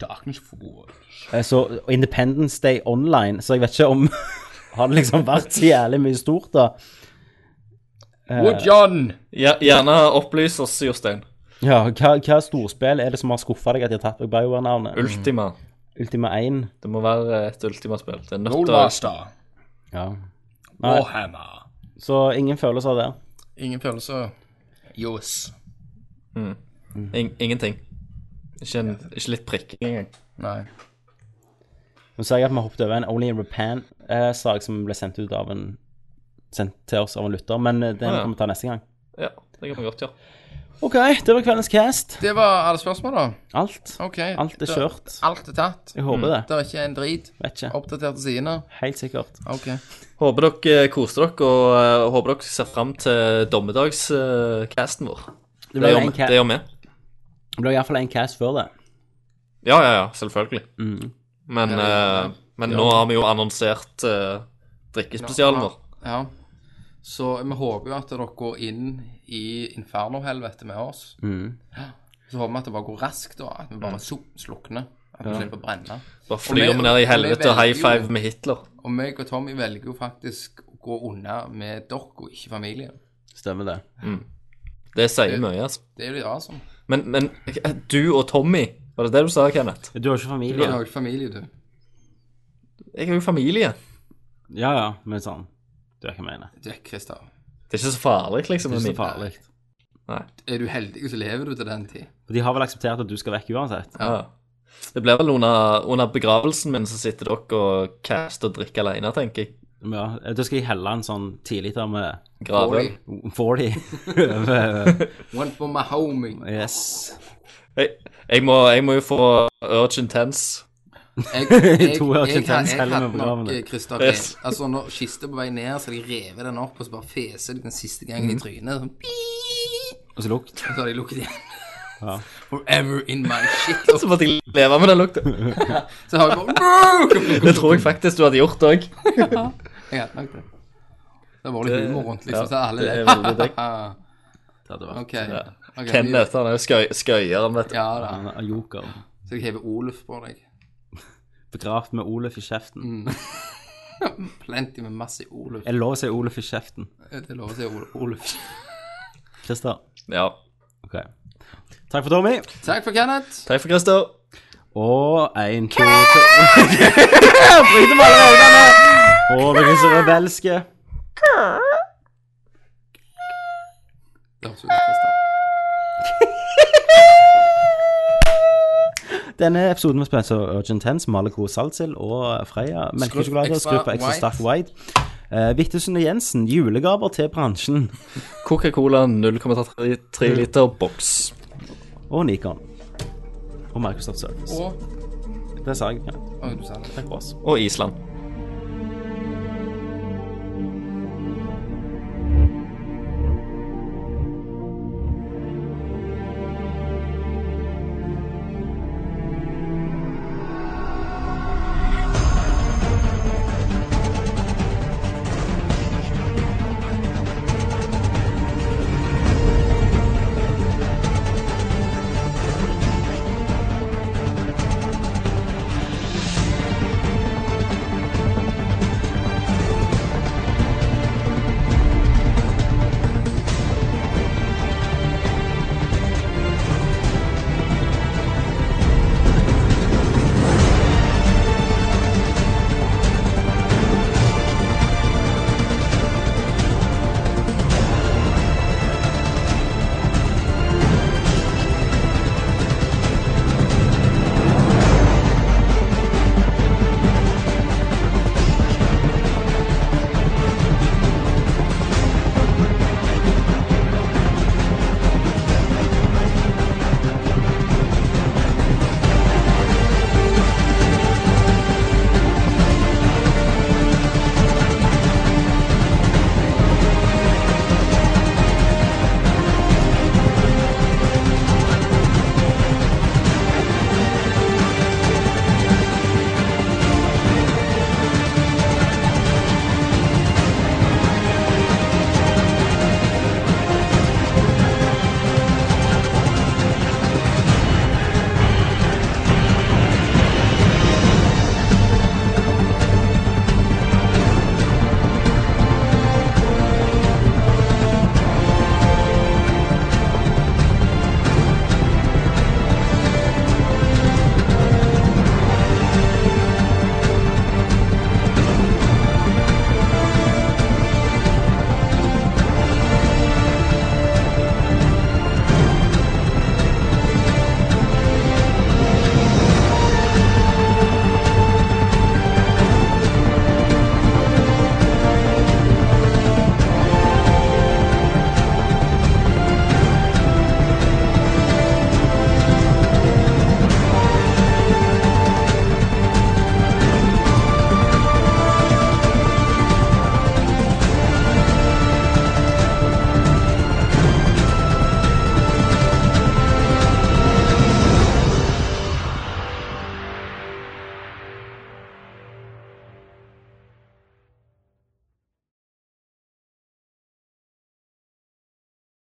E: Darkness Fall.
D: eh, Så og Independence Day Online, så jeg vet ikke om [LAUGHS] Har det liksom vært så jævlig mye stort, da? Eh.
E: Woodjon!
F: Ja, gjerne opplys oss, Jostein.
D: Ja, hva, hva storspill er det som har skuffa deg at de har tatt vekk BioWare-navnet?
F: Ultima.
D: Mm. Ultima 1?
F: Det må være et Ultima-spill. Det er nødt til å
E: Rollmaster.
D: Ja. Nei.
E: Warhammer.
D: Så ingen følelser der.
E: Ingen følelser. Jås.
F: In ingenting. Ikke, en, ikke litt prikking engang.
E: Nei.
D: Nå ser jeg at vi har hoppet over en Only in Japan-sak som ble sendt ut av en sendt til oss av en lytter, men eh, den
F: Ah, ja.
D: kan vi ta neste gang.
F: Ja, det kan vi godt gjøre.
D: OK, det var kveldens cast.
E: Det var alle spørsmåla.
D: Alt.
E: OK.
D: Alt er
E: Da-
D: kjørt.
E: Alt er tatt.
D: Jeg håper det.
E: Det er ikke en drit.
D: Vet ikke.
E: Oppdaterte sidene.
D: Helt sikkert.
E: OK.
F: Håper dere koser dere, og eh, håper dere ser fram til dommedagscasten vår.
D: Det
F: Det
D: ble
F: gjør
D: en
F: vi.
D: ca-
F: Det gjør vi.
D: det ble i hvert fall en cast før det.
F: Ja, ja, ja. Selvfølgelig.
D: Mm.
F: Men, eh, men nå har vi jo annonsert eh, drikkespesialen vår.
E: Ja. Så vi håper jo at dere går inn i inferno-helvete med oss.
D: Mm.
E: Så håper vi at det bare går raskt, og at vi bare so- slukner. At vi slipper å brenne.
F: Bare
E: Og
F: flyr
E: vi-
F: vi ned i
E: og vi
F: helvete og high
E: velger jo-
F: five med Hitler.
E: Og meg og Tommy velger jo faktisk å gå unna med dere, og ikke familien.
D: Stemmer det.
F: Det sier mye, altså.
E: Det er jo litt sånn. awesome.
F: Men, men du og Tommy, var det det du sa, Kenneth?
D: Du har ikke
E: Du
D: familie?
E: har jo ikke familie, du.
F: Jeg har jo familie.
D: Ja ja, men sånn. Du vet hva jeg mener.
E: Du er Kristian.
F: Det er ikke så farlig, liksom.
D: Det er
F: med
D: ikke så
F: min-
D: farlig.
F: Nei.
E: Er du heldig, så lever du til den tid.
D: For De har vel akseptert at du skal vekk uansett?
F: Ja. Det blir vel under, under begravelsen min, så sitter dere og caster og drikker alene, tenker jeg.
D: Ja. Da skal jeg helle en sånn tiliter med
F: Gravøl.
E: Dårlig.
D: 40 over
E: One for my homie.
D: [LAUGHS] Yes.
F: Jeg, jeg, må, jeg må jo få Urgent Tense.
E: Jeg,
D: [LAUGHS]
E: jeg, jeg,
D: To år til
E: jeg, har-
D: tens
E: jeg
D: heller
E: hadde
D: med
E: nok eh,
D: programmet.
E: Kristian
D: [LAUGHS]
F: Yes.
E: Altså, når kista er på vei ned, så har de revet den opp, og så bare feser de den siste gangen i trynet. Sånn, «Bii!»
D: Mhm. Og så lukt.
E: og så har de lukket igjen.
D: Ja.
E: [LAUGHS] Forever in my shit.
F: Så måtte jeg leve med den lukta.
E: Så har de bare
F: Det tror jeg faktisk du hadde gjort òg.
E: Jeg hadde nok det. Det var litt humor rundt, liksom. Så alle
F: det er
E: ler. [LAUGHS]
F: veldig deg.
E: Ah,
D: Det hadde vært
E: OK. Ok,
F: Kenneth han er jo skøy, skøyeren, vet du.
E: Ja da.
D: Han er joker.
E: Så jeg hever Oluf på deg.
D: Begravd med Oluf i kjeften.
E: Plenty med masse Oluf.
D: Er det lov å si Oluf i kjeften?
E: Det er lov å si Ol- Oluf. [LAUGHS]
D: Christer?
F: Ja.
D: Ok. Takk for Tommy.
E: Takk for Kenneth.
F: Takk for Christer.
D: Og én, to, tre [LAUGHS] Bryter med alle reglene. Og dere er så rebelske.
E: Det høres ut som Kristian.
D: Denne episoden var spilt av Urgent Tense, Maleko Saltsild og Freya melkesjokolade.
E: Extra
D: Skrubb på Extra
E: White.
D: Stark Wide. Uh, Vittesen og Jensen, julegaver til bransjen.
F: Coca-Cola 0,3 liter boks.
D: Og Nikon. Og Microsoft Service.
E: Og
D: Det sa jeg. ja.
E: Å, du sa det.
D: Takk for oss.
F: Og Island.